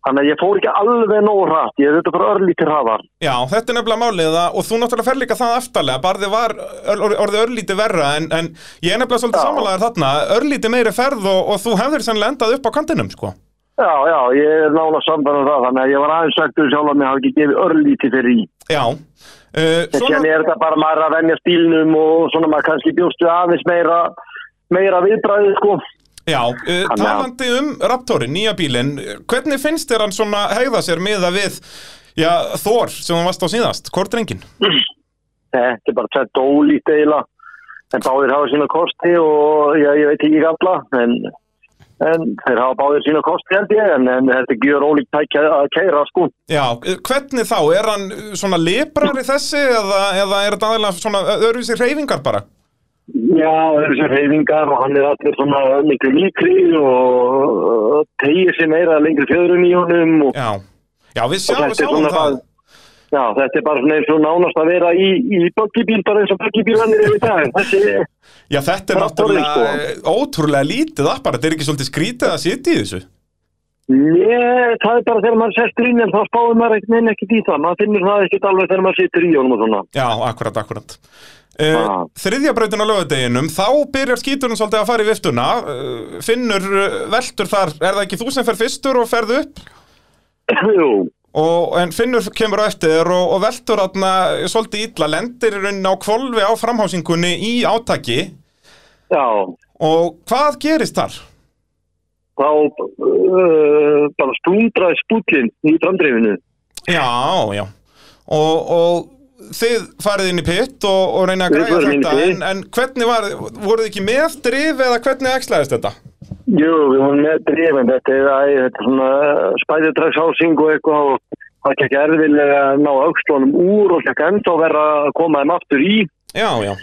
S6: þannig að ég fór ekki alveg nóg hratt ég þetta bara örlítið hraðar
S2: Já, þetta er nefnilega málið að, og þú náttúrulega fer líka það aftarlega, barði var ör, orðið örlítið verra, en, en ég er nefnilega svolítið
S6: Já.
S2: samanlegaður þarna, örlítið meiri ferð og, og þú hefðir sennilega endað upp á kantinum, sko.
S6: já já ég er nála samfæðan það þannig að ég var aðeins sagt um sjálf að mér hafi ekki gefið örlítið fyrir í
S2: Já. Uh,
S6: en
S2: svona,
S6: síðan er þetta bara maður að venja stílnum og svona maður kannski bjóstu aðeins meira meira viðbræði sko
S2: já, uh,
S6: Hann-
S2: talandi um Raptorin, nýja bílinn, hvernig finnst þér hann svona hegða sér miða við, já, Þór, sem hann varst á síðast, hvort drengin?
S6: þetta er bara tveit ólít eiginlega en báðir hafa sína kosti og já, ég veit ekki alla en, en þeir hafa báðir sína kosti held ég en, en þetta gjör ólíkt tækja að keira sko
S2: Já, eh, hvernig þá, er hann eh, svona leprari þessi eða, eða er þetta aðeins svona öðruvísi hreyfingar bara?
S6: já, þessi reyfingar og hann er allir svona miklu líkri og tegir sér meira lengri fjöðrun í honum og,
S2: Já, já við
S6: og
S2: sjáum,
S6: þetta er
S2: sjáum
S6: svona
S2: það.
S6: það Já, þetta er bara svona eins og nánast að vera í, í böggibíl, bara eins og böggibílanir í dag. Þessi,
S2: Já, þetta er
S6: Bara
S2: náttúrulega
S6: borðið, sko.
S2: ótrúlega lítið appar, þetta er ekki svolítið skrítið að sitja í þessu.
S6: Nei, það er bara þegar maður sestur inn en þá spáður maður ekkert neina ekkert í það. Maður finnur það ekkert alveg þegar maður situr í honum og svona.
S2: Já, akkurat, akkurat. Uh,
S6: Ah.
S2: þriðja brautin á lögadeginum, þá byrjar skíturinn svolítið að fara í viftuna, uh, finnur uh, veltur þar, er það ekki þú sem fer fyrstur og ferð upp,
S6: Jú,
S2: og, en finnur kemur á eftir og, og veltur þarna svolítið illa, lendir í rauninni á kvolfi á framhásingunni í átaki
S6: já,
S2: og hvað gerist þar?
S6: þá uh, bara splundraði spúlinn í framdreifinu.
S2: Já, já og, og þið farið inn í pitt og, og reyna að
S6: Við
S2: græja
S6: förum inn í
S2: þetta
S6: pit.
S2: en, en hvernig var, voruð þið ekki með drif eða hvernig ekslaðist þetta?
S6: Jú, við vorum með drefin, þetta er, æ, þetta er svona spæðidragshásing og eitthvað og það gekk erfilega að ná aukslónum úr og gekk enda að vera að koma þeim aftur í.
S2: Já, já,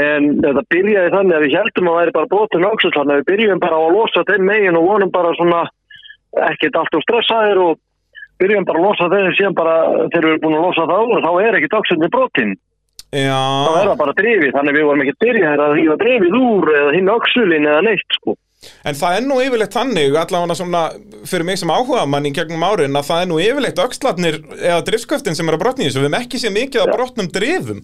S6: En þetta byrjaði þannig að við heldum að það væri bara brotin öxull, þannig að við byrjum bara á að losa þeim megin og vonum bara svona ekkert allt og stressaðir og byrjum bara að losa þeim síðan bara þegar við erum búin að losa það úr þá er ekkert öxullni brotin. Þá er
S2: já
S6: það bara drifið, þannig að við vorum ekkert byrjað að rífa drifið úr eða hinn öxullin eða neitt sko.
S2: En það er nú yfirleitt þannig, allavega svona fyrir mig sem áhuga mann í gegnum árin að það er nú yfirleitt öxlarnir eða drifsköftin sem er að brotna í þessu, við hefum ekki séð mikið að brotnum drifum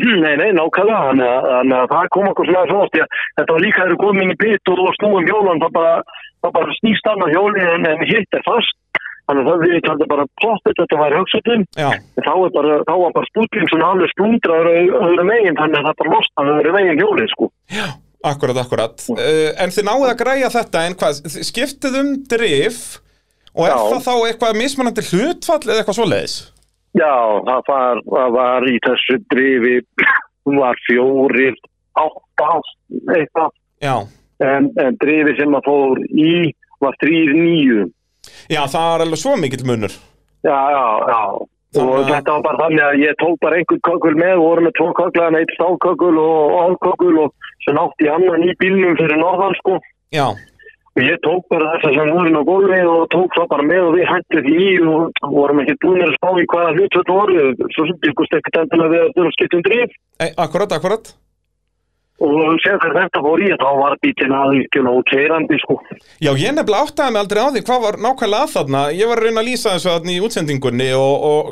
S6: Nei, nei, nákvæmlega, þannig að- þannig að það kom okkur svona svona, því að þetta var líka þegar við komum inn í bit og snúum hjólan, það bara, það bara snýst annað hjóli en, en hitt er fast. Þannig að það við kallum bara ploppið þetta var hugsutin,
S2: Já,
S6: En þá, er bara, þá var bara spúlinn svona alveg splundraður öðru- öðru meginn þannig að það bara losnaði öðru meginn hjólið sko.
S2: akkurat, akkurat uh, En þið náðu að græja þetta en hvað, þið skiptið um drif og er
S6: Já.
S2: það þá eitthvað mismunandi hlutfall eða eitthvað svoleiðis?
S6: Já, það var, það var í þessu drifi, hún var fjórir, átta, eitthvað,
S2: Já,
S6: en, en drifi sem að fór í var þrýr nýju.
S2: Já, það er alveg svo mikill munur
S6: Já, já, já, og þetta var bara þannig að ég tók bara einhvern kökul með og voru með tvo kökla en eitt stákökul og álkökul og svo nátti ég annan í bílnum fyrir norðan sko
S2: Já,
S6: og ég tók bara þess sem voru inn á gólfi og tók svo bara með og við hættum því í og vorum ekki búinir að spá í hvaða hlut þetta voru svo sem ég skusti ekkert endilega við að búin að skipta um drif
S2: e, akkurat, akkurat
S6: og séð þegar þetta fór í þá var bítin aðvíkjun og keirandi sko
S2: Já, ég nefnilega áttaði mig aldrei á því hvað var nákvæmlega að þarna Ég var að reyna að lýsa þessu þarna í útsendingunni og, og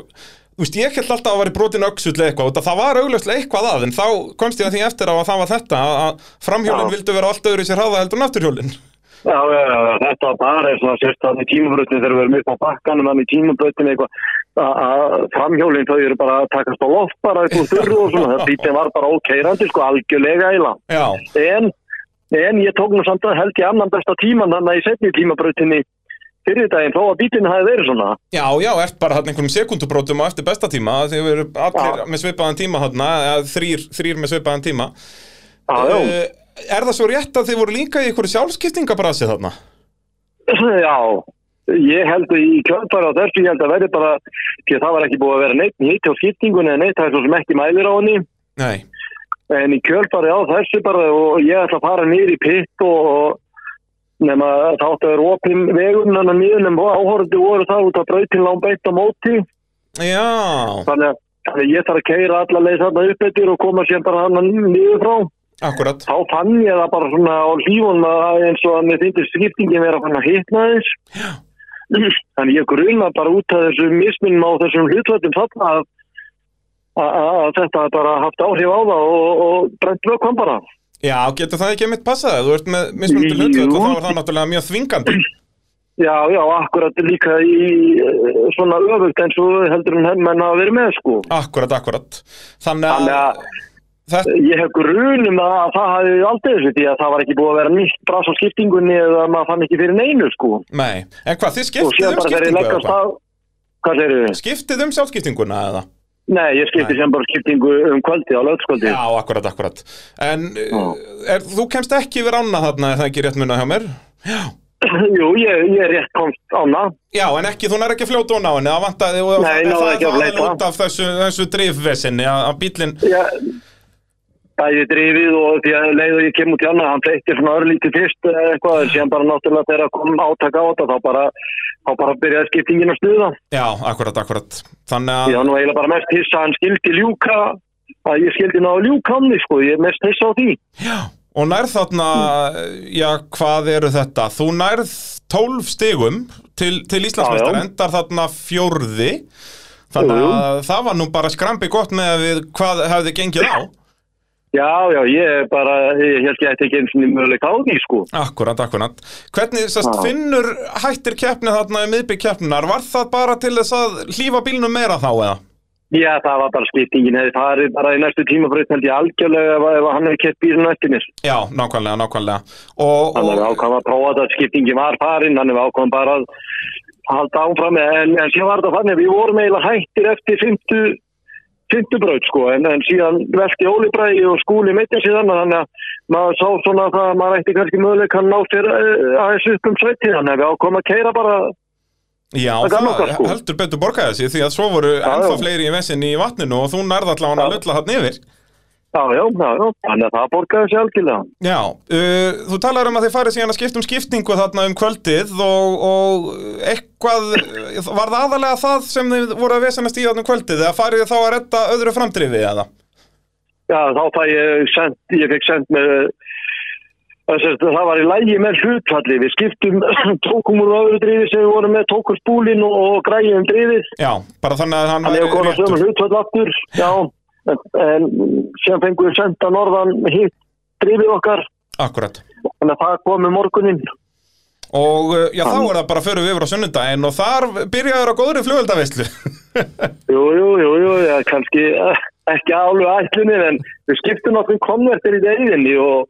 S2: þú veist, ég held alltaf að var í brotin öxull eða eitthvað út að Það var augljóslega eitthvað að en þá komst ég að því eftir á að það var þetta að- að framhjólinn
S6: Já.
S2: vildu vera allt öðru sér hraða heldur en afturhjólinn
S6: Já, já, já, já, þetta var bara eins og það sést þannig tímabrötni þegar við erum upp á bakkanum þannig tímabrötni eitthvað að- að framhjólinn þau eru bara að takast á loft bara upp úr þurru og svona það bítið var bara ókeirandi sko algjörlega eila
S2: Já,
S6: en, en ég tók nú samt að held ég annan besta tíman þannig að í setni tímabrötni fyrir daginn þó að bítinn hafi verið svona
S2: já, já, ert bara hann einhverjum sekundubrótum á eftir besta tíma þegar við erum allir
S6: Já.
S2: með svipaðan tíma hann þrýr, þrýr með svipaðan tíma
S6: Já, já,
S2: Eh, Er það svo rétt að þið voru líka í einhverju sjálfskiptingabrasi þarna?
S6: Eh, já Ég held að í kjöldfæra á þessu, ég held að verði bara, því að það var ekki búið að vera neitt nýtt á skiptingunni, en neitt það er svo sem ekki mælir á henni.
S2: Nei,
S6: En í kjölfari á þessu bara og ég ætla að fara nýr í pitt og, og nema þá áttu að vera opinn vegum þannig nýður nema áhorðu voru það út að brautin lán beitt á móti
S2: já,
S6: þannig að, þannig að ég þarf að keira alla leið þarna upp eftir og koma sér bara hann nýður frá
S2: akkurat
S6: þá fann ég það bara svona á lífun eins og að mér finnst skiptingin vera fann að hitna þess þannig ég gruna bara út af þessum mismunum á þessum hlutvöldum þarna að, að, að, að þetta bara haft áhrif á það og, og brent vökkum bara
S2: Já, getur það ekki mitt passað Ef Þú ert með mismunandi
S6: Jú.
S2: hlutvöld og þá er það náttúrulega mjög þvingandi
S6: Já, já, akkurat líka í eh, svona öfugt eins og heldur en henn menn hafa verið með sko.
S2: Akkurat, akkurat Þannig
S6: Þannig
S2: að
S6: að
S2: þetta,
S6: ég hef grunum að að það hafi aldrei þessu því að það var ekki búið að vera nýtt bras á skiptingunni eða maður fann ekki fyrir neinu sko.
S2: nei En hvað, þið
S6: og
S2: skiptið
S6: síðan
S2: um
S6: bara þegar ég
S2: skiptingu
S6: leggast
S2: eða?
S6: að... Hvað segir þið?
S2: Skiptið um sjálfskiptinguna eða?
S6: Nei, ég skipti sem bara skiptingu um kvöldi á lögskvöldi.
S2: Já, akkurat, akkurat En eh, er, þú kemst ekki við rána þarna Er það ekki rétt munna hjá mér? Já
S6: Jú, ég, ég er rétt komst ána.
S2: Já, en ekki, þú nær ekki að fljóta hún á henni, það vantaði og
S6: Nei,
S2: það
S6: náði
S2: það
S6: ekki að
S2: er aðeins
S6: fleyta.
S2: út af þessu, þessu drifvesinni að, að bílinn,
S6: Já, bæði drifið og því að leið og ég kem út í annað, hann fleittir svona örlítið fyrst eða eitthvað, en síðan bara náttúrulega þegar að kom átaka á þetta, þá bara, þá bara byrjaði skiptingin að stuða.
S2: já, akkurat, akkurat þannig
S6: Ég
S2: að,
S6: var nú eiginlega bara mest hissa að hann skildi ljúka, að ég skildi ná að ljúka hann, sko, ég er mest hissa á því.
S2: já, og nærð þarna já, hvað eru þetta þú nærð 12 stigum til, til Íslandsmeistar,
S6: Já, já.
S2: endar þarna fjórði þannig
S6: Jú.
S2: að það var nú bara skrambi gott með að við hvað hefði gengið á
S6: Já, já, ég er bara, ég held ég ætti ekki eins og mjöguleik á því, sko.
S2: Akkurat, akkurat. Hvernig sest,
S6: Já.
S2: finnur hættir keppni þarna í miðbygg keppnar? Var það bara til þess að hlífa bílnum meira þá eða?
S6: Já, það var bara skiptingin, hefði farið bara í næstu tíma fyrir, held ég algjörlega ef, ef hann hefði kett bílun eftir mér.
S2: Já, nákvæmlega, nákvæmlega. Og,
S6: Þannig að við
S2: og,
S6: ákvæmum að prófa þetta að skiptingi var farin, þannig að við ákvæmum bara að halda áfram, en, en síðan var þetta þannig að við vorum eiginlega hættir eftir 50, 50 braut sko, en, en síðan velti Óli Bræði og skúli meitja síðan, þannig að maður sá svona það að maður ætti kannski möguleik að ná fyrir aðeins upp um sveitið, þannig að við ákvæmum að keira bara,
S2: já,
S6: það
S2: það
S6: gaf nokkar, sko.
S2: heldur betur borgaði sig því að svo voru ennþá fleiri í vesinni í vatninu og þú nærða allavega að
S6: Já.
S2: lulla hann yfir.
S6: já, já, já, já, þannig að það borgaði sér algjörlega.
S2: Já, uh, þú talar um að þið farið síðan að skipta um skiptingu þarna um kvöldið og, og eitthvað, var það aðalega það sem þið voru að vesanast í þarna um kvöldið eða farið þið þá að redda öðru framdrifi eða?
S6: Já, þá fæ ég sent, ég fekk sendt með þess að það var í lægi með hlutfalli, við skiptum tókum úr öðru drifi sem við vorum með tókum spúlin og, og græjum drifið
S2: Já, bara þannig að hann
S6: þannig að koma sömu hlutfall aftur já, en, en sem fengum við sendt að norðan hitt drifið okkar,
S2: Akkurat.
S6: þannig að það kom með morgunin
S2: Og uh, já, þá er það bara að förum við yfir á sunnundaginn og þar byrjaður á góðri flugöldavislu.
S6: Jú, jú, jú, jú, já, kannski eh, ekki alveg ætlunin en við skiptum okkur konvertir í deginni og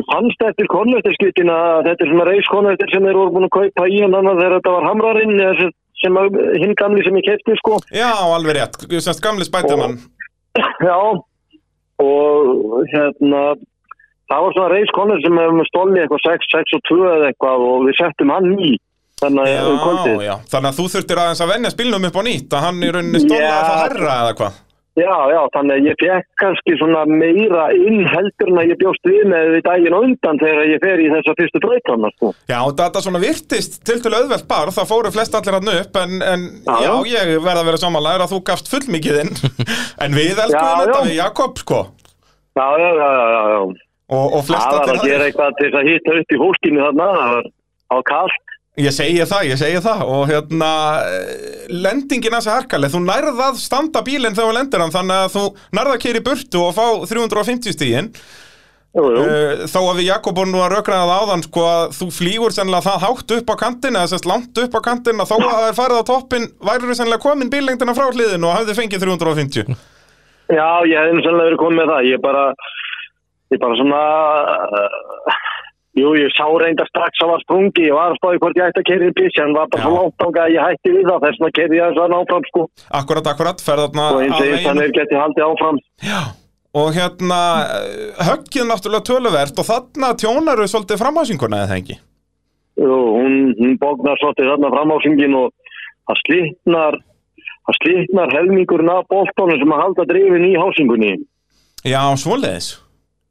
S6: mér fannst eftir konvertirskiptin að þetta er svona reiskonvertir sem þeir voru búin að kaupa í en annað þegar þetta var hamrarinn eða sem- sem að- hinn gamli sem ég kefti sko.
S2: já, alveg rétt. Semst gamli spætumann.
S6: Já, og hérna, það var svona reiskonvertir sem hefum stólið eitthvað 6, 6 og 2 eða eitthvað og við settum hann í þannig að um
S2: Já,
S6: kvöldið.
S2: já, þannig að þú þurftir aðeins að vennja spilnum upp á nýtt að hann í rauninni stóla
S6: Já.
S2: að það herra eða hvað
S6: Já, já, þannig að ég fekk kannski svona meira inn heldur en að ég bjóst við með við daginn á undan þegar ég fer í þessa fyrstu breytana, sko.
S2: Já, þetta svona virtist til til auðvelt bar það fóru flest allir hann upp en, en
S6: Já,
S2: já,
S6: já.
S2: ég verð að vera samanlega að þú gafst fullmikið inn en við elskuðum
S6: Já,
S2: þetta
S6: já.
S2: við Jakob sko og,
S6: Já, já, já, já, já, já.
S2: og flest
S6: Það var
S2: allir
S6: að gera eitthvað til þess að hitta upp í fólkinu þarna, það var á kallt.
S2: Ég segi það, ég segi það og hérna, eh, lendingin að þessi harkaleg, þú nærð að standa bílinn þegar þú lendir hann þannig að þú nærð að keyra í burtu og fá 350 stígin
S6: Jú, jú.
S2: uh, þó að við Jakobun nú að rökraða það áðan sko að þú flýgur sennilega það hátt upp á kantina eða sérst langt upp á kantina þó að það er farið á toppin værirðu sennilega komin bíllengdina frá hliðinu og hafði fengið 350
S6: Já, ég hefði nú sannlega verið komið með það. Ég bara, ég bara svona, uh, jú, ég sá reynda strax að var sprungi. Ég var að spáði hvort ég ætti að kerja í bísi, en var
S2: Já.
S6: bara svo langt ánga að ég hætti við það. Þess vegna kerði ég þess að náfram, sko.
S2: Akkurat, akkurat, ferðarna
S6: Og
S2: að
S6: eins og ég
S2: veginum.
S6: þannig geti haldið áfram.
S2: Já, og hérna eh, höggið náttúrulega töluvert og þarna tjónaru svolítið framhásinguna eða það ekki
S6: Jú, hún, hún bóknar svolítið þarna fram á syngin og það slitnar, það slitnar helmingurinn af boltónum sem að halda drifin í hásingunni.
S2: Já, svoleiðis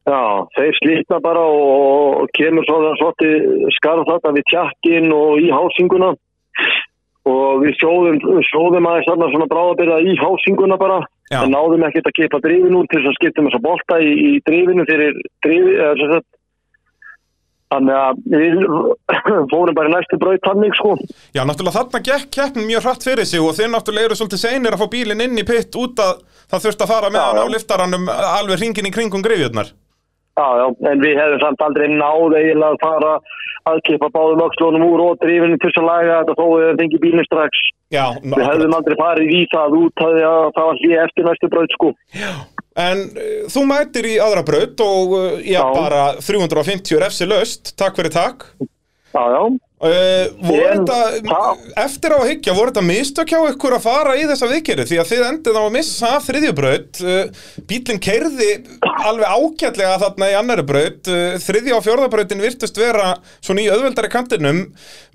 S6: Já, þeir slitna bara og, og kemur svo það svolítið skarð þetta við tjakkin og í hásinguna og við sjóðum, sjóðum aðeins þarna svona bráðabyrða í hásinguna bara
S2: Já.
S6: en náðum ekkert að kipa drifin úr til þess að skiptum þess að bolta í, í drifinu fyrir drifi, eða sem sagt Þannig að við fórum bara í næstu braut tannig sko.
S2: Já, náttúrulega þarna gekk keppnin mjög hratt fyrir sig og þeir náttúrulega eru svolítið seinir að fá bílinn inn í pitt út að það þurft að fara með
S6: Já,
S2: hann á
S6: já.
S2: liftaranum eh, alveg hringin í kringum greifjurnar.
S6: Já, já, en við hefðum samt aldrei náð eiginlega að fara að kipa báðum öxlunum úr og drifinu til þess að laga þetta þó við hefðum fengið bílinn strax.
S2: Já,
S6: Við
S2: akkurat.
S6: hefðum aldrei farið í það út að það var hlýja eftir næstu braut sko.
S2: en uh, þú mætir í aðra braut og uh, já,
S6: Já.
S2: bara 350 refsi löst, takk fyrir takk.
S6: Já, já.
S2: Uh, voru
S6: En
S2: þetta,
S6: það-
S2: eftir á að hyggja, voru þetta mistök hjá ykkur að fara í þessa viðgerði því að þið endið á að missa af þriðju braut, uh, bílinn kerði alveg ágætlega þarna í annari braut, uh, þriðja og fjórðabrautin virtust vera svona í öðveldari kantinum,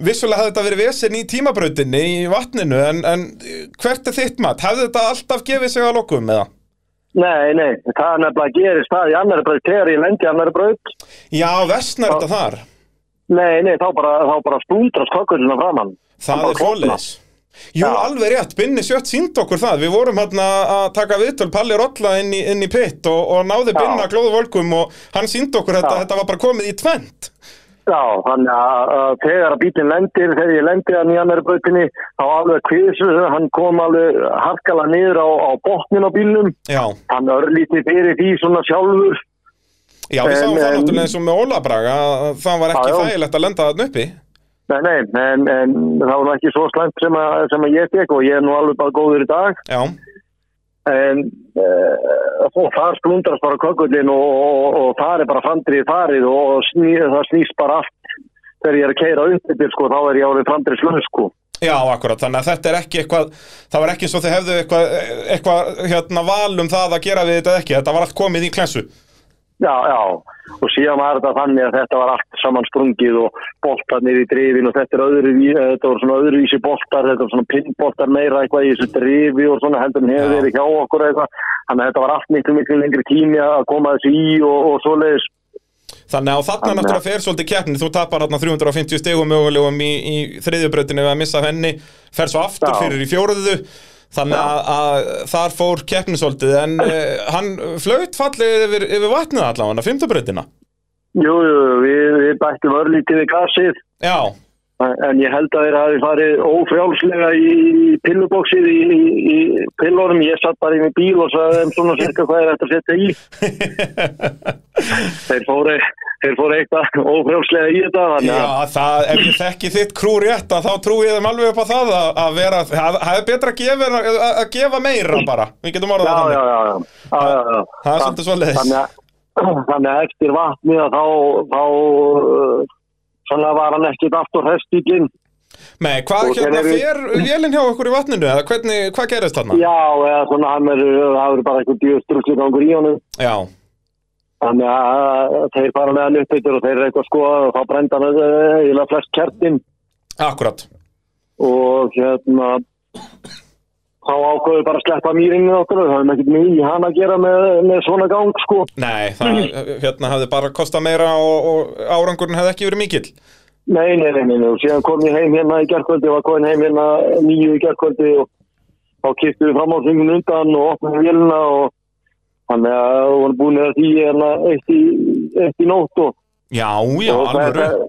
S2: vissulega hafði þetta verið vesen í tímabrautinni í vatninu en, en uh, hvert er þitt mat, hefði þetta alltaf gefið sig að lokum með það?
S6: Nei, nei, það er nefnilega gerist það í annari braut, þegar ég lendi í annari braut.
S2: Já, versnar þetta þar,
S6: Nei, nei, þá bara, þá bara stúndrast kokkurinn framann.
S2: það
S6: bara
S2: er fólis. Jú,
S6: Já.
S2: alveg rétt, Binni Sjött sínd okkur það Við vorum hérna að taka viðtöl Palli Rolla inn í, inn í pitt og, og náði
S6: Já.
S2: Binna glóðu volkum og hann sínd okkur þetta,
S6: Já.
S2: þetta var bara komið í tvent
S6: Já, þannig að, að þegar að bílinn lendir, þegar ég lendi hann í annari brautinni, þá alveg kvisu, hann kom alveg harkala niður á, á botnin á bílnum.
S2: Já,
S6: Hann örlítið fyrir því svona sjálfur.
S2: já við
S6: En-
S2: sáum það
S6: en-
S2: náttúrulega eins og með Óla Braga að það var ekki
S6: Já, já.
S2: þægilegt að lenda þarna uppi
S6: Nei, nei, en, en það var nú ekki svo slæmt sem að, sem að ég tek og ég er nú alveg bara góður í dag.
S2: Já,
S6: en uh, og þar splundrast bara kökullin og, og, og þar er bara framdrið farið og sný, það snýst bara allt þegar ég er að keira upp yfir sko þá er ég árið framdrið slöð sko
S2: já, akkurat, þannig að þetta er ekki eitthvað það var ekki eins og þið hefðu eitthvað, eitthvað hérna, val um það að gera við þetta eða ekki þetta var allt komið í klensu
S6: já, já, og síðan var þetta þannig að þetta var allt saman sprungið og boltarnir í drifin og þetta er öðru eh, þetta voru svona öðruvísi boltar, þetta var svona pinnboltar meira eitthvað í þessu drifi og svona heldur en hefur
S2: Já.
S6: verið hjá okkur eitthvað þannig að þetta var allt miklu miklu lengri tími að koma þessu í og, og svoleiðis
S2: Þannig að þarna
S6: Þannig að-
S2: náttúrulega fer svolítið keppni, þú tapar þarna 350 stegum mögulegum í, í þriðjubrautinu við að missa af henni, fer svo aftur
S6: Já.
S2: fyrir í fjóruðu, þannig að, að þar fór keppni svolítið, en uh, hann flaut fallið yfir, yfir vatnið allavega, fymtubrautina.
S6: Jú, jú, við, við bættum örlítið við gasið
S2: Já,
S6: En ég held að þeir hafi farið ófrjálslega í pillubóksið í, í, í pillunum. Ég satt bara inn í bíl og sagði þeim svona cirka hvað er þetta að setja í. Þeir fóru, þeir fóru eitthvað ófrjálslega í þetta. Þannig að,
S2: já það, ef ég þekki þitt krú rétt að þá trúi ég þeim alveg upp á það að, að vera, það það er betra að gefa, en að, að gefa meira bara, við getum orðað
S6: já,
S2: þannig.
S6: já, já, já. já, já, já.
S2: Það er svolítið svoleiðis.
S6: Þannig að, þannig að eftir vatnið að þá, þá uh, svona var hann ekkert aftur hestíkinn.
S2: Nei, hvað
S6: Og
S2: hérna
S6: þeir eru-
S2: fer vélinn hjá okkur í vatninu, eða hvernig, hvað gerist þarna?
S6: Já, eða svona hann er, það er bara eitthvað djúðstrukslega gangur í honum.
S2: Já.
S6: Þannig að þeir fara með hann upp yfir og þeir eru eitthvað sko og þá brenda hann eða flest eh, kertin.
S2: Akkurat
S6: og hérna þá ákveðu bara að sleppa mýrinni okkur það er ekkert mjög í hann að gera með, með svona gang sko
S2: Nei, það hérna hafði bara kostað meira og, og árangurinn hefði ekki verið mikill
S6: nei, nei, nei, nei, nei. og síðan kom ég heim hérna í gerkvöldi og var komin heim hérna nýju í gerkvöldi og þá kiptu við fram á þingun undan og opnaði vélina og þannig að við vorum búin að því hérna eitt í, eitt í nótt og
S2: Já, já,
S6: og,
S2: alvöru
S6: þetta,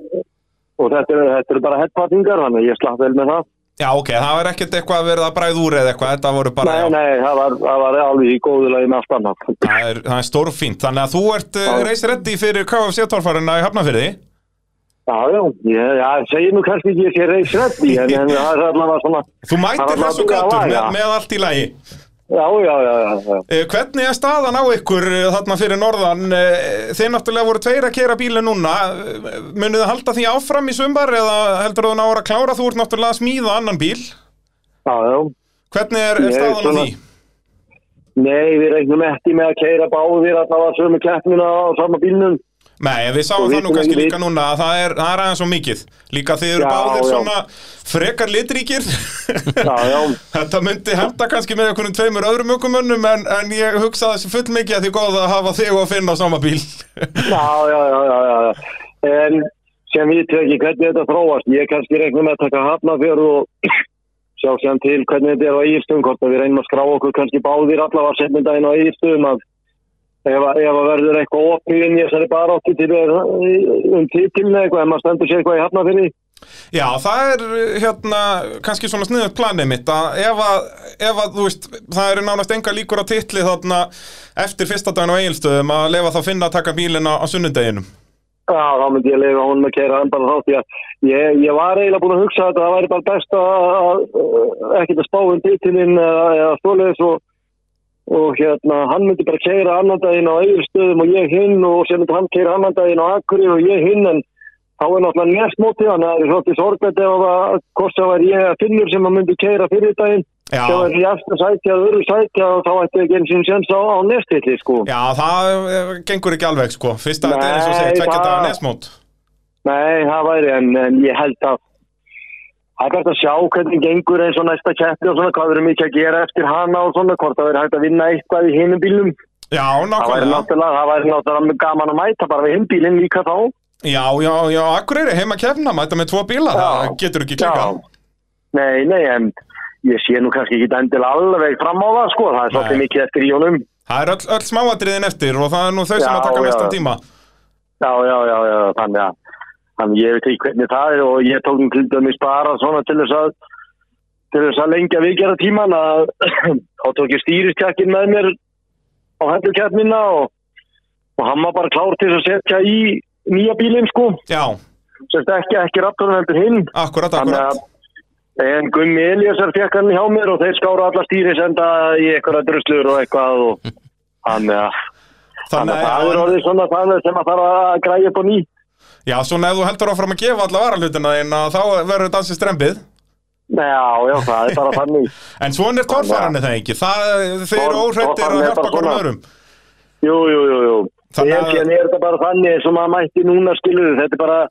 S6: og þetta, er, þetta er bara hettfattingar þannig að ég slapp vel með það
S2: Já, ok, það var ekkert eitthvað að verða að bræða úr eða eitthvað Þetta voru bara,
S6: nei,
S2: já,
S6: nei, það var, það var alveg í góðu lagi með allt annað
S2: það er, það er stórfínt Þannig að þú ert uh, reisreddi fyrir KFC-tólfarina í Hafnafyrði
S6: Já, já, ég, já, ég segi nú kannski ekki ekki reysrætti, en, en það er allavega svona,
S2: Þú mætir
S6: Það var
S2: þessu
S6: bara að
S2: göttur
S6: laga.
S2: með, með allt í lagi
S6: já, já, já, já, já.
S2: Eh, Hvernig er staðan á ykkur eh, þarna fyrir norðan? Eh, Þið náttúrulega voru tveir að kera bíli núna. Eh, Munið þið halda því áfram í sumbar eða heldur þú náður að klára? Þú ert náttúrulega að smíða annan bíl.
S6: já, já.
S2: Hvernig er, er
S6: Ég er
S2: staðan á
S6: svona-
S2: því?
S6: Nei, við reiknum ekki með að keira báðir að það var sömu keppnina á sama bílnum.
S2: Nei, við sáum
S6: Og
S2: það
S6: við
S2: nú
S6: sem
S2: kannski
S6: við-
S2: líka núna að það er, það er aðeins svo mikið. Líka þið eru
S6: Já,
S2: báðir
S6: já.
S2: svona frekar litríkir.
S6: Já, já,
S2: Þetta myndi henda kannski með einhvernum tveimur öðrum ökumönnum en, en ég hugsaði þessi full mikið að því góð að hafa þig og Finn á sama bíl.
S6: já, já, já, já, já, já. En sem við ekki hvernig þetta þróast, ég kannski reiknum með að taka hafna fyrir og sjá sem til hvernig þetta er á Írstum, hvort að við reynum að skrá okkur kannski báðir allavega setnum daginn á Írstum að ef, að- ef að verður eitthvað opið inn í þessari baróttu til um títilni eitthvað, ef maður stendur sér eitthvað í hafna
S2: Já, það er hérna kannski svona sniðut planið mitt að ef að, ef að þú veist, það eru nánast enga líkur á titli þarna eftir fyrsta daginn á eigilstöðum að lefa þá finna að taka bílinn á, á sunnudeginum.
S6: Já, þá myndi ég leifa honum að keira hann bara þá því að ég, ég var eiginlega búin að hugsa að það væri bara best að, að ekkert að spá um titilinn eða, eða svoleiðis og, og hérna, hann myndi bara keira annan daginn á eigilstöðum og ég hinn og sem myndi hann keira annan daginn á Akureyri og ég hinn en þá er náttúrulega næst mótið hann það er svolítið sorglætt ef að hvort það væri ég að finnur sem hann myndi keira fyrir daginn
S2: Já.
S6: sem væri í eftir sæti að öru sæti og þá ætti ekki eins og sens á, á næstilli sko.
S2: Já, það eh, gengur ekki alveg sko. Fyrsta þetta er eins og
S6: Nei,
S2: segja tvekja
S6: það-
S2: daga nesmót.
S6: Nei, það væri, en, en ég held að það er best að sjá hvernig gengur eins og næsta keppi og svona, hvað verður mikið að gera eftir hana og svona, hvort það verður hægt að vinna eitthvað í hinum bílum.
S2: Já,
S6: Það væri
S2: nákvæmlega.
S6: náttúrulega, það væri náttúrulega gaman að mæta bara við hinn bílinn líka þá.
S2: Já, já, já, Akureyri heima kefna, mæta með tvo bíla, það getur ekki klika.
S6: Já. Nei, nei, en ég sé nú kannski ekki dendil alveg fram á það, sko, það er svolítið
S2: Nei.
S6: mikið eftir í honum.
S2: Það er öll, öll smáatriðin eftir og það er nú þau sem
S6: Já,
S2: að taka
S6: já.
S2: mestan tíma.
S6: Já, já, já, já, þannig að þannig ég veit ekki hvernig það er og ég tók um til dæmis bara svona til þess að til þess að lengja vikjara tíman að þá tók ég stýristjakkin með mér á hendurkjarnina og, og hann var bara klár til þess að setja í nýja bílinn sko
S2: Já,
S6: sem ekki, ekki raptorinn heldur hinn
S2: akkurat,
S6: þannig
S2: akkurat.
S6: að en Gummi Eliasar fekk hann hjá mér og þeir skára alla stýrisenda í eitthvað druslur og eitthvað og þannig að Þannig að það er orðið svona þannig sem að þarf að græja upp á nýtt.
S2: Já, svona ef þú heldur áfram að gefa alla varahlutina þín að þá verður þetta ansið strempið.
S6: Já, já, það er bara þannig.
S2: En svona er torfaranir það ekki. Það, þeir eru
S6: Torf-
S2: óhrættir að
S6: torfaran er
S2: hjálpa
S6: bara
S2: hverjum
S6: svona.
S2: öðrum.
S6: Jú, jú, jú, jú.
S2: Þannig
S6: Þannig
S2: að-
S6: að... En er þetta bara þannig sem maður mætti núna skiluðu. Þetta er bara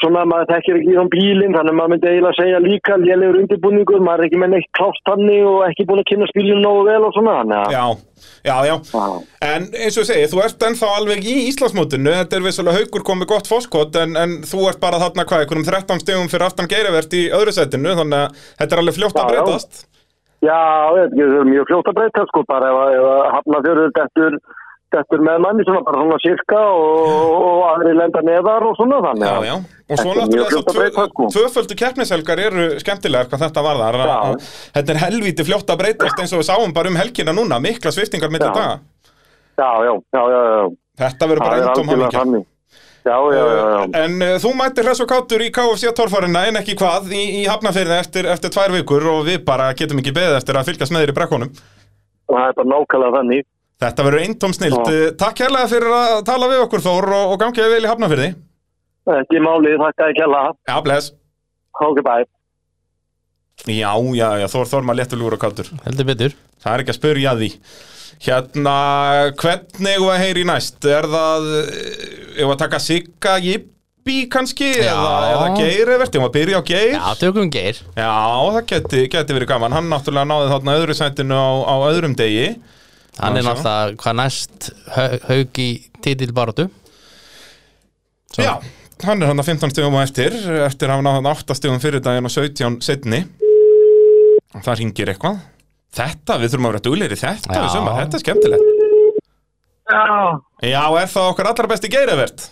S6: svona að maður þekkir ekki í þann bílinn, þannig að maður myndi eiginlega segja líka lélegur undirbúningur, maður er ekki með neitt klást þannig og ekki búin að kynna spilin nógu vel og svona. Þannig að...
S2: Já, já, já.
S6: Já.
S2: En eins og ég segi, þú ert ennþá alveg í Íslandsmótinu. Þetta er vissulega haugur komið gott fóskot en, en þú ert bara þarna hvað, einhvernum 13 stegum fyrir aftan geirivert í öðru setinu. Þannig að þetta er alveg fljótt að
S6: Já, já.
S2: breytast.
S6: Já, ég veit ekki, það er mjög fljótt að breyta sko, bara ef, að- ef að hafna fjörður dettur, dettur með manni svona bara svona sirka og, og aðri lenda neðar og svona þannig.
S2: Já,
S6: að-
S2: já. Og svo
S6: Þetta er mjög
S2: náttúrulega
S6: fljótt að
S2: þessar
S6: breyta,
S2: tvö-
S6: sko.
S2: tvöföldu keppnishelgar eru skemmtilegar hvað þetta varðar.
S6: Já.
S2: Að- að- Þetta er helvíti fljótt að breytast eins og við sáum bara um helgina núna, mikla sviftingar mitt
S6: Já.
S2: daga.
S6: Já, já, já, já, já.
S2: Þetta verður
S6: Það
S2: bara
S6: er
S2: endum hamingja.
S6: algjörlega þannig. Já, já, já, já.
S2: En uh, þú mættir hress og kátur í KFC-torfarina en ekki hvað í, í hafnafyrði eftir, eftir tvær vikur og við bara getum ekki beðið eftir að fylgjast með þér í brekkunum.
S6: og það er bara nákvæmlega þannig
S2: Þetta verður eintóm snilt. Eh,
S6: Já.
S2: Takk hérlega fyrir að tala við okkur Þór og, og gangið vel í hafnafyrði.
S6: ekki málið, þakka ekki alla
S2: Já, bless.
S6: ok, bye
S2: Já, já, já, Þór, Þór maður léttur lúgur og kátur.
S3: heldur betur
S2: Það er ekki að spurja því. Hérna, hvernig var heyri næst? Er það, eh, ef að taka Sigga, Jippa Bobby kannski eða, eða Geir Evert, ég maður byrja á Geir
S3: Já, tökum geir
S2: Já, það geti, geti verið gaman. Hann náttúrulega náði þarna öðru sætinu á, á öðrum degi.
S3: Hann er
S2: Já,
S3: náttúrulega hvað næst hau- haug í titilbaratu Svo.
S2: Já, hann er hann 15 stugum á eftir, eftir að hafa náði 8 stugum fyrir daginn og 17 setni. Það ringir eitthvað. Þetta, við þurfum að vera duglegir í þetta
S3: Já.
S2: í sumar, þetta er skemmtilegt.
S5: Já,
S2: Já, er það okkar allra besti geirivert?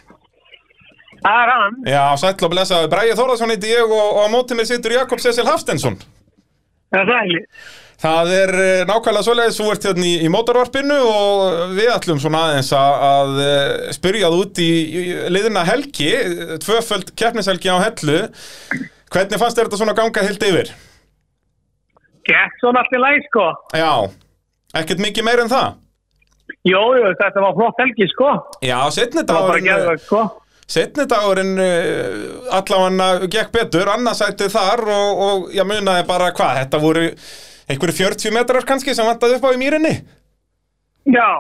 S5: það er hann.
S2: Já, sætla að blessa, Bræði Þórðarsson heiti ég og, og á móti mér situr Jakob Cecil Hafstensson.
S5: Það er sæli.
S2: Það er eh, nákvæmlega svoleiðis, þú ert hérna í, í mótorvarpinu og við ætlum svona aðeins að, að eh, spyrja þú út í, í liðina helgi, eh, tvöföld keppnishelgi á hellu. Hvernig fannst þér þetta svona ganga heilt yfir?
S5: Gekk svona allir læg, sko.
S2: Já, ekkert mikið meir en það?
S5: Jó, jú, þetta var flott helgi, sko.
S2: Já, setni
S5: Það var bara
S2: dagurinn,
S5: gerðvægt, sko.
S2: setni dagurinn eh, allavega gekk betur, annarsættu þar og, og ég munaði bara hvað, þetta voru einhverju 40 metrar kannski sem vantaði upp á í mýrinni.
S5: Já,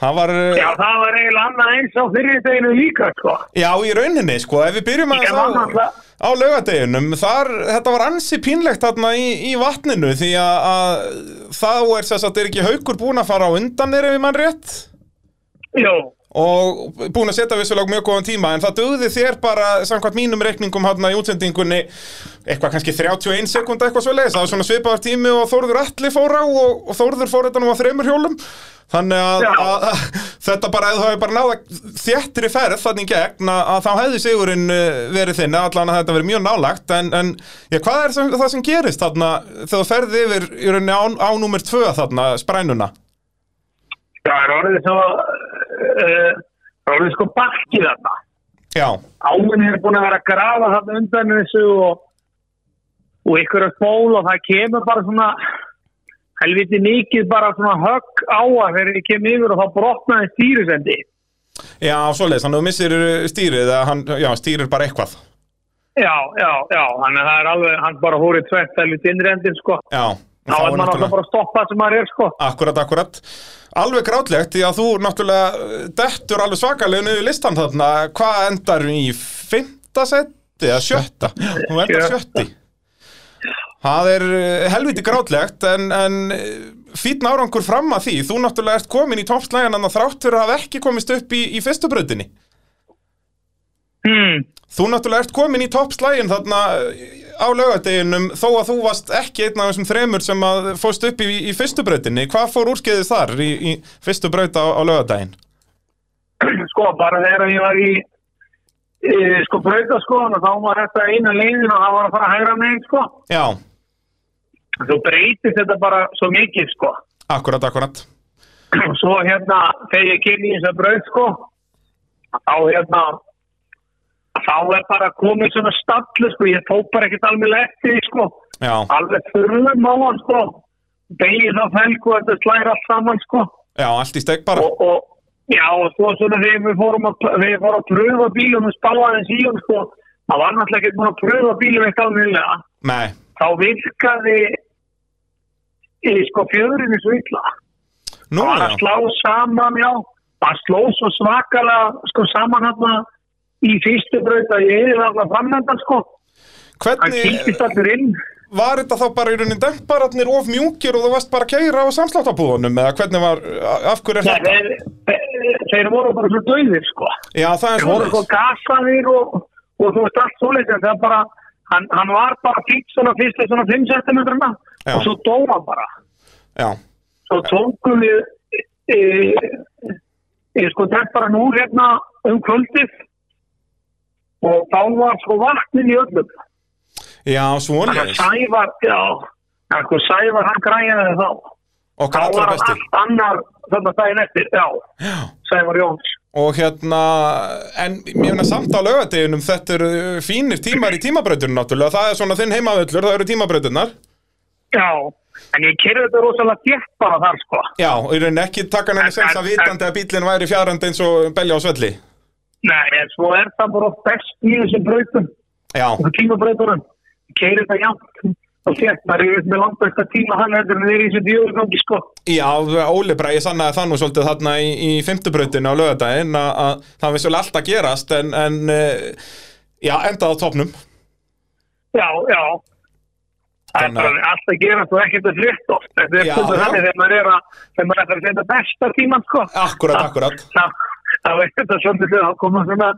S2: Það var... eh,
S5: já, það var eiginlega annað eins á fyrir deginu líka, sko.
S2: Já, í rauninni, sko, ef við byrjum
S5: Ég var
S2: aðeins á,
S5: náttúrulega-
S2: á laugadeginum, þar, þetta var ansi pínlegt þarna í, í vatninu, því að, að þá er þess að er ekki haukur búin að fara á undan þeir ef ég mann rétt
S5: Jó,
S2: og búin að setja vissulega mjög góðan tíma, en það döði þér bara, samkvæmt mínum reikningum hérna í útsendingunni, eitthvað kannski 31 sekunda eitthvað svo leiðis, það var svona svipaðar tími og Þórður Alli fór á og, og Þórður fór þetta nú á þremur hjólum, þannig að,
S5: Já.
S2: að, að þetta bara, ef þú hefur bara náða þéttri ferð þannig í gegn að, að þá hefði sigurinn eh, verið þinn, allan að þetta verið mjög nálagt, en, en já, hvað er sem, það sem gerist þarna þegar þú ferði yfir í rauninni á, á númer 2 þarna, sprænuna?
S5: það er orðið svo, uh, það er orðið sko bakkið þarna.
S2: Já,
S5: Áin er búin að vera að grafa þarna undan þessu og, og ykkur er fól og það kemur bara svona, helviti mikið bara svona högg á að þegar þið kemur yfir og þá brotnaði stýrisendi.
S2: já, svoleiðis, hann þú missir eh, stýrið, eða hann, já, stýrir bara eitthvað.
S5: Já, já, já, þannig að það er alveg, hann bara hórið tvett helviti innri endin, sko.
S2: Já,
S5: Þá er maður alltaf bara að stoppa sem maður er, sko.
S2: Akkurat, akkurat Alveg grátlegt því að þú náttúrulega eh, dettur alveg svakalega niður listan þarna Hvað endar í fymta seti eða sjötta? Þú endar
S5: Sjötta.
S2: sjötti Það er eh, helviti grátlegt en, en fýtn árangur fram að því Þú náttúrulega ert komin í toppslægan en þrátt fyrir að hafa ekki komist upp í, í fyrstu brautinni
S5: Hmm.
S2: Þú náttúrulega ert komin í toppslægin þarna eh, á laugardeginum þó að þú varst ekki einn af þessum þremur sem að fóst upp í, í fyrstu brautinni. Hvað fór úrskeiðis þar í, í fyrstu braut á, á laugardegin?
S5: sko, bara þegar ég var í e, sko, brautaskoðan og þá var þetta eina leiðin og það var að fara að hægra megin, sko.
S2: Já,
S5: Þú breytist þetta bara svo mikið, sko.
S2: akkurat, akkurat.
S5: Og svo hérna, þegar ég kemur í þessa braut, sko, þá hérna, þá er bara komið svona stallu, sko, ég tók bara ekkert alveg lettið, sko.
S2: Já,
S5: Alveg þurrum á hann, sko. Begið á felgu, þetta slæra allt saman, sko.
S2: já, allt í steg bara.
S5: og, og já og svo svona þegar við fórum að, við fórum að pröfa bílum og spáða aðeins í hún sko, það var náttúrulega ekki búin að pröfa bílum eitt alveglega,
S2: Nei,
S5: þá virkaði í sko fjöðurinn svo illa,
S2: nú
S5: það var
S2: já.
S5: að slá saman já, það sló svo svakalega sko saman hérna í fyrstu braut að ég hefði alltaf framöndan sko, hann
S2: Hvernig
S5: kýttist allir inn
S2: var þetta þá bara í rauninni dempararnir of mjúkir og þú varst bara að keira á samsláttabúðunum eða hvernig var, af hverju er
S5: Nei,
S2: þetta?
S5: þeir, þeir- þeir voru bara svo döðir sko
S2: Já, það er
S5: Þeir voru sko
S2: svona.
S5: gasaðir og, og þú veist allt svoleiðis en það bara, hann, hann var bara fyrst svona fyrst svona 5 cm
S2: Já.
S5: og svo dó hann bara.
S2: Já,
S5: Svo tókum við e, e, sko þetta bara nú hérna um kvöldið og þá var sko vatnin í öllum.
S2: já, svona.
S5: Þannig að Sævar, já, þannig að sko Sævar hann græjaði þá. Þá
S2: Okkar
S5: var
S2: allra
S5: hann
S2: besti.
S5: allt annar þarna daginn eftir, já,
S2: Já.
S5: Sævar Jóns.
S2: og hérna en ég meina samt á lögadeginum þetta eru uh, fínir tímar í tímabrautunum náttúrulega það er svona þinn heimavöllur, það eru tímabrautunar
S5: Já, en ég kerði þetta rosalega þétt bara þar sko.
S2: já, og ég reyni ekki taka henni sens að vitandi að bílinn væri fjarrandi eins og belja á svelli
S5: Nei, en svo er það bara oft best í þessum brautum,
S2: já,
S5: þessum tímabrautunum. Keirir það jafn þá fjart maður upp með langbæsta tíma hann heldur en þeir eru í þessu djóðgangi sko
S2: Já, Óli Bræði sannaði það nú svolítið þarna í, í fymtubrautinu á lögadaginn að að það vissi alveg allt að gerast en, en eh, já, endaði á topnum
S5: já, já það er
S2: Þannig að-
S5: bara allt að gera svo ekkert að frétt oft þetta er
S2: Já,
S5: svolítið
S2: já.
S5: þannig þegar maður er að þegar maður er að setja besta tíman sko
S2: Akkurat, akkurat
S5: þá þá er þetta svolítið þegar þá koma svona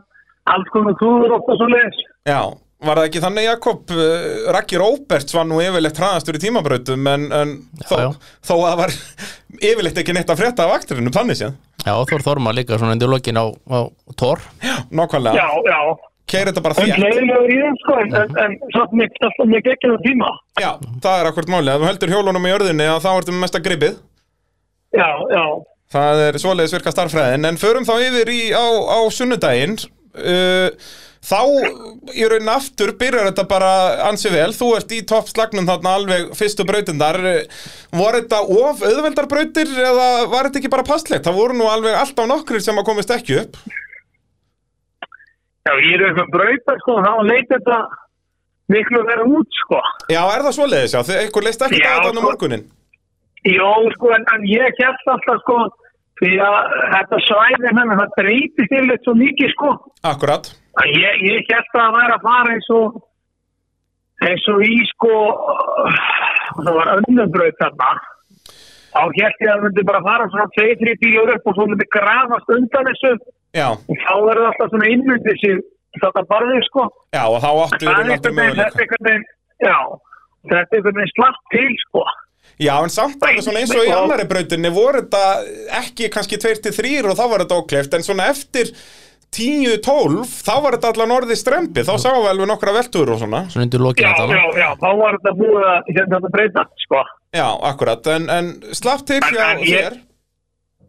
S5: alls konar klúður oft og svo leiðis
S2: Já, var það ekki þannig Jakob eh, Raggi Róberts var nú yfirleitt hraðastur í tímabrautum en, en þó,
S3: já.
S2: þó að það var yfirleitt ekki neitt að frétta af akturinu þannig séð,
S3: Já, Þór Þorma líka svona undir lokin á, á Thor
S2: nákvæmlega
S5: já, já,
S2: Keir þetta bara
S5: en
S2: þér
S5: leiðilegur í þeim sko en, en, en svolítið mikið alltaf mikið ekki tíma
S2: Já, það er akkurat máli, ef þú heldur hjólunum í örðinni að þá ertu með mesta gripið
S5: já, já,
S2: Það er svoleiðis virka starffræðin En förum þá yfir í, á, á sunnudaginn uh, Þá í raun aftur byrjar þetta bara ansi vel Þú ert í toppslagnum þarna alveg fyrstu brautindar Var þetta of auðveldar brautir eða var þetta ekki bara passlegt? Það voru nú alveg alltaf nokkrir sem að komist ekki upp
S5: já, ég er eitthvað brauta sko þá leit þetta miklu verið út sko
S2: Já, er það svoleiðis? Já, þegar einhver leist ekki
S5: Já,
S2: þetta um
S5: sko.
S2: morgunin
S5: Jó, sko, en, en ég held alltaf, sko, því að þetta svæði hennar, það breytist yfirleitt svo mikið, sko.
S2: Akkurat
S5: Að Ég, ég held að það væri að fara eins og, eins og í, sko, það var önnumbraut þarna. Þá held ég að það myndi bara fara svona 2-3 bílur upp og svo myndi grafast undan þessu.
S2: Já,
S5: Og þá verður alltaf svona innmyndið sér þetta barðið, sko.
S2: já og þá áttu í
S5: Það er
S2: raun aftur
S5: einhvern veginn,
S2: möguleika
S5: þetta er einhvern veginn, já, þetta er einhvern veginn slapp til, sko.
S2: Já, en samt alveg svona eins og í annari brautinni voru þetta ekki kannski 2-3 og þá var þetta ókleift en svona eftir 10-12 þá var þetta allan orðið strempi þá sáum við alveg nokkra veltur og svona
S3: svona undir lokin
S5: Já,
S3: á
S5: já,
S3: það
S5: já, þá var þetta búið að hérna þetta breyta, sko.
S2: Já, akkurat, en, en slapp til
S5: En-
S2: hjá
S5: en ég-
S2: þér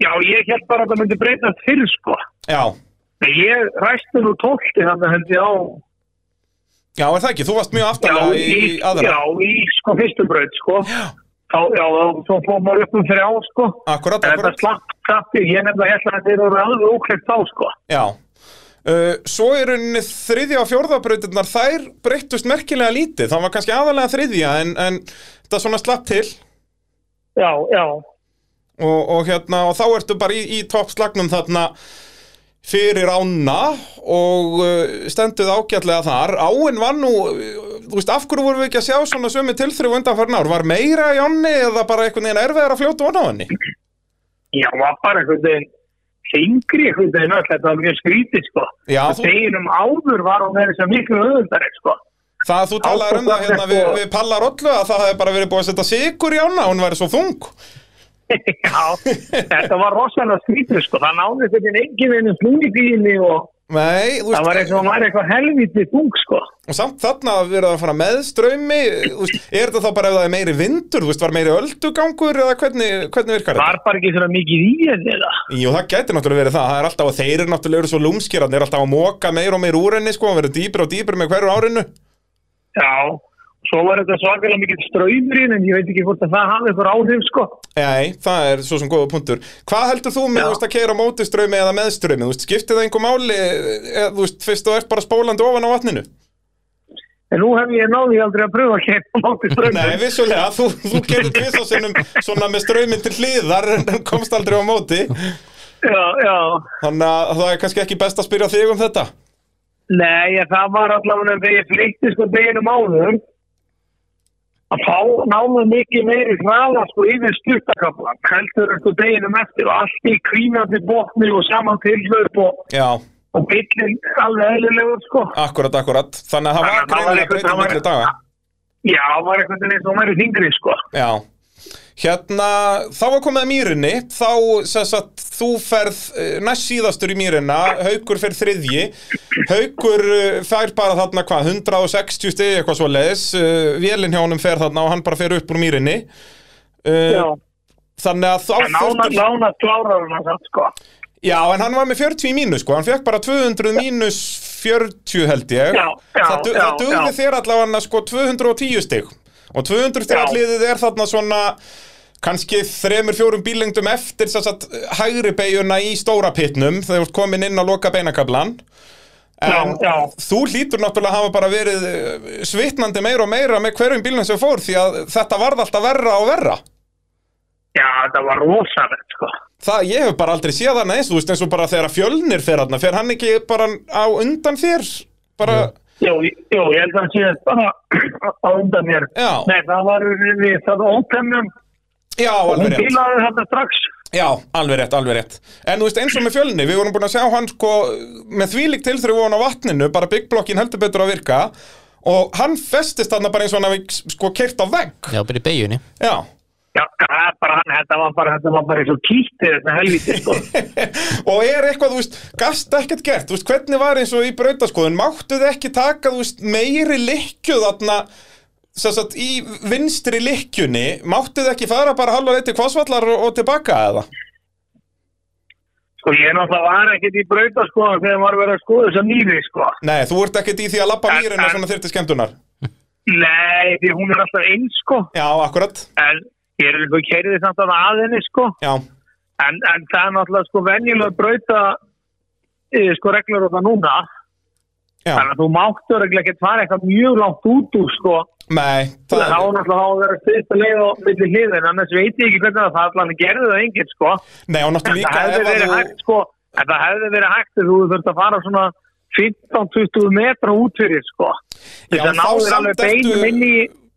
S5: Já, ég held bara að það myndi breytast fyrir sko.
S2: Já,
S5: En Ég ræstu nú tólti þannig held ég á
S2: já, er það ekki, þú varst mjög
S5: já,
S2: aftalega í, í aðra
S5: já, í sko fyrstu braut sko. Þá, já, þá- svo fór maður upp um þrjá sko.
S2: Akkurat,
S5: En þetta
S2: akkurat,
S5: slapp, slapp ég, ég nefnilega held að þeir eru alveg ókvæmt þá sko.
S2: já Uh, svo er rauninni þriðja og fjórðabrautirnar þær breyttust merkilega lítið það var kannski aðalega þriðja en, en þetta svona slapp til
S5: Já, já,
S2: og, og hérna og þá ertu bara í, í toppslagnum þarna fyrir ána og uh, stenduð ágætlega þar áin var nú, uh, þú veist af hverju vorum við ekki að sjá svona sömu tilþrif undanfarn ár var meira í áni eða bara einhvern veginn erfiðar að fljóta ofan á henni
S5: já, var bara einhvern veginn hengri einhvern veginn öll, þetta var mjög skrítið sko.
S2: Já,
S5: Það
S2: þú-
S5: Deginum áður var hún verið sem miklu öðundari sko.
S2: það þú talar um það hérna við, við pallar ollu að það hefði bara verið búið að setja sigur í ána hún væri svo þung
S5: Já, þetta var rosalega skrítið sko, það náði þetta engin veginn flúið í henni og
S2: Nei, þú
S5: það var eins og hann væri eitthvað helvítið tung sko.
S2: og samt þarna að vera að fara með ströymi er þetta þá bara ef það er meiri vindur þú veist, var meiri öldugangur eða hvernig, hvernig virkar þetta?
S5: Var bara ekki svona mikið í henni eða?
S2: Jú, það gæti náttúrulega verið það, það er alltaf að þeir eru náttúrulega eru svo lúmskir, það er alltaf að móka meir og meir úr henni sko, og verður dýpir og dýpir með hverju árinu
S5: Já, svo var þetta svakalega mikið ströymur í henni en ég veit ekki hvort að það hafi eitthvað áhrif sko.
S2: Nei, það er svo sem góða punktur Hvað heldur þú með
S5: Já.
S2: þú veist, að keira mótiströmi eða meðströmi, þú veist, skiptir það einhver máli eða, þú veist, fyrst þú ert bara spólandi ofan á vatninu?
S5: En nú hef ég náði aldrei að pröfa að kemja á móti
S2: Nei,
S5: ströymur.
S2: vissulega, þú, þú gerir tvisasinnum svona með strömin til hliðar en en komst aldrei á móti
S5: Já, já.
S2: þannig að það er kannski ekki best að spyrja þig um þetta
S5: Nei, ég, það var allavega þegar ég flytti sko deginum áður að þá náðu mikið meiri hraða sko yfir stuttakaflan heldur sko deginum eftir og allt í krínandi botni og saman tilhlaup og,
S2: Já,
S5: og billin alveg eðlilegur sko
S2: akkurat, akkurat Þannig að það var
S5: Þannig að það var
S2: greinilega
S5: eitthvað- það
S2: breytum
S5: var-
S2: milli daga
S5: Já, það var eitthvað eins og hún væri þingri sko
S2: Já, hérna þá var komið að mýrinni þá sess að þú ferð eh, næst síðastur í mýrina, haukur fer þriðji haukur eh, fær bara þarna hvað, 160 stegi eitthvað svo leðis, vélinn hjá honum fer þarna og hann bara fer upp úr mýrinni
S5: Já,
S2: uh, þannig að þá
S5: en nána,
S2: Þórður-
S5: nána klárar hann það sko
S2: Já, en hann var með 40 í mínus sko, hann fekk bara 200 mínus 40 held ég
S5: Já, já,
S2: Það, du- það
S5: já,
S2: dugði
S5: já.
S2: þér allavega sko 210 stig og 200 stig
S5: Já.
S2: alliðið er þarna svona kannski þremur, fjórum bílengdum eftir sem sagt, hægri beiguna í stóra pitnum þegar þú ert komin inn að loka beinakablan En
S5: Já, já.
S2: þú hlýtur náttúrulega að hafa bara verið eh, svitnandi meira og meira með hverjum bílnum sem fór því að þetta varð alltaf verra og verra.
S5: Já, þetta var rosalegt sko.
S2: Það, ég hef bara aldrei séð hann eins, þú veist, eins og bara þegar að fjölnir fer hann, fer hann ekki bara á undan þér? Bara,
S5: Jú, jú, ég held að sé bara á undan mér.
S2: Já.
S5: Nei, það var við það ótemnum.
S2: já, alveg
S5: Hún
S2: rétt.
S5: bílaði þetta strax.
S2: Já, alveg rétt, alveg rétt. En þú veist, eins og með fjölni, við vorum búin að sjá hann sko með þvílík tilþrif ofan á vatninu, bara byggblokkin heldur betur að virka og hann festist hann bara eins og hann hafi sko kert á vegg.
S3: Já, bara í beigjunni
S2: Já.
S5: Já, það er bara hann, þetta var bara, þetta var bara eins og kýtti þetta helviti, sko.
S2: og er eitthvað, þú veist, gast ekkert gert, þú veist, hvernig var eins og í brautaskoðun, máttu þið ekki taka, þú veist, meiri likju þarna, sem sagt, í vinstri likjunni, máttu þið ekki fara bara halva leið til kvásvallar og, og tilbaka eða?
S5: Sko, ég náttúrulega var ekkert í brauta, sko, þegar maður verið að skoða þess að nýri, sko.
S2: Nei, þú ert ekkert í því að lappa
S5: En-
S2: mýrina
S5: en-
S2: svona þyrti skemmtunar.
S5: Nei, því hún er alltaf eins, sko.
S2: Já, akkurat,
S5: En ég er líka kærið þess að að henni, sko.
S2: já,
S5: En, en það er náttúrulega, sko, venjulega brauta, eh, sko, reglur og það núna.
S2: já,
S5: Þannig að þú máttur ekki ekki fara eitthvað mjög langt út úr, sko.
S2: nei,
S5: Það
S2: það
S5: er náttúrulega þá að vera styrsta leið og milli hliðin, annars veit ég ekki hvernig það það allan gerði það enginn, sko.
S2: nei, og náttúrulega
S5: það
S2: líka ef
S5: hefði verið
S2: að þú,
S5: hægt, sko, en það hefði verið hægt ef þú þurft að fara svona 15-20 metra út fyrir, sko.
S2: Já,
S5: Þess að
S2: en þá
S5: náður
S2: samt
S5: alveg beinum
S2: ertu-
S5: inn í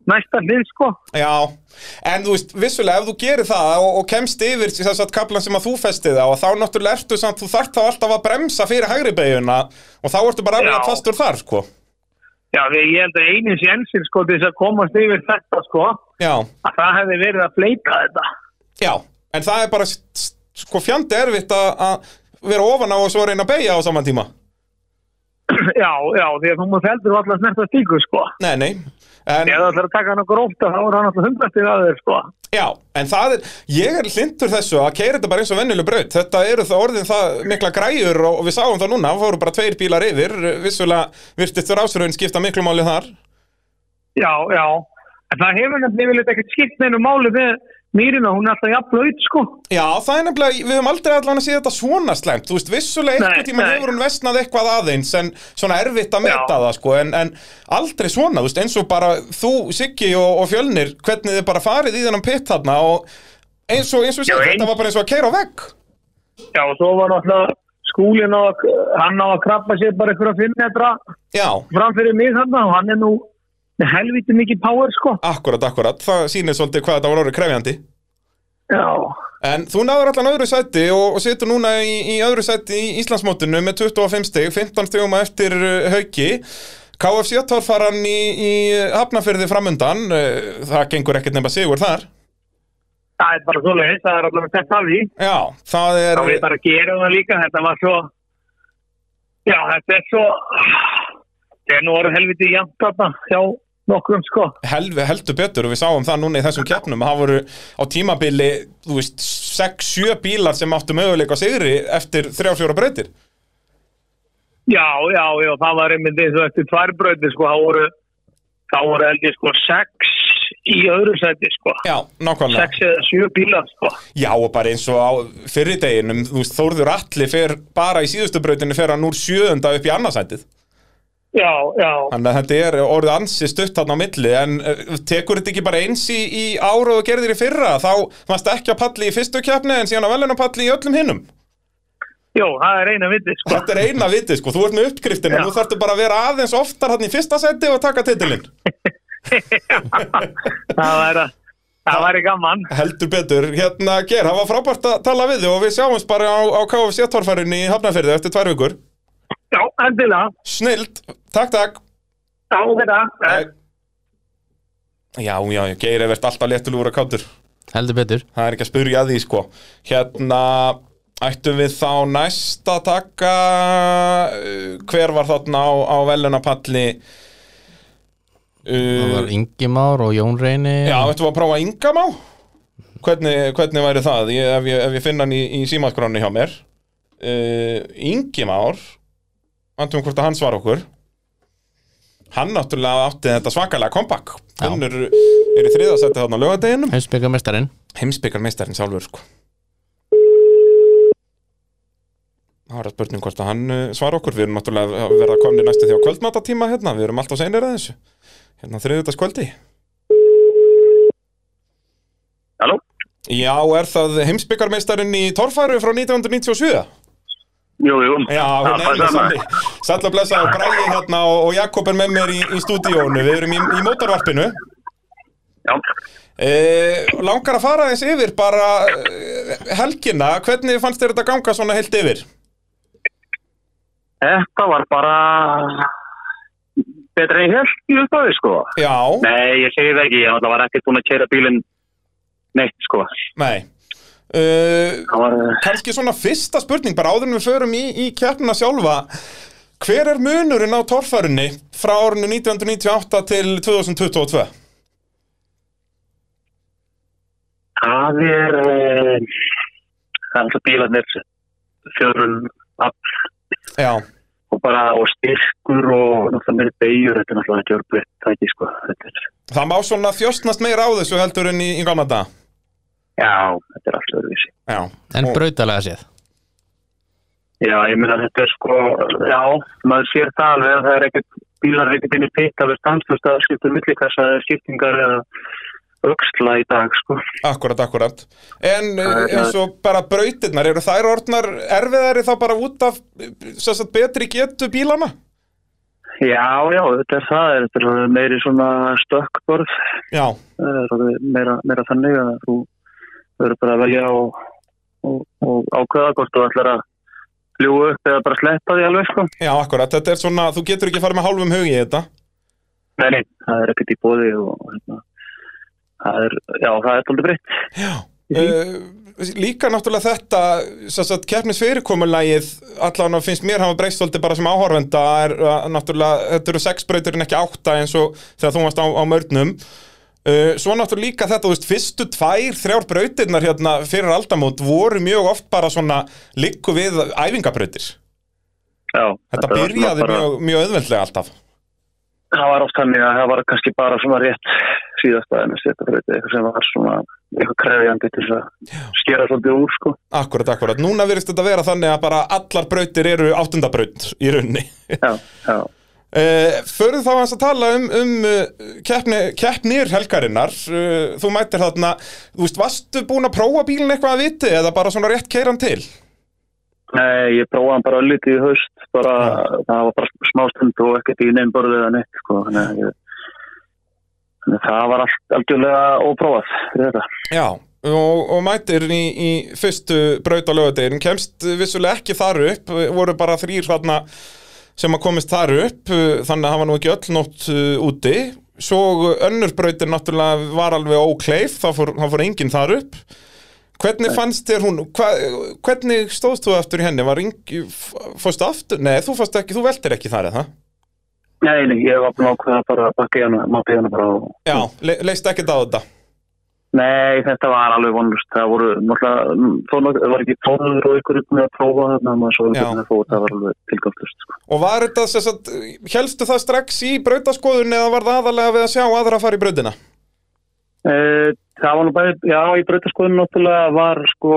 S5: næsta hlið, sko.
S2: já, en þú veist, vissulega ef þú gerir það og, og kemst yfir þess að kaplan sem að þú festið á, að þá náttúrulega ertu samt, þú þarft þá alltaf að bremsa fyrir hægri beiguna og þá ertu bara
S5: Já.
S2: aflega fastur þar, sko.
S5: Já, því ég held að einu sénsinn, sko, til þess að komast yfir þetta, sko,
S2: Já,
S5: að það hefði verið að fleita þetta.
S2: já, en það er bara s- s- sko fjandi erfitt að- að vera ofan á og svo reyna að beigja á saman tíma
S5: já, já, því að þú múið heldur allar snerta stíku, sko.
S2: Nei, nei En,
S5: Ef það ætlar að taka hann okkur óta, þá er hann alltaf hundastir að þeir, sko.
S2: já, en það er, ég er hlindur þessu að keira þetta bara eins og vennileg braut Þetta eru það orðin það mikla græjur og, og við sáum það núna, það fóru bara tveir bílar yfir Vissulega virtist þurr ásröðin skipta miklu máli þar
S5: Já, já. En það hefur nefnilega yfirleitt ekkert skipt neinu máli við mýrina, hún er alltaf jafnlaut, sko.
S2: Já, það er nefnilega, við höfum aldrei allan að sé þetta svona slæmt, þú veist, vissulega
S5: Nei,
S2: einhvern tíma
S5: nei.
S2: hefur hún vestnað eitthvað aðeins en svona erfitt að meta
S5: Já.
S2: það, sko, en, en aldrei svona, þú veist, eins og bara þú, Siggi og, og Fjölnir, hvernig þið bara farið í þennan pitt þarna og eins og, eins og,
S5: Já,
S2: Siggi,
S5: ein-
S2: þetta var bara eins og að keira á vegg.
S5: Já, og svo var náttúrulega skúlin á að, hann á að krabba sér bara ykkur að fimm metra
S2: Já,
S5: fram fyrir mig þarna og hann er nú með helviti mikið power, sko.
S2: akkurat, akkurat, það sýnir svolítið hvað þetta var orðið krefjandi.
S5: Já,
S2: En þú náður allan öðru sæti og, og situr núna í, í öðru sæti í Íslandsmótinu með 25 stig, 15 stigum á eftir uh, hauki. KFC torfaran í, í hafnafyrði framundan, uh, það gengur ekkert nefn sigur þar.
S5: það er bara svo leiðis, það er allavega þetta af því.
S2: Já, það er...
S5: Þá við bara gerum það líka, þetta var svo, já, þetta er svo, þetta er nú orðið helviti jafnt þarna hjá nokkrum, sko.
S2: helvi heldur betur og við sáum það núna í þessum keppnum að það voru á tímabili þú veist, 6-7 bílar sem áttu möguleika á sigri eftir 3-4 breytir
S5: Já, já, já, það var einmitt eins og eftir tvær bröði, sko, þá voru, þá voru held ég, sko, sex í öðru sæti, sko.
S2: Já, nákvæmlega
S5: Sex eða sjö bílar, sko.
S2: Já, og bara eins og á fyrri deginum, þú veist, Þórður Alli fer bara í síðustu brautinu fer hann úr sjöunda upp í annarsætið.
S5: Já, já,
S2: Þannig að þetta er orðið ansi stutt þarna á milli, en eh, tekur þetta ekki bara eins í, í ára og þú gerðir í fyrra, þá varst ekki á palli í fyrstu keppni en síðan á velunapalli í öllum hinnum.
S5: já, það er eina vitið, sko.
S2: Þetta er eina vitið, sko, þú ert með uppgriftina,
S5: Já.
S2: nú þarftu bara að vera aðeins oftar hann í fyrsta seti og taka titilinn.
S5: það væri, það væri gaman.
S2: Heldur betur, hérna, Ger, það var frábært að tala við þig og við sjáumst bara á, á KFC-torfærinu í Hafnarferði eftir tvær vikur.
S5: Já, endilega.
S2: Snilt, takk, takk.
S5: Já, þetta. Eh, Nei.
S2: Já, já, já, Geir er verið alltaf léttulúra kátur
S3: Heldur betur
S2: Það er ekki að spurja að því, sko Hérna, ættum við þá næst að taka uh, Hver var þarna á, á velunapalli
S3: Það
S2: uh,
S3: var Ingimár og Jón Reyni
S2: Já, ættum við að prófa yngamá? Hvernig, hvernig væri það? Ég, ef, ég, ef ég finna hann í, í símaskránu hjá mér uh, Ingimár Antum hvort að hann svara okkur Hann náttúrulega átti þetta svakalega kompakk
S3: Já.
S2: Hann er, er í þriðasætti þarna á lögadeginum
S3: Heimsbyggamestarinn
S2: heimsbyggarmeistarinn sjálfur sko Það er að spurning hvort að hann uh, svara okkur. Við erum náttúrulega að verða komni næstu því á kvöldmáttatíma hérna. Við erum alltaf seinir að þessu. Hérna þriðutags kvöldi.
S6: Halló?
S2: Já, er það heimsbyggarmeistarinn í torfæru frá 1997?
S6: Jú, jú.
S2: Já, hún er það sannig. Sæll að blessa og Bræði hérna og, og Jakob er með mér í, í stúdíónu. Við erum í, í mótarvarpinu.
S6: Já.
S2: Eh, langar að fara aðeins yfir bara eh, helgina. Hvernig fannst þér þetta ganga svona heilt yfir?
S6: Þetta var bara betra en ég held í upphafi, sko.
S2: Já.
S6: Nei, ég segi það ekki. Ég náttúrulega var ekkert búinn að keira bílinn neitt, sko.
S2: Nei uh,
S6: Það var... eh,
S2: Kanski svona fyrsta spurning bara áður en við förum í, í keppnuna sjálfa Hver er munurinn á torfarunni frá árinu 1998 til 2022?
S6: Það er, eh, það er alltaf bílarnir, fjörun, afl
S2: Já,
S6: og bara og styrkur og náttúrulega meiri beigur, þetta er náttúrulega ekki örbreytt, það ekki sko. Þetta er,
S2: það má svona þjóstnast meira á þessu heldur en í, í gamla dag
S6: já, þetta er alltaf öðruvísi.
S2: Já,
S3: en
S2: og-
S3: brautalega séð
S6: Já, ég meina þetta er sko, já, maður sér það alveg að það er ekkert, bílar er ekkert inn í pitt að vera stanslust að skipta um millikassa eða skiptingar eða auksla í dag sko.
S2: Akkurat, akkurat En uh,
S6: Það er-
S2: eins og bara brautirnar, eru þær orðnar erfiðari þá bara út af sem sagt, betri getu bílana?
S6: Já, já, þetta er það, þetta er orðið meiri svona stökkborð
S2: Já,
S6: það er orðið meira, meira þannig að þú verður bara að velja og, og, og ákveða hvort þú ætlar að fljúa upp eða bara sleppa því alveg sko.
S2: já, akkurat, þetta er svona, þú getur ekki farið með hálfum hug í þetta
S6: Nei, nei, það er ekkert í bóði og og hérna, það er, já, það er tóldi breytt.
S2: Uh, líka náttúrulega þetta sem sagt, keppnisfyrirkomulægið allan að finnst mér hafa breyst svolítið bara sem áhorfenda er að náttúrulega þetta eru sex breytur en ekki átta eins og þegar þú varst á, á mörnum uh, svo náttúrulega líka þetta, þú veist, fyrstu tvær þrjár brautirnar hérna fyrir aldamót voru mjög oft bara svona likku við æfingabrautir þetta,
S6: Já, var svona
S2: byrjaði
S6: bara,
S2: mjög, mjög auðveldlega alltaf
S6: Það var oft þannig að það var kannski bara svona rétt síðasta en þessi þetta breyti, eitthvað sem var svona eitthvað krefjandi til þess að skera svolítið úr sko.
S2: akkurat, akkurat, núna virðist þetta vera þannig að bara allar brautir eru áttundabraut í runni
S6: Já, já.
S2: Uh, Föruð þá hans að tala um, um uh, keppni, keppnir helgarinnar uh, Þú mætir þarna Þú veist, varstu búin að prófa bílinn eitthvað að viti eða bara svona rétt keiran til?
S6: Nei, ég prófaði hann bara lítið í haust, bara, það var bara smástund og ekkert í neinn borðið eða neitt, sko, þannig að ég, þannig að það var allt algjörlega óprófað fyrir þetta.
S2: Já Og, og mætir í, í fyrstu braut á lögadegin Kemst vissulega ekki þar upp uh, voru bara þrýr þarna sem að komist þar upp uh, þannig að hafa nú ekki öll nótt uh, úti Svo önnur brautin náttúrulega var alveg ókleif þá fór, þá fór enginn þar upp Hvernig fannst þér hún, hva, hvernig stóðst þú aftur í henni, var yngi, fórstu aftur, nei þú fórstu ekki, þú veltir ekki þar eða?
S6: Nei, nei, ég var búin ákveða bara að bakka í hana, mátti í hana bara og...
S2: Já, le, leist ekkert á þetta,
S6: Nei, þetta var alveg vonlust, það voru, náttúrulega, þó nokkuð, það var ekki tónuður og ykkur upp með að prófa þarna, maður svo
S2: Já.
S6: ekki með að fóta, það var alveg tilgáttlust, sko.
S2: og var þetta, sem sagt, helstu það strax í brautaskoðun eða var það aðalega við að sjá aðra að fara í brautina?
S6: Eh, Það var nú bæði, já, í brautaskoðinu náttúrulega var sko,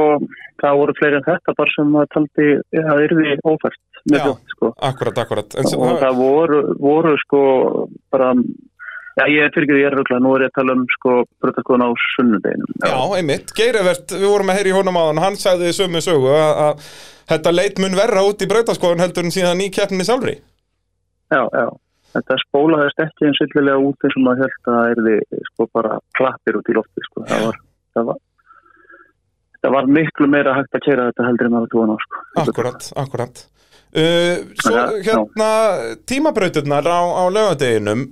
S6: það voru fleiri en þetta bara sem maður taldi að það yrði ófært
S2: Já.
S6: með fjótt sko.
S2: Akkurat, akkurat, en sem,
S6: og það voru, voru sko bara, já ég er fyrir ekki því ég er röglega, nú er ég að tala um sko brotaskóðan á sunnudeginum.
S2: já, einmitt, Geirivert, við vorum að heyra í honum á hann, hann sagði sömu sögu að, að þetta leit mun verra út í brautaskoðun heldur en síðan í keppninni sjálfri.
S6: Já, já. Þetta spólaðist ekki eins yllilega út eins og maður held að það erði sko bara klappir út í lofti sko. Það var, það var, það var miklu meira hægt að kera þetta heldur en maður tóna á sko.
S2: Akkurat, akkurat uh, Svo
S6: Þannig að-
S2: hérna tímabrautirnar á, á lögadeginum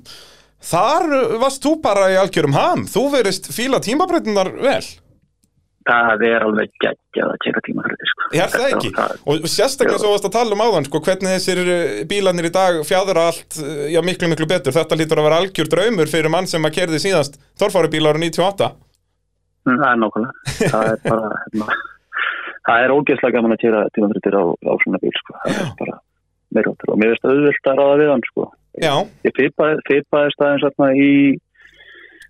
S2: Þar varst þú bara í algjörum ham Þú verist fíla tímabrautirnar vel
S6: Það er alveg geggjað að kera tíma fyrir sko.
S2: Er það
S6: Þetta-
S2: ekki? Og sérstaklega
S6: Já.
S2: svo varst að tala um áðan sko, hvernig þessir uh, bílarnir í dag fjadra allt uh, já, miklu, miklu betur Þetta lítur að vera algjör draumur fyrir mann sem að kerði síðast Torfárubílar 98
S6: Mm, Það er nákvæmlega. Það er bara, hérna, það er ógeðslega gaman að týra tímafrittir á, á svona bíl, sko. Það er bara meira áttur og mér veist auðvilt að ráða við hann, sko.
S2: Já,
S6: Ég feipaðist aðeins hérna í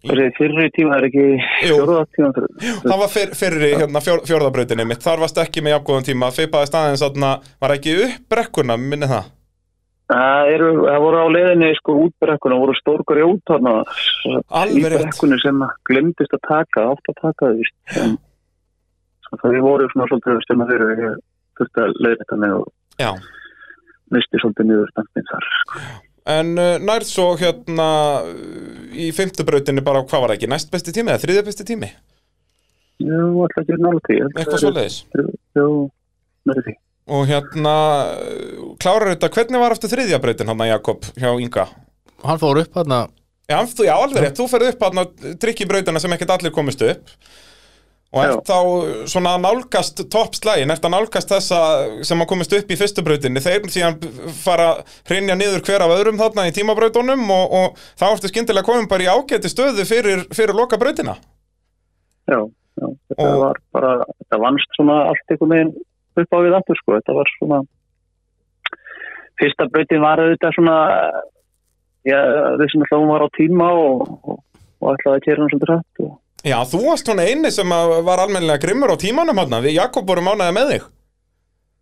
S6: Þessi fyrri tíma er ekki
S2: Jú.
S6: fjóruða tíma
S2: Það var fyr, fyrri hérna, fjör, fjórðabrautinni mitt, þar varst ekki með jafngóðum tíma, feipaði staðins aðna, var ekki upp brekkuna, minni það?
S6: Það eru, það voru á leiðinni sko út brekkuna, voru stór grjót hana
S2: Alveg
S6: í
S2: rétt.
S6: brekkunni sem glemdist að taka, átt að taka því Svo það sko, voru svona svolítið að stemma fyrir og ég þurfti að leiða þetta með og
S2: Já.
S6: misti svolítið niður stampin þar
S2: En uh, nærð svo hérna uh, í fimmtubrautinni bara, hvað var ekki, næst besti tími eða þriðja besti tími?
S6: Jú, alltaf ekki nála því
S2: Eitthvað svoleiðis.
S6: Jú, með því
S2: Og hérna, uh, klárar þetta, hvernig var aftur þriðja brautin hann Jakob hjá Inga?
S3: Hann fór upp hann
S2: Já, þú, já alveg rétt, þú ferð upp hann að trykki brautina sem ekkert allir komist upp og ert þá svona að nálgast toppslægin, ert að nálgast þessa sem að komist upp í fyrstu brautinni þeir síðan fara að hreinja niður hver af öðrum þarna í tímabrautunum og, og þá ertu skyndilega komin bara í ágæti stöðu fyrir, fyrir loka brautina
S6: Já, já þetta
S2: Og-
S6: var bara, þetta vannst svona allt einhvern veginn upp á við aftur sko, þetta var svona fyrsta brautin var auðvitað svona já, þessum að hún var á tíma og, og, og ætlaði að kera hann svolítið hrætt og
S2: Já, þú varst svona eini sem að var almennilega grimmur á tímanum hann, við Jakob vorum ánæði með þig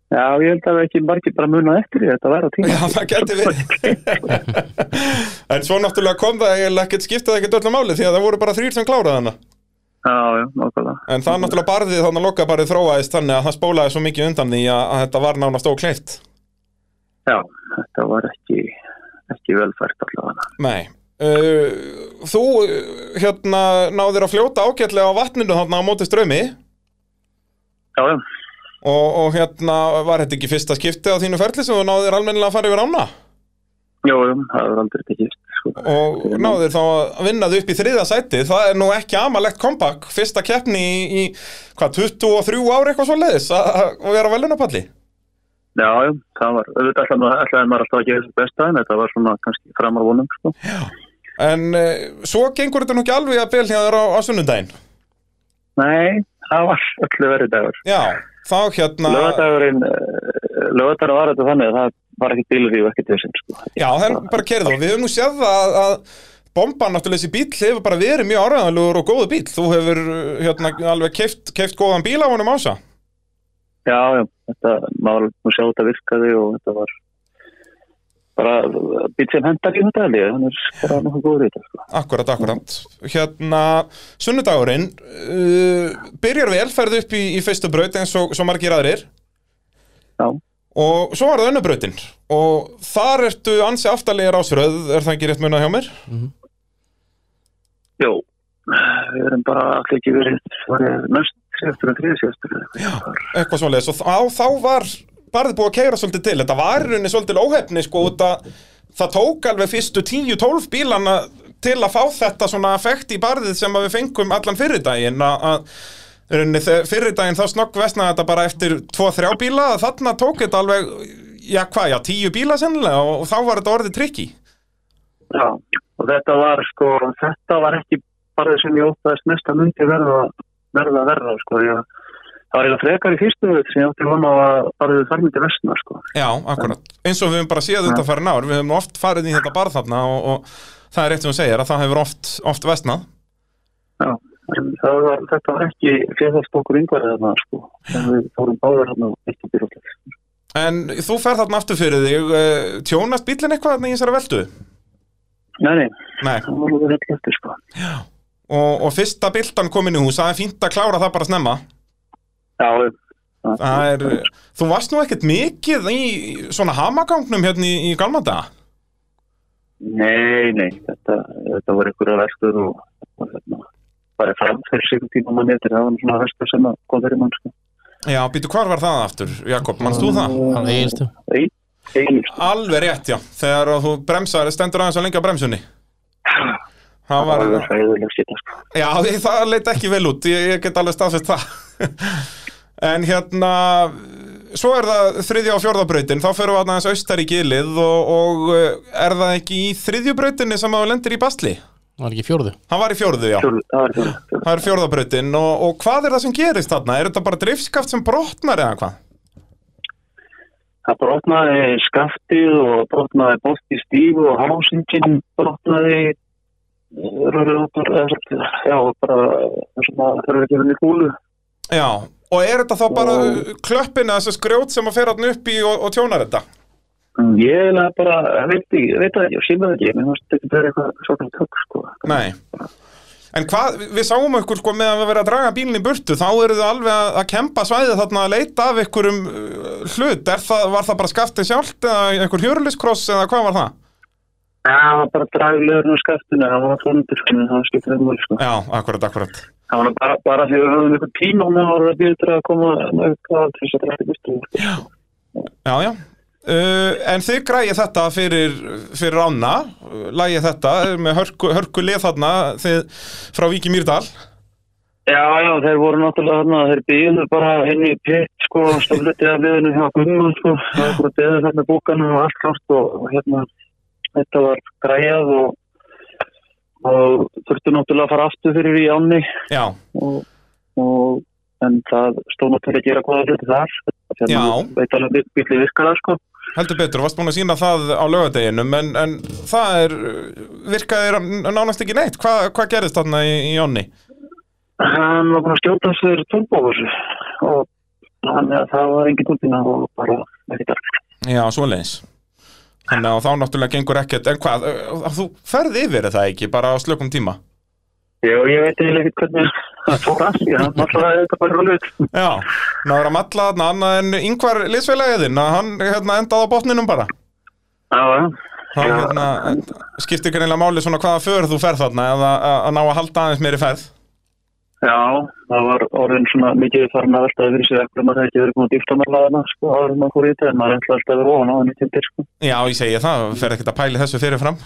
S6: já, ég held að ekki margir bara munað eftir því að þetta væri á tíma
S2: Já, það geti verið En svo náttúrulega kom það eiginlega ekkert skiptaði ekkert öllum máli því að það voru bara þrýr sem kláraði hana
S6: já, já, nákvæmlega
S2: En það náttúrulega barðið þannig að loka barðið þróaðist þannig að það spólaði svo mikið undan því að, að þetta var nánast ókleift.
S6: já, þetta var ekki ekki velfært allavega
S2: Nei. Uh, þú uh, hérna náðir að fljóta ágætlega á vatninu þarna á móti strömi
S6: já, já,
S2: og, og hérna var þetta ekki fyrsta skipti á þínu ferli sem þú náðir almennilega að fara yfir ána
S6: já, já, það var aldrei tekist sko.
S2: og náðir þá að vinna þau upp í þriða sæti. Það er nú ekki amalegt kompakk, fyrsta keppni í, í hvað, 23 ári eitthvað svo leiðis að að vera á velunapalli.
S6: já, já, það var auðvitað ætlaði maður- ætlaði maður alltaf að gera þessu besta en þetta var svona kannski framar vonum sko.
S2: En uh, svo gengur þetta nú ekki alveg að belja þér á, á sunnundaginn.
S6: Nei, það var öllu verið dagur.
S2: Já, þá hérna
S6: Lögadagurinn, lögadagurinn var þetta þannig að það var ekki bílu því og ekki þessin, sko.
S2: Já, það er bara kerðu og við höfum nú séð að, að bomban náttúrulega þessi bíl hefur bara verið mjög áræðanlegur og góðu bíl þú hefur uh, hérna alveg keift, keift góðan bíl á honum ása
S6: Já, já, þetta, maður var nú sjá þetta virkaði og þetta var bara bíl sem hendar í þetta held ég, hann er bara nokkuð góður í þetta, sko.
S2: Akkurat, akkurat Hérna, sunnudagurinn uh, byrjar vel, ferð upp í, í fyrstu braut eins og svo margir aðrir
S6: Já,
S2: og svo var það önnur brautin og þar ertu ansi aftalegir ásröð er það ekki rétt munað hjá mér?
S6: jú, við erum bara allir ekki verið, verið næst sérstur en þriðið sérstur. Já.
S2: eitthvað svona leðis og þá, þá var barðið búið að keira svolítið til þetta var í rauninni svolítið óhefni sko út að það tók alveg fyrstu 10-12 bílana til að fá þetta svona effekt í barðið sem að við fengum allan fyrir daginn að að í rauninni þegar- fyrir daginn þá snokk vestnaði þetta bara eftir 2-3 bíla þarna tók þetta alveg já hvað, já 10 bíla sennilega og, og þá var þetta orðið trikki
S6: Já, og þetta var, sko, þetta var ekki bara það sem ég óttaðist mest að myndi verða, verða, verða, sko, því að það var eiginlega frekar í fyrstu veit sem ég átti vona að bara þau þar myndi vestna, sko.
S2: Já, akkurat. Eins og við höfum bara séð þetta farin ár, við höfum oft farið í þetta barð þarna og, og það er rétt sem hún segir að það hefur oft, oft vestnað
S6: Já, en það var, þetta var ekki fjöðast okkur yngvarðið þarna, sko, en við fórum báðar þarna og ekki byrjulegt.
S2: En þú ferð þarna aftur fyrir þig, eh, tjónast bílinn eitthvað þarna í þessari veldu?
S6: Nei, nei,
S2: Nei,
S6: það var alveg rétt eftir, sko.
S2: og, og fyrsta bildan komin í hús, það er fínt að klára það bara snemma.
S6: Já, ég-
S2: Það er, þú varst nú ekkert mikið í svona hamagangnum hérna í, í Galmanda?
S6: Nei, nei, þetta, þetta var einhverja verður og, og hérna, bara fram fyrir sig tíma manni eftir, það var nú svona verður sem að kom fyrir mann, sko.
S2: Já, býtu, hvar var það aftur, Jakob, mannst þú það?
S3: Hann eiginstu
S6: Ein, ein, sko.
S2: Alveg rétt, já, þegar að þú bremsar, stendur aðeins að lengja bremsunni. Það var,
S6: alveg hræðileg sita sko.
S2: já, það leit ekki vel út, ég, ég get alveg staðfest það. En hérna, svo er það þriðja og fjórða brautin, þá fyrir við aðeins austar í gilið og, og eh, er það ekki í þriðju brautinni sem að þú lendir í basli?
S3: Var ekki í fjórðu
S2: Hann var í fjórðu, já.
S6: Fjórðu- það var fjórða, fjórða.
S2: Það er fjórða brautin og, og hvað er það sem gerist þarna? Er þetta bara driftskaft sem brotnar eða hvað?
S6: það brotnaði skaftið og brotnaði bótt í stífu og hásingin brotnaði eh, rörið út úr, eða sagt, já, bara eh, svona, það er ekki henni kúlu.
S2: Já, og er þetta þá bara klöppin eða þessi skrjót sem að fer hann upp í og, og tjónar þetta?
S6: Ég er eiginlega bara, ég veit ekki, ég veit það ekki, ég sé það ekki, mér finnst þetta verið eitthvað svona tök, sko.
S2: Nei En hvað, við- við sáum ykkur sko meðan við verið að draga bílinn í burtu þá eru þið alveg að, að kempa svæðið þarna að leita af ykkur um hlut er það, var það bara skaftið sjálft eða einhver hjöruliskross eða hvað var það?
S6: Já, það var bara draglegur úr skaftinu, það var tónundir, sko, en það skiptir einhverjum, sko.
S2: Já, akkurat, akkurat
S6: Það var bara, bara því við höfum einhvern tíma og mér vorum að býða til að koma með hvað til sko. þess að þetta býstu.
S2: Já, já uh, En þið græði þetta fyrir, fyrir ána lægi þetta uh, með hörku, hörku lið þarna þið, frá Víki Mýrdal
S6: Já, já, þeir voru náttúrulega þarna, þeir býðu bara inn í pitt, sko, stofletti að liðinu hjá Guðmann, sko, það var bara beðið þarna búkana og allt klart og og hérna, þetta var græjað og, og þurftu náttúrulega að fara aftur fyrir í ánni
S2: Já,
S6: og, og en það stóð náttúrulega að gera góða hluti þar, þannig
S2: Já.
S6: að veit alveg að bílið virkar það, sko.
S2: heldur betur, varst búin að sína það á lögadeginum en, en það er virkaði nánast ekki neitt Hva, hvað gerðist þarna í, í ánni?
S6: hann var búin að skjóta sér tólbóðus og hann, ja, það var engin útina og bara ekkert allt.
S2: Já, svoleiðis Þannig að þá náttúrulega gengur ekkert En hvað, ö, þú ferði yfir er það ekki bara á slökum tíma?
S6: Jó, ég veit eiginlega ekkert hvernig það fór að því, hann alltaf þetta bara alveg.
S2: Já, náður að matla þarna annað en yngvar liðsfélagiðinn að hann hérna, endaði á botninum bara
S6: Já, já.
S2: Það hérna, skiptir kannilega máli svona hvaða för þú ferð þarna eða að að ná að halda aðeins meiri ferð
S6: Já, það var orðin svona mikið farin að velta yfir sér eftir maður hefði ekki verið búin að dýfta með laðina, sko, áður en maður fór í þetta, en maður ætlaði alltaf að vera ofan á henni til dyr, sko.
S2: Já, ég segi það, fer ekkert að pæli þessu fyrirfram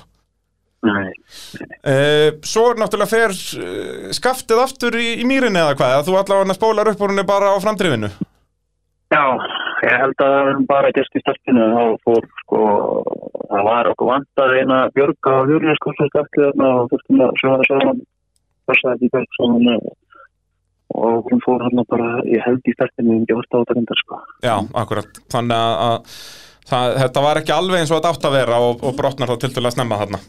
S6: Nei.
S2: Uh, svo er náttúrulega fer uh, skaftið aftur í, í mýrinni eða hvað, eða þú allavega spólar upp úr henni bara á framdrifinu.
S6: Já, ég held að það var bara gæst í startinu þá fór sko, það var okkur vantað eina björga á hjörnir sko svo startið þarna og þurftum að sjóða saman passaði ekki björg saman eh, og hún fór hann bara, ég held í startinu en ég vart á þetta reyndar sko
S2: Já, akkurat. Þannig að, að það, þetta var ekki alveg eins og þetta átt að vera og, og brotnar það til til að snemma þarna.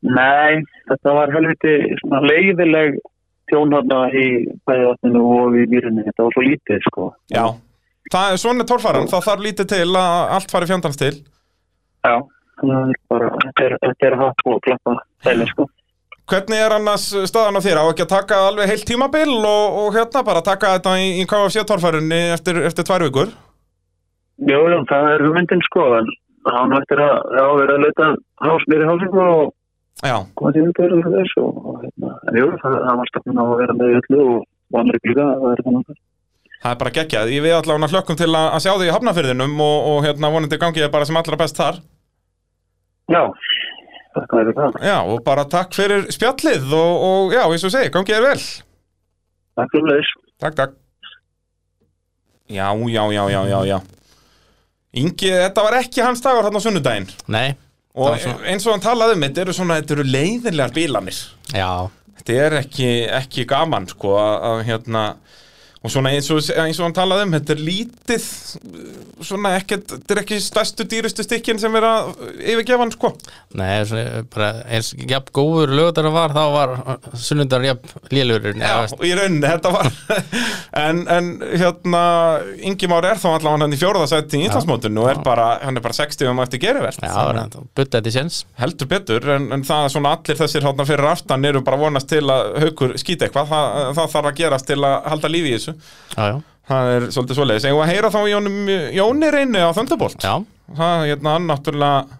S6: Nei, þetta var helviti svona leiðileg tjón þarna í bæðvatninu og í mýrinni, þetta var svo lítið sko
S2: Já. Það er svona tórfaran, það þarf lítið til að allt fari fjandans til.
S6: Já, það er bara, þetta er, þetta er hatt og klappa dæli sko
S2: Hvernig er annars staðan á þér? Á ekki að taka alveg heilt tímabil og, og hérna bara taka þetta í, í KFC-tórfarunni eftir, eftir tvær vikur?
S6: Jú, jú, það er hugmyndin sko, en hann ættir að, já, við erum að leita hás, nýri hásingu og
S2: Já,
S6: koma til yngur og þessu og og hérna, en jú, það, það var stafnum á að vera með í öllu og vanur ekki líka, það er þannig að
S2: það er bara geggjað. Ég við allavega hlökkum til að, að sjá þig í hafnafyrðinum og, og hérna vonandi gangið þér bara sem allra best þar.
S6: Já, þakka þér fyrir það,
S2: Já, og bara takk fyrir spjallið og, og já, eins og segi, gangi þér vel.
S6: takk fyrir leis.
S2: Takk, takk. Já, já, já, já, já, já. Ingi, þetta var ekki hans dagur hann á sunnudaginn.
S3: Nei,
S2: Og
S3: Það var svona-
S2: eins og hann talaði um, þetta eru svona, þetta eru leiðinlegar bílanir.
S3: já,
S2: Þetta er ekki, ekki gaman, sko, að, að hérna... Og svona eins og, eins og hann talaði um, þetta er lítið, svona ekkert, þetta er ekki stærstu dýrustu stykkin sem er að yfirgefa hann, sko.
S3: nei svona, bara, eins, jafn góður lögðar var þá var sunnundar jafn lélur
S2: Já, og í rauninni, þetta var en, en hérna Ingi Már er þá allavega hann í fjórðasætti í Íslandsmótinu og er bara, hann er bara 60 um eftir gerivert
S3: Já, þannig að butta þetta í séns
S2: heldur betur, en, en það er svona allir þessir hátna fyrir aftan eru bara að vonast til að haukur skýta eitthvað, það, það þarf að gerast til að halda lífi í þessu,
S3: Já, já,
S2: það er svolítið svoleiðis, en að heyra þá í honum Jóni reyni á Thunderbolt
S3: já,
S2: það, hérna, hann náttúrulega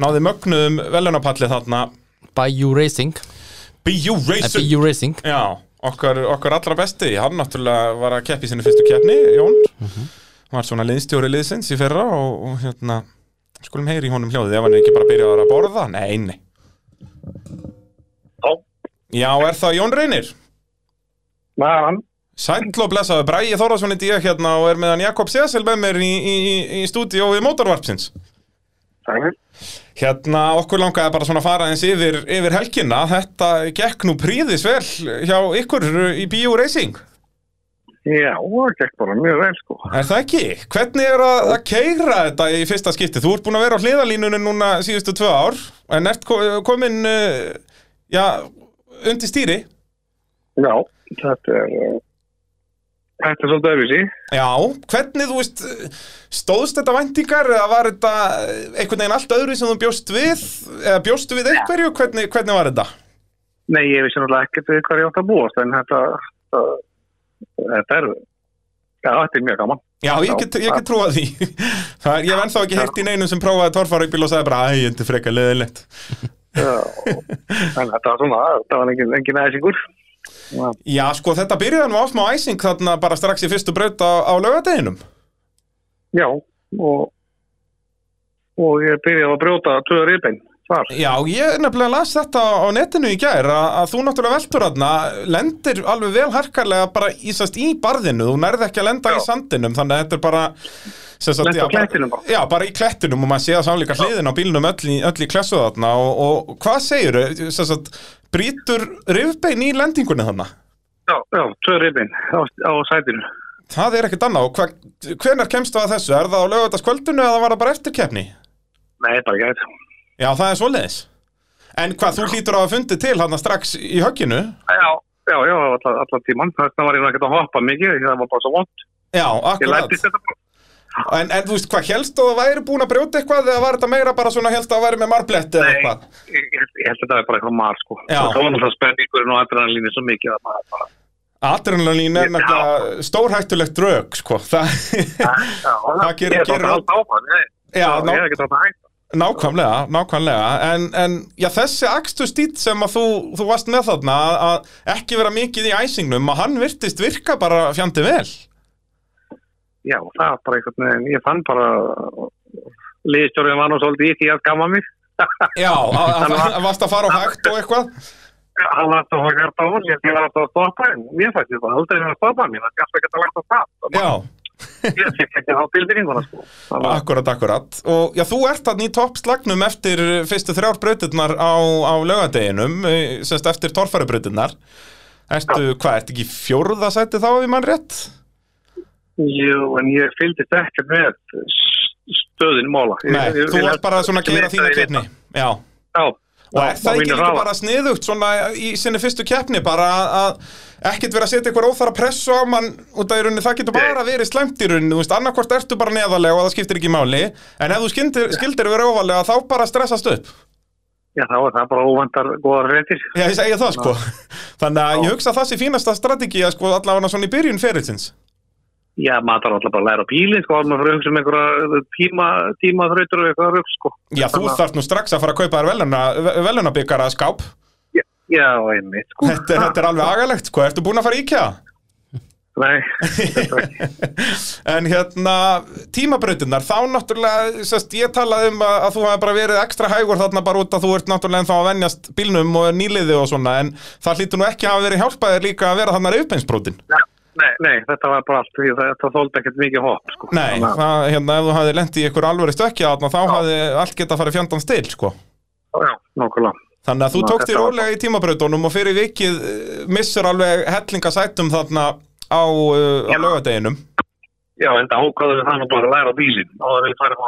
S2: náði mögnuðum velunapalli þarna
S3: by you racing
S2: BU
S3: Nei,
S2: Racing
S3: Be you racing
S2: Já, okkar, okkar allra besti hann náttúrulega var að keppi sinni fyrstu keppni Jón,
S3: Mhm.
S2: var svona liðstjóri liðsins í fyrra og, og hérna skulum heyri í honum hljóðið ef hann er ekki bara byrjaður að borða, nei, nei
S5: Já.
S2: Já, er það Jón Reynir?
S5: Það er hann.
S2: Sæll og blessaður, Bræði Þórðarsson í díu hérna og er meðan Jakob Sesel með mér í, í, í- í stúdíó við mótorvarpsins
S5: Sælir.
S2: Hérna, okkur langaði bara svona að fara eins yfir, yfir helgina, þetta gekk nú príðis vel hjá ykkur í Bíó Racing
S5: Já, það gekk bara mjög vel sko.
S2: Er það ekki? Hvernig er að, að keira þetta í fyrsta skipti? Þú ert búin að vera á hliðalínunum núna síðustu tvö ár en ert ko- komin uh, já, undir stýri
S5: Já, þetta er eh, Þetta er svolítið öðruvísi
S2: Já, hvernig, þú veist, stóðst þetta væntingar eða var þetta eh, einhvern veginn allt öðru sem þú bjóst við eða bjóstu við einhverju, hvernig, hvernig var þetta?
S5: Nei, ég vissi náttúrulega ekkert við hvað ég átt að búast en þetta, þetta, þetta er Já, þetta er mjög gaman
S2: Já, ég get, ég get trúað því Það er, Ég hef ennþá ekki heyrt í neinum sem prófaði torfarauppil og sagði bara, æ, þetta er frekar leðilegt
S5: Já, en þetta var svona, þetta var engin, engin æsingur.
S2: Já, sko, þetta byrjaði nú átt með æsing þarna bara strax í fyrstu braut á, á laugardeginum
S5: Já, og, og ég byrjaði að brjóta tvöður ribbein þar.
S2: Já, ég nefnilega las þetta á netinu í gær að, að þú náttúrulega veltur aðna lendir alveg vel harkarlega bara ísast í barðinu, þú nærði ekki að lenda í sandinum þannig að þetta er bara sem sagt,
S5: Lenti á
S2: já, bara-
S5: klettinum bara.
S2: Já, bara í klettinum og maður séða samleika hliðin á bílnum öll í, öll í klessu þarna og, og hvað segir þau? Brítur rifbein í lendingunni þannig?
S5: Já, já tvöður ribbein á, á sætinu.
S2: Það er ekkert annað og hva, hvenær kemstu að þessu? Er það á lögutaskvöldinu eða var það bara eftirkeppni?
S5: Nei, bara ekki þetta.
S2: Já, það er svoleiðis En hvað, þú hlýtur á að fundi til hann strax í högginu?
S5: Já, já, já, allan alla tíman. Þarna var ég nú ekkert að hoppa mikið, það var bara svo vond.
S2: Já,
S5: Ég
S2: akkurat
S5: lættist þetta bara.
S2: En, en þú veist hvað, helst þú að það væri búin að brjóta eitthvað eða var þetta meira bara svona helst að væri með marbletti eða
S5: Nei,
S2: eitthvað?
S5: ég, ég, held- ég held að þetta var bara eitthvað mar, sko.
S2: Já.
S5: Það var náttúrulega spenningurinn og adrenalínið svo mikið að maður bara...
S2: Adrenalín er
S5: Já.
S2: nefnilega stórhættulegt drög, sko. Það,
S5: Já,
S2: Það gerir-
S5: Ég
S2: gerir-
S5: er alltaf áfram, ég,
S2: já,
S5: ég
S2: ná,
S5: er ekkert alltaf hægt.
S2: nákvæmlega, nákvæmlega. En, en já, þessi akstu stýtt sem að þú, þú varst með þarna, að- að ekki vera mikið í æsingnum, að hann virtist virka bara fjandi vel.
S5: já, það var bara einhvern veginn, ég fann bara liðstjórið var nú svolítið í því að gama mig
S2: Já, að, að,
S5: Hann var-
S2: að varst að fara á hægt og eitthvað.
S5: hann var alltaf að gert á hún, ég var alltaf að stoppa henn mér fætti það aldrei verið að stoppa mér það gæst ekki að lagt á það
S2: Já,
S5: ég fikk ekki þá tilbygginguna sko Það var-
S2: akkurat, akkurat. Og já, þú ert þarna í toppslagnum eftir fyrstu þrjár brautirnar á, á lögadeginum, eh, semst eftir torfærubrautirnar. Ertu, hvað, ertu ekki í fjórða sæti þá, ef ég mann rétt?
S5: jú, en ég fylgdist ekki með s- stöðin mála Ég-
S2: Nei,
S5: ég-
S2: þú
S5: ég-
S2: ert bara svona að
S5: ég-
S2: gera
S5: ég-
S2: þína
S5: ég-
S2: keppni. Já,
S5: já,
S2: og er það ekki líka bara sniðugt svona í sinni fyrstu keppni, bara að- að ekkert vera að setja einhver óþara pressu á mann út af í rauninni, það getur bara verið slæmt í rauninni, þú veist, annarkvort ertu bara neðarlega og það skiptir ekki máli, en ef þú skildir, skildir vera óvalega þá bara stressast upp.
S5: já, þá er það bara óvandar góðar reytir
S2: Já, ég segja það sko Þannig að ég hugsa að það sé fínasta strategi að sko allavega svona í byrjun ferilsins
S5: já, maður þarf alltaf bara að læra á bílinn sko, maður fyrir að hugsa um einhverja tíma, tíma og eitthvað rögg sko
S2: Já, þú
S5: Þannig að-
S2: þarft nú strax að fara að kaupa þér veluna, velunabikara skáp
S5: já, einmitt sko
S2: þetta, er- þetta er alveg agalegt sko, ertu búin að fara í IKEA?
S5: Nei,
S2: en hérna, tímabrautinnar þá náttúrulega, sérst, ég talaði um að, að þú hafi bara verið ekstra hægur þarna bara út að þú ert náttúrulega ennþá að venjast bílnum og er nýliði og svona, en það hlýtur nú ekki að hafa verið hjálpaðir líka að vera þarna rauðbeinsbrótin
S5: nei, nei, þetta var bara allt því þetta þóldi ekkert mikið hopp sko.
S2: Nei,
S5: Þannig að-
S2: það, hérna, ef þú hafði lent í ykkur alvöru stökkja þarna, þá hafði allt geta farið fjandans til, sko.
S5: Já, nokkulega
S2: Þannig að þú
S5: Ná,
S2: tókst þér
S5: þetta var-
S2: rólega í tímabrautunum og fyrir vikið eh, missur alveg hellinga sætum þarna á, uh, á
S5: Já.
S2: lögadeginum.
S5: Já, en það ákvæður við þannig bara að læra á bílinn og það vil fara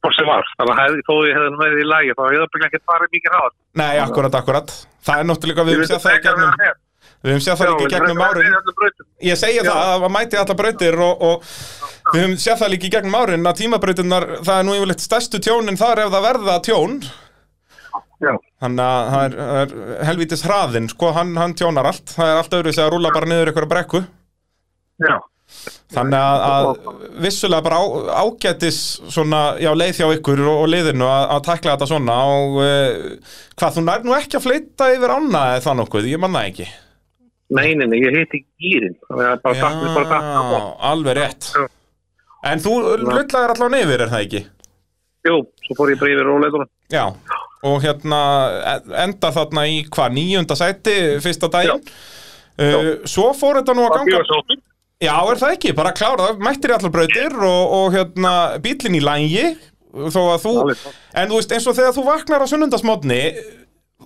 S5: bort sem var þannig að hefði, þó ég hefði nú verið í lagi þá hefði það ekki farið mikið ráð
S2: Nei, akkurat, akkurat. Það er náttúrulega, við höfum séð það í gegnum, við höfum séð það líka í gegnum árin. Ég segja það að maður mæti allar brautir og, og við höfum séð það líka í gegnum árin að tímabrautinnar, það er nú yfirleitt stærstu tjónin þar ef það verða tjón.
S5: Já,
S2: Þannig að það er, það er helvítis hraðinn, sko, hann, hann tjónar allt. Það er allt öðru sem að rúla bara niður ykkur að brekku.
S5: já,
S2: Þannig að, að vissulega bara á, ágætis svona, já, leið hjá ykkur og, og liðinu að, að tækla þetta svona og uh, hvað, þú nær nú ekki að fleita yfir ána eða það nokkuð, ég manna ekki.
S5: nei, nei, nei, ég heiti gýrin þannig að bara takk við bara takk
S2: alveg rétt.
S5: Já.
S2: En þú lullaðir allan yfir, er það ekki?
S5: Jú, svo fór ég bara yfir róleitunum
S2: Já, og hérna e- endar þarna í hvað, níunda sæti fyrsta daginn? Uh, svo fór þetta nú að ganga... Já, er það ekki, bara klára það, mættir í allar brautir og, og hérna, bílinn í lægi þó að þú,
S5: Alveg klart.
S2: en þú veist eins og þegar þú vaknar á sunnundasmótni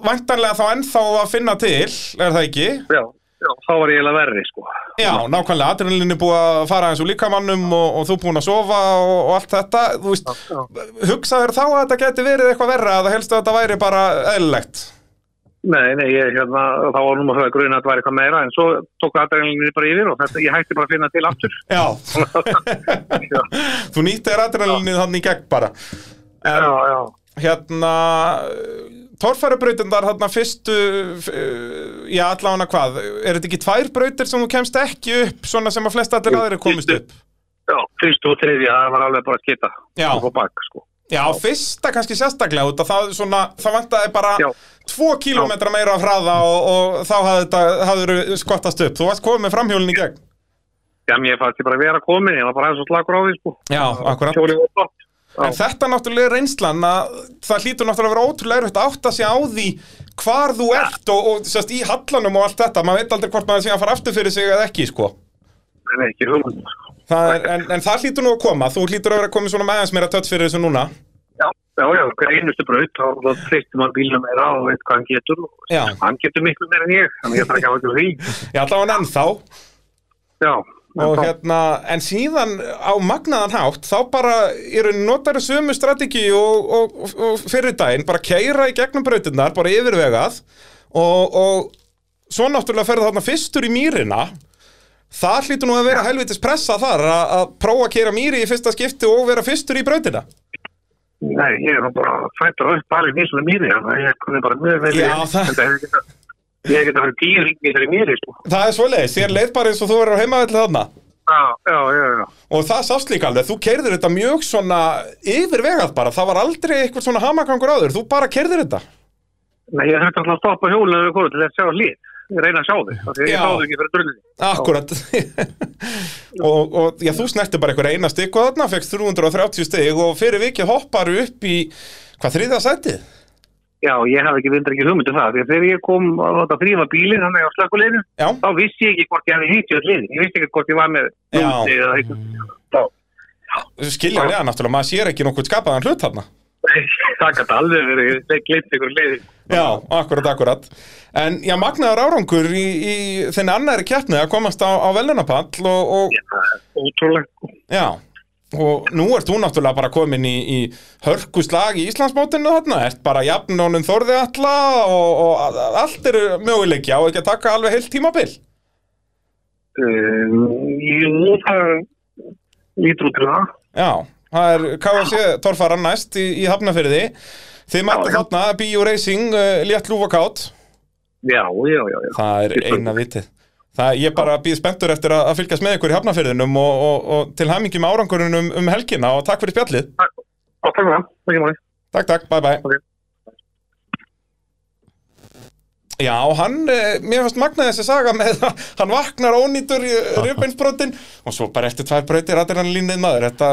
S2: væntanlega þá ennþá að finna til er það ekki?
S5: Já, já, þá var ég eiginlega verri sko
S2: Já, nákvæmlega, adrenalin er búið að fara eins og líkamannum og, og þú búin að sofa og, og allt þetta, þú veist
S5: Já.
S2: hugsaður þá að þetta geti verið eitthvað verra að það helst að þetta væri bara eðlilegt
S5: Nei, nei, ég, hérna, þá var nú maður að gruna að þetta væri eitthvað meira en svo tók aðdælinginni bara yfir og þetta, ég hætti bara að finna til aftur.
S2: Já, þú nýttir adrenalinið hann í gegn bara.
S5: já, já.
S2: Hérna, torfærubrautindar hérna fyrstu, f- eh, já allavega hvað, er þetta ekki tvær brautir sem þú kemst ekki upp, svona sem að flest allir aðrir komist upp?
S5: Já, fyrstu og þriðja, það var alveg bara að skita.
S2: Já.
S5: Og bak, sko.
S2: Já, fyrsta kannski sérstaklega út að það, svona, það vantaði bara
S5: Já.
S2: tvo kílómetra meira af hraða og, og þá hafði þetta hafði skottast upp. Þú varst komið með framhjólinn í gegn.
S5: Já, mér fannst ég bara að vera komin, ég var bara aðeins og slagur á því, sko.
S2: Já, akkurat.
S5: Hjólið var flott. Já.
S2: En þetta náttúrulega er reynslan að það hlýtur náttúrulega að vera ótrúlega erfitt að átta sig á því hvar þú ert og, og sérst, í hallanum og allt þetta. Maður veit aldrei hvort maður sé að fara aftur fyrir sig eða ekki, sko.
S5: Nei, ekki hugmynd, sko.
S2: Það er, en, en það hlýtur nú að koma. Þú hlýtur að vera komið svona með aðeins meira tött fyrir þessu núna.
S5: Já, já, já, hver einustu braut, þá, þá treysti maður bílum meira og veit hvað hann getur. og
S2: Já.
S5: Hann getur miklu meira en ég, þannig að ég þarf ekki að hafa ekki því.
S2: Ég ætla hann ennþá.
S5: Já.
S2: og hérna, en síðan á magnaðan hátt, þá bara eru notari sömu strategi og, og, og, og fyrir daginn, bara keira í gegnum brautinnar, bara yfirvegað og, og svo náttúrulega ferði þarna fyrstur í mýrina það hlýtur nú að vera helvitis pressa þar að, að prófa að keira mýri í fyrsta skipti og vera fyrstur í brautina
S5: Nei, ég er nú bara fættur upp alveg nýsuna mýri, þannig að ég kunni bara mjög vel í-
S2: Já, það-
S5: Þetta hefði getað- Ég hef geta verið tíu ringi þegar mýri, sko.
S2: það er svoleiðis, þér leið bara eins og þú verður á heimavelli þarna
S5: Já, já, já, já.
S2: og það sást líka alveg, þú keirðir þetta mjög svona yfirvegað bara, það var aldrei eitthvað svona hamagangur á þér, þú bara keirðir þetta
S5: Nei, ég þurfti alltaf að stoppa hjólið eða hvort til þess að sjá hlýð. Ég reyna að sjá þig, af því að
S2: Já.
S5: ég sá þig ekki fyrir drullinni.
S2: Akkurat og, og já, þú snerti bara einhver eina stygg og þarna fegst 330 stygg og fyrir vikið hopparu upp í hvað þriða sætið?
S5: Já, ég hafði ekki vindur ekki hugmyndu það, því að þegar ég kom að láta þrýfa bílinn, þannig á slökuleginu,
S2: Já,
S5: þá vissi ég ekki hvort ég hefði hýttið öll liðin. Ég vissi ekki hvort ég var með
S2: Já.
S5: lúti eða eitthvað. Þá,
S2: skiljanlega náttúrulega, maður sér ekki nokkuð skapaðan hlut þarna
S5: það gæti alveg verið glimt ykkur liðin.
S2: Já, akkurat, akkurat En já, magnaður árangur í, í þenni annari keppni að komast á, á velunapall og, og
S5: Ótrúlegt, sko.
S2: já og nú ert þú náttúrulega bara komin í, í hörkuslag í Íslandsmótinu þarna ert bara jafnónum þorði alla og, og a- allt eru möguleikja og ekki að taka alveg heilt tímabil
S5: Um, Jú, það lítur út til það.
S2: Já, það er KFC torfaran næst í, í hafnafyrði Þið mættu
S5: já.
S2: þarna, B.U. Racing, uh, létt lúfa kátt
S5: Já, já, já, já.
S2: Það er
S5: Ég-
S2: eina vitið Það, ég bara býð spenntur eftir að, að fylgjast með ykkur í hafnafyrðinum og, og, og til hamingi með árangurinn um, um helgina og takk fyrir spjallið
S5: Já, takk fyrir það. Takk fyrir það.
S2: Takk, takk, bye bye
S5: Ok.
S2: Já, hann, eh, mér finnst magnaði þessi saga með að hann vaknar ónýtur í rifbeinsbrotin og svo bara eftir tvær brautir adrenalinnið maður, þetta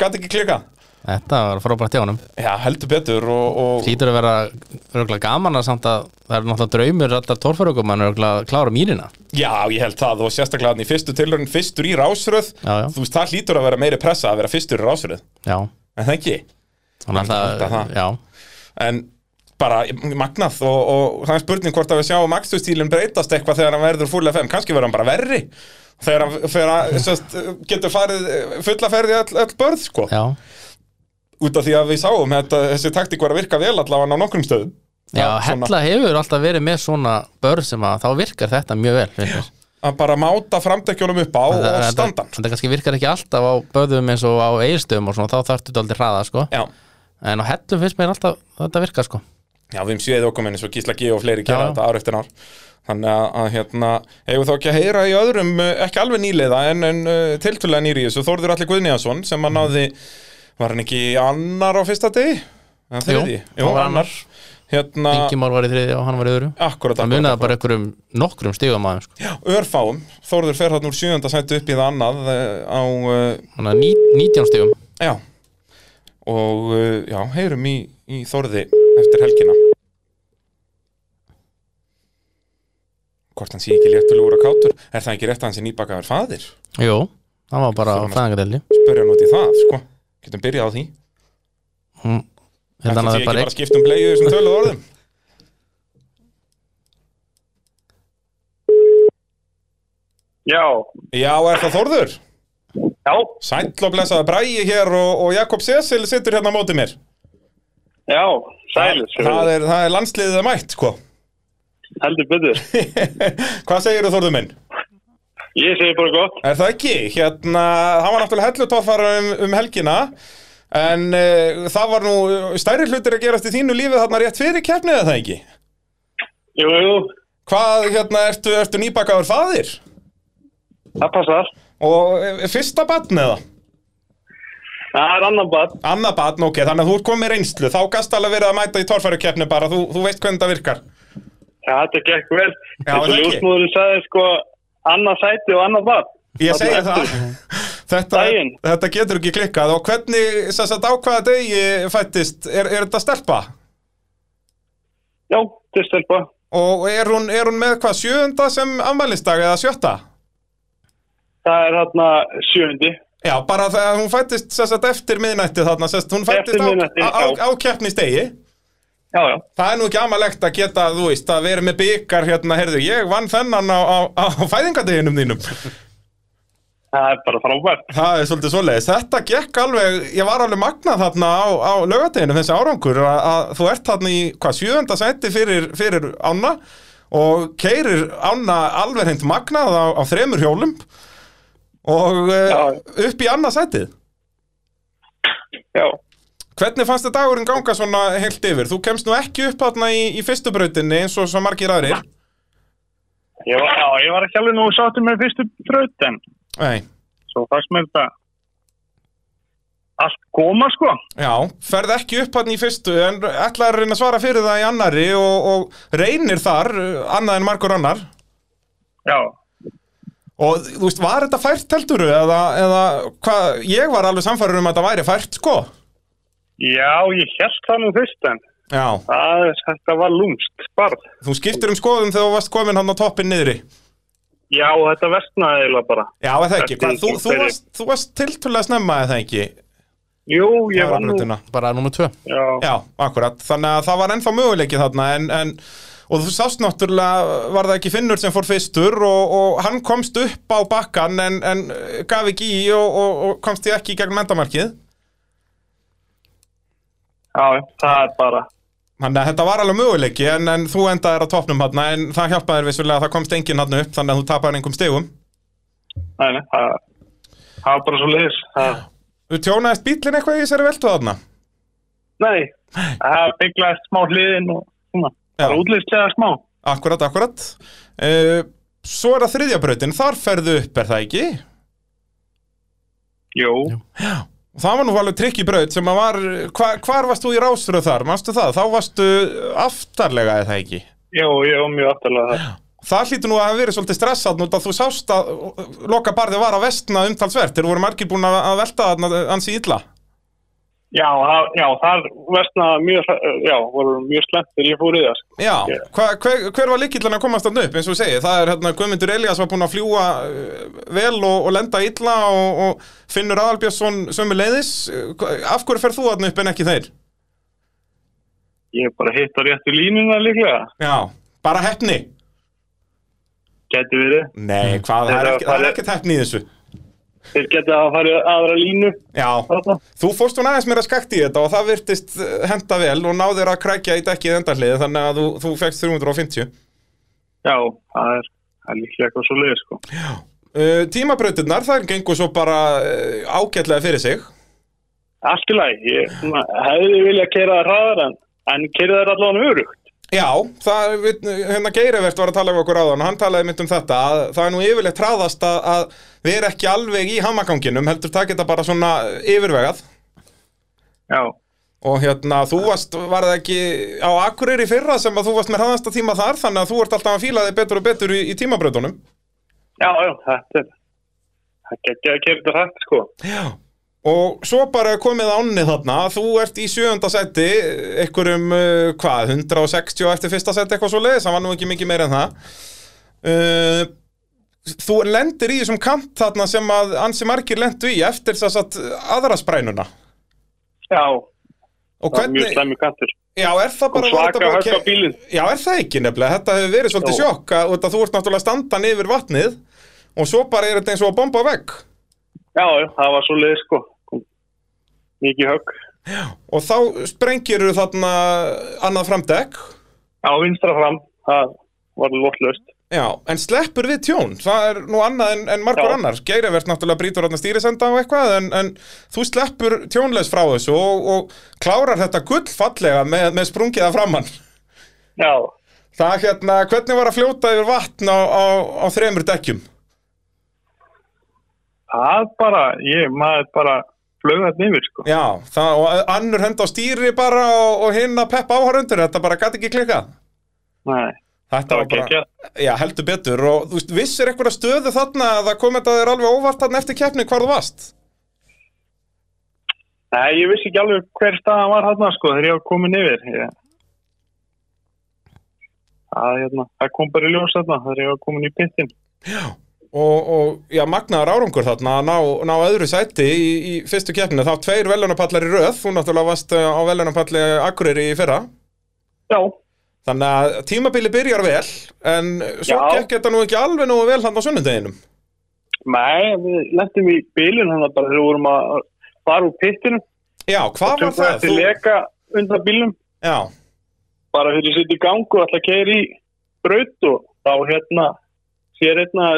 S2: gæti ekki klika
S3: Þetta var frábært hjá honum
S2: Já, heldur betur og, og
S3: Lítur að vera örgulega gaman að samt að það er náttúrulega draumur allar torfarökum en örgulega að klára mýrina
S2: Já, ég held það og sérstaklega hann í fyrstu tilhörin fyrstur í rásröð
S3: Já, já.
S2: Þú veist, það hlýtur að vera meiri pressa að vera fyrstur í rásröð
S3: Já,
S2: En það ekki
S3: hann er
S2: Alltaf það.
S3: alltaf Já,
S2: En bara magnað og, og það er spurning hvort að við sjáum akstustílinn breytast eitthvað þegar hann verður full FM Kannski verður hann bara verri Þegar hann þegar hann, sest, getur farið eh, fulla ferði all, all börð sko
S3: já,
S2: Út af því að við sáum þetta, þessi taktík var að virka vel allavega á nokkrum stöðum
S3: já
S2: Já, svona.
S3: Hella hefur alltaf verið með svona börn sem að þá virkar þetta mjög vel finnst mér.
S2: Að bara máta framdekkjunum upp á
S3: Þetta-
S2: og
S3: þetta-
S2: standan
S3: Þetta kannski virkar ekki alltaf á börðum eins og á eigistöðum og svona þá þarftu þetta aldrei hraða sko
S2: Já,
S3: En á hellum finnst mér alltaf þetta virka sko
S2: Já, við um sjöðið okkur minni, svo Gísla G og fleiri gera
S3: Já.
S2: þetta ár eftir ár. Þannig að, að hérna, hefur þá ekki að heyra í öðrum, eh, ekki alveg nýliða, en, en uh, tiltulega nýri í þessu, Þórður Alli Guðnýjansson, sem
S3: Mm.
S2: að náði, var hann ekki annar á fyrsta degi? Eða þriðji?
S3: hann var annar.
S2: Hérna,
S3: Ingimár var í þriði og hann var í öðru
S2: akkurat,
S3: Það
S2: akkurat,
S3: munaði bara einhverjum nokkrum stigum aðeins sko.
S2: örfáum, Þórður fer hann úr sjönda sættu upp í það annað eh, á, eh,
S3: Þannig að ní, 19 stigum
S2: já, og eh, já, heyrum í, í Þórði eftir helgina. hvort hann sé ekki léttulugur og kátur er það ekki rétt að hann sé nýbakaður faðir
S3: Jú, hann var bara á
S2: Þurfum að-
S3: fæðingadelli
S2: spurja hann út í það, sko getum byrjað á því
S3: Hérna
S2: Ætli sé
S3: hann hafði
S2: ekki bara
S3: bara
S2: að skipta um bleið í þessum töluð orðum
S5: Já,
S2: Já, er það Þórður?
S5: já,
S2: Sæll og blessaði Bræi hér og, og Jakob Sesil situr hérna á móti mér
S5: já,
S2: það, það, er, það er landsliðið að mætt, sko
S5: heldur betur.
S2: Hvað segir þú Þorður minn?
S5: Ég segi bara gott.
S2: Er það ekki? Hérna, það var náttúrulega hellutoffara um, um helgina En uh, það var nú stærri hlutir að gerast í þínu lífi þarna rétt fyrir keppnið eða það ekki?
S5: Jú, jú,
S2: Hvað, hérna, ertu, ertu nýbakaður faðir?
S5: það passar.
S2: Og eh, fyrsta batn eða?
S5: Það er annan bad.
S2: Annað batn, ok, þannig að þú ert komið reynslu Þá gast alveg verið að mæta í torfærukeppni bara Þú, þú veist hvernig það virkar
S5: Já, þetta gekk vel.
S2: Já,
S5: Þetta
S2: það ekki.
S5: ljósmóðurinn sagði sko annað sæti og annað bad.
S2: Ég segja það þetta,
S5: Daginn.
S2: þetta getur ekki klikkað og hvernig, sem sagt, á hvaða degi fættist, er, er þetta stelpa?
S5: Já, þetta er stelpa.
S2: Og er hún, er hún með hvað, sjöunda sem afmælisdag eða sjötta?
S5: Það er hérna sjöndi.
S2: Já, bara þegar hún fættist, sem sagt, eftir miðnætti þarna, sem sagt, hún fættist
S5: Eftir
S2: á,
S5: miðnætti,
S2: á, á,
S5: já.
S2: á keppnistegi
S5: Já, já.
S2: Það er nú ekki amalegt að geta, þú veist, að vera með byggar hérna, heyrðu, ég vann þennan á, á, á fæðingadeginum þínum
S5: Það er bara frábært.
S2: Það er svolítið svoleiðis. Þetta gekk alveg, ég var alveg magnað þarna á, á lögadeginu þessi árangur að, að þú ert þarna í hvað sjöfunda seti fyrir, fyrir ána og keirir ána alveg hreint magnað á, á þremur hjólum og uh, upp í annað setið.
S5: Já.
S2: Hvernig fannst þið dagurinn ganga svona heilt yfir? Þú kemst nú ekki upp þarna í, í fyrstu brautinni eins og svo margir aðrir.
S5: Ég var, já, ég var ekki alveg nú sáttur með fyrstu braut en
S2: Nei.
S5: svo fannst mér þetta allt koma sko.
S2: Já, ferð ekki upp hann í fyrstu en ætlaði að reyna að svara fyrir það í annari og, og reynir þar uh, annað en margur annar
S5: Já.
S2: Og þú veist, var þetta fært heldur eða, eða hvað, ég var alveg samfæður um að þetta væri fært sko
S5: Já, ég held það nú fyrst en
S2: Já,
S5: það, þetta var lúmst barð.
S2: þú skiptir um skoðum þegar þú varst komin hann á toppin niðri
S5: Já, þetta vestnaði eiginlega bara.
S2: Já, eða ekki,
S5: Þetta er
S2: hvað, þú, þú,
S5: fyrir-
S2: varst, þú varst tiltölulega snemma eða ekki
S5: Jú, ég var nú.
S2: rannrötuna
S3: bara nummer 2
S5: Já,
S2: Já, akkurat, þannig að það var ennþá möguleiki þarna en, en og þú sást náttúrulega var það ekki Finnur sem fór fyrstur og, og hann komst upp á bakkan en, en gaf ekki í og, og, og komst því ekki í gegn mendamarkið
S5: já, já, það er bara.
S2: Þannig að þetta var alveg möguleiki en, en þú endaðir á topnum hann en það hjálpaði þér vissulega að það komst enginn hann upp þannig að þú tapaði einhverjum stegum
S5: Nei, nei, það það var bara svo leiðis.
S2: Þú tjónaðist bílinn eitthvað í þessari veltu þarna
S5: Nei, það bygglaðist smá hliðin og svona.
S2: Já.
S5: Það útlýstlega smá.
S2: Akkurat, akkurat uh, Svo er það þriðja brautin, þar ferðu upp er það ekki?
S5: Jú,
S2: Það var nú alveg trikk í braut sem að var hva, Hvar varst þú í rásröð þar, manstu það? Þá varstu aftarlega eða ekki?
S5: jú, ég var mjög aftalega það.
S2: Það hlýtur nú að hafa verið svolítið stressað nút að þú sást að loka barði var að vestna umtalsvert Þeir voru margir búin að að velta þarna ansi illa
S5: Já, það, já, það vestnaði mjög, já, voru mjög slemmt þegar ég fór í það. sko.
S2: Já,
S5: Ég-
S2: hva, hver, hver var líkillan að komast þannig upp eins og ég segi, það er hérna Guðmundur Elías var búinn að fljúa eh, vel og, og lenda illa og, og Finnur Aðalbjörnsson sömu leiðis af hverju fer þú þannig upp en ekki þeir?
S5: Ég hef bara hitt á réttu línuna líklega.
S2: Já, bara hefni
S5: Geti verið.
S2: Nei, hvað, það er
S5: Þetta
S2: ekki- það er
S5: var-
S2: ekkert hefni í þessu
S5: Þeir geti að fara í aðra línu.
S2: Já,
S5: þarna.
S2: þú fórst hún aðeins mér að skakti í þetta og það virtist eh, henda vel og náðir að krækja í dekkið endarlið þannig að þú, þú fegst 350
S5: Já, það er, það er líklega eitthvað svo leiðis, sko.
S2: uh, Tímabrautirnar, þær gengur svo bara uh, ágætlega fyrir sig
S5: Allt í lagi, ég svona, hefði viljað keira það hraðar en, en keira það allavega örugt.
S2: Já, það, við, hérna Geirivert var að tala við okkur áðan og hann talaði mynd um þetta að það er nú yfirleitt hraðast að, að við erum ekki alveg í hamaganginum heldur takk þetta bara svona yfirvegað
S5: Já,
S2: og hérna þú varst, var það ekki á Akureyri í fyrra sem að þú varst með hraðasta tíma þar þannig að þú ert alltaf að fíla þig betur og betur í, í tímabröðunum
S5: já, já, þetta er, það geti að keira þetta hratt, sko.
S2: Já Og svo bara komið ánni þarna, þú ert í sjöunda seti, einhverjum, uh, hvað, 160 eftir fyrsta seti eitthvað svo leiðis, það var nú ekki mikið meira en það. Uh, þú lendir í þessum kant þarna sem að ansi margir lendu í eftir þess að aðra sprænuna.
S5: Já,
S2: Og
S5: það er mjög
S2: hvernig,
S5: slæmi kantur.
S2: já er það
S5: Og
S2: bara... var þetta
S5: svaka
S2: bara
S5: högg á
S2: ke-
S5: bílinn.
S2: Já er það ekki nefnilega, þetta hefur verið svolítið
S5: Jó.
S2: sjokk að út að þú ert náttúrulega standan yfir vatnið og svo bara er þetta eins og að bomba á vegg.
S5: Já, já, það var svo leiðis, sko. Kom Mikið högg.
S2: Og þá sprengir þarna annað framdekk
S5: Já, vinstra fram, það var lotlaust.
S2: Já, en sleppur við tjón, það er nú annað en, en margur
S5: Já.
S2: annar, Geirivert náttúrulega brýtur hann að stýrisenda og eitthvað, en, en þú sleppur tjónleis frá þessu og, og klárar þetta gull fallega með, með sprungiða framann.
S5: Já,
S2: Það hérna, hvernig var að fljóta yfir vatn á, á, á þremur dekkjum?
S5: það bara, ég, maður bara flög þarna yfir, sko.
S2: Já, það, og annur hend á stýri bara og, og hinn að peppa áhörundur, þetta bara gæti ekki klikkað.
S5: Nei,
S2: Þetta
S5: það
S2: var
S5: var
S2: bara,
S5: geggjað.
S2: já, heldur betur og þú veist, vissir einhverja stöðu þarna að það kom þetta þér alveg óvart þarna eftir keppni hvar þú varst?
S5: Nei, ég vissi ekki alveg hver staðan var þarna, sko, þegar ég var komin yfir. Ég... Það, hérna, það kom bara í ljós þarna, þegar ég var komin í pittin.
S2: og, og já, magnaðar árangur þarna að ná, ná öðru sæti í, í fyrstu keppni þá tveir velunarpallar í röð þú náttúrulega varst uh, á velunarpalli Akureyri í fyrra
S5: Já,
S2: þannig að tímabili byrjar vel en svo
S5: Já.
S2: gekk þetta nú ekki alveg nú vel hann á sunnundeginum
S5: nei, við lentum í bílinn hann bara þegar við vorum að fara úr pittinu.
S2: já, hvað var
S5: Tökum
S2: það?
S5: eftir leka undan bílnum,
S2: já,
S5: bara þegar ég sitt í gangu og ætla að keira í braut og þá hérna, sér hérna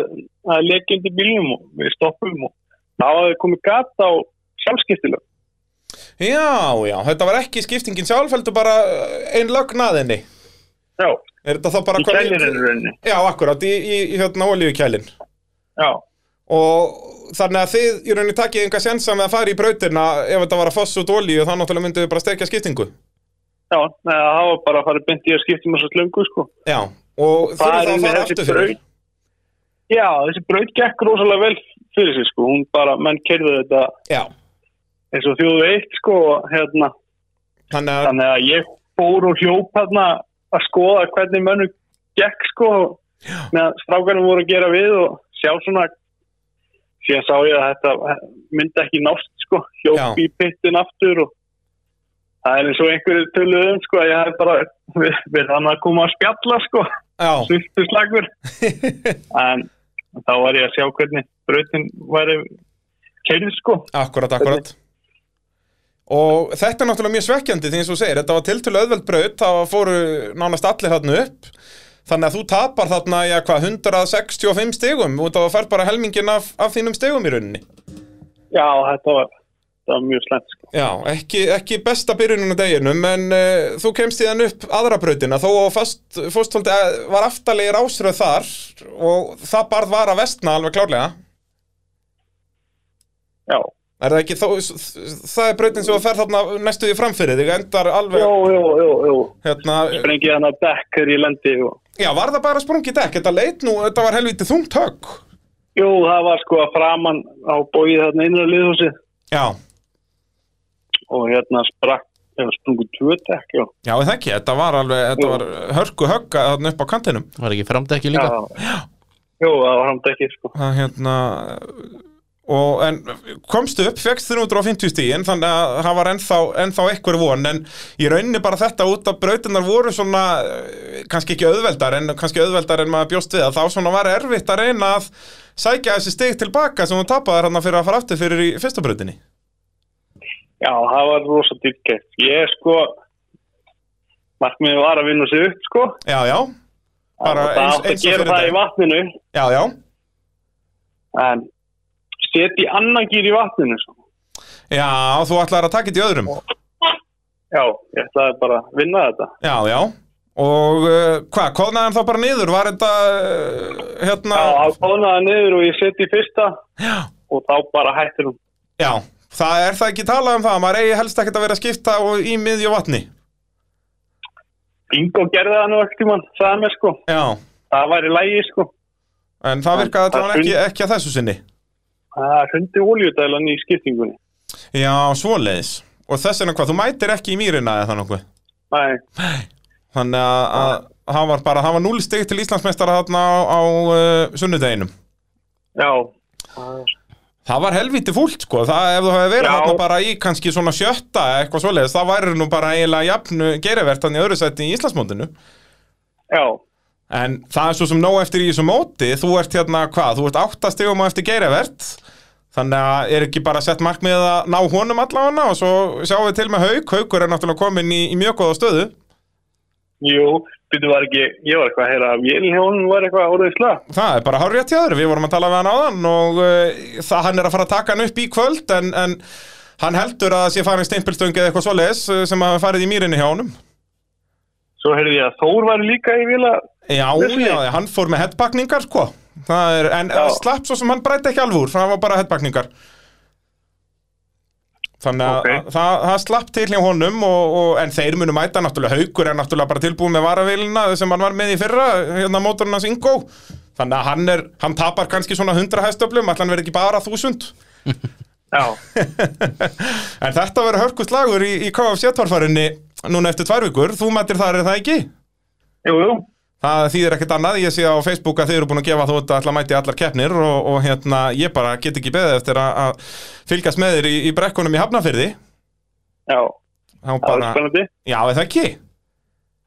S5: að leka undan bílnum og við stoppum og þá hafði komið gata á sjálfskiptilega.
S2: já, já, þetta var ekki skiptingin sjálf heldur bara uh, ein lögn að henni
S5: Já,
S2: er þetta þá bara
S5: í kælirinn rauninni.
S2: já, akkurat, í, í, í hérna olíukælin
S5: Já,
S2: og þannig að þið í rauninni takkið einhver sensa með að fara í brautina ef þetta var að fossa út olíu þá náttúrulega myndið þið bara stekja skiptingu
S5: já, neða, það var bara að fara beint í að skipta með svo slöngu, sko.
S2: já, og þurfið
S5: Farin
S2: það að
S5: með
S2: fara
S5: þessi
S2: aftur fyrir
S5: braut. Já, þessi braut gekk rosalega vel fyrir sig, sko. Hún bara, menn kerði þetta
S2: já,
S5: eins og þjóðu eitt, sko, og hérna.
S2: þannig að
S5: Þannig að ég fór og hljóp hérna að skoða hvernig mönnu gekk, sko, meðan strákarnir voru að gera við og sjá svona, síðan sá ég að þetta myndi ekki nátt, sko, hljóp
S2: Já.
S5: í pittin aftur og það er eins og einhverju töluðum, sko, að ég hef bara við, við hann að koma að spjalla, sko,
S2: já,
S5: sultu slagur, en þá var ég að sjá hvernig brautin væri keirð, sko,
S2: akkurat, akkurat og þetta er náttúrulega mjög svekkjandi því eins og þú segir, þetta var tiltölu auðveld braut þá fóru nánast allir þarna upp þannig að þú tapar þarna já, hvað, 165 stigum út af að fer bara helmingin af, af þínum stigum í rauninni
S5: já, þetta var, þetta var mjög slæmt, sko.
S2: Já, ekki, ekki besta byrjunum á deginum en uh, þú kemst í þann upp aðra brautina þó að fast, fóstfóldi var aftalegir ásröð þar og það barð var að vestna alveg klárlega
S5: Já,
S2: Er það ekki, þó, það er brautin sem þú fer þarna næstu því framfyrir þig endar alveg
S5: jú, jú, jú, jú.
S2: hérna,
S5: sprengi hann að dekk þegar ég lendi og
S2: Já, var það bara sprungið dekk, þetta leit nú, þetta var helviti þungt högg
S5: jú, það var sko að framann á bóið þarna innra liðhúsi
S2: Já,
S5: og hérna sprakk, eða sprungu tvö dekk, já.
S2: já, er það ekki, þetta var alveg, þetta
S5: Jú.
S2: var hörku högg þarna upp á kantinum
S3: Var ekki framdekki líka?
S5: Já. Jú, það var hann dekkið, sko.
S2: það hérna og en komstu upp, fegst 350 stíðin þannig að það var ennþá, ennþá eitthvað von en í rauninni bara þetta út að brautinar voru svona eh, kannski ekki auðveldar en kannski auðveldar en maður bjóst við að þá svona var erfitt að reyna að sækja þessi stig tilbaka sem þú tapaði hérna fyrir að fara aftur fyrir í fyrsta brautinni
S5: Já, það var rosa dýrkett. Ég, sko, markmiðið var að vinna sig upp, sko.
S2: já, já, bara
S5: Og það
S2: eins,
S5: átti
S2: eins og
S5: að gera
S2: fyrir
S5: það í
S2: dag
S5: vatninu,
S2: já, já,
S5: en setja í annan gýr í vatninu, sko.
S2: já, þú ætlaðir að taka þetta í öðrum
S5: Já, ég ætlaði bara að vinna þetta.
S2: já, já og uh, hvað, kóðnaði hann þá bara niður var þetta uh, hérna
S5: Já, það konaði niður og ég setja í fyrsta
S2: já.
S5: og þá bara hættir hún.
S2: Já, það er það ekki talað um það, maður eigi helst ekkert að vera að skipta og í miðju vatni.
S5: Bingo gerði það nú ekkert í mann, sagði mér sko.
S2: Já,
S5: Það væri lægi sko.
S2: en það virkaði
S5: Það-
S2: allan ekki, ekki að þessu sinni.
S5: Það hundi oljudælan í skiptingunni.
S2: Já, svoleiðis. Og þess vegna hvað, þú mætir ekki í mýrina eða það nokkuð.
S5: Nei,
S2: Þannig að, að hann var bara, hann var núl stig til Íslandsmeistara þarna á, á uh, sunnudeginum.
S5: já.
S2: Það var helviti fúlt sko, það, ef þú hefði verið
S5: Já.
S2: þarna bara í kannski svona sjötta eða eitthvað svoleiðis, það væri nú bara eiginlega jafnu gerivert hann í öðru sætti í Íslandsmótinu.
S5: Já,
S2: En það er svo sem nóg eftir í þessu móti, þú ert hérna, hvað, þú ert áttastegum á eftir geirivert, þannig að er ekki bara sett markmið að ná honum allavega og svo sjáum við til með Hauk, Haukur er náttúrulega komin í, í mjög góða stöðu.
S7: Jú, byrju var ekki, ég var eitthvað að heyra að vélin hjá honum var eitthvað orðið slag.
S2: Það er bara hárið til öðru, við vorum að tala við hann áðan og uh, það hann er að fara að taka hann upp í kvöld en, en hann heldur að það sé farin steimpilstöng eða eitthvað svoleiðis uh, sem hafi farið í mýrinni hjá honum.
S7: Svo heyrði ég að Þór var líka í vila.
S2: Já,
S7: Vissi.
S2: já, hann fór með headpakningar sko, það er, en
S7: Já.
S2: slapp svo sem hann breytti ekki alveg úr, það var bara headpakningar. Þannig að
S7: Ókei.
S2: okay. það, það slapp til hjá honum og, og, en þeir munu mæta náttúrulega haukur en náttúrulega bara tilbúið með varavélina sem hann var með í fyrra, hérna mótorinn hans Ingo þannig að hann, er, hann tapar kannski svona 100 hæstöflum, allan verður ekki bara 1000
S7: Já,
S2: en þetta verður hörkust lagur í, í KFC-torfarinni núna eftir tvær vikur, þú mætir þar er það ekki?
S7: jú, jú.
S2: Það þýðir ekkert annað, ég sé á Facebook að þið eru búin að gefa þú þetta allar mæti í allar keppnir og, og hérna, ég bara get ekki beðið eftir að, að fylgjast með þér í, í brekkunum í Hafnafyrði
S7: Já,
S2: þá
S7: það var
S2: bara,
S7: spennandi.
S2: já eða ekki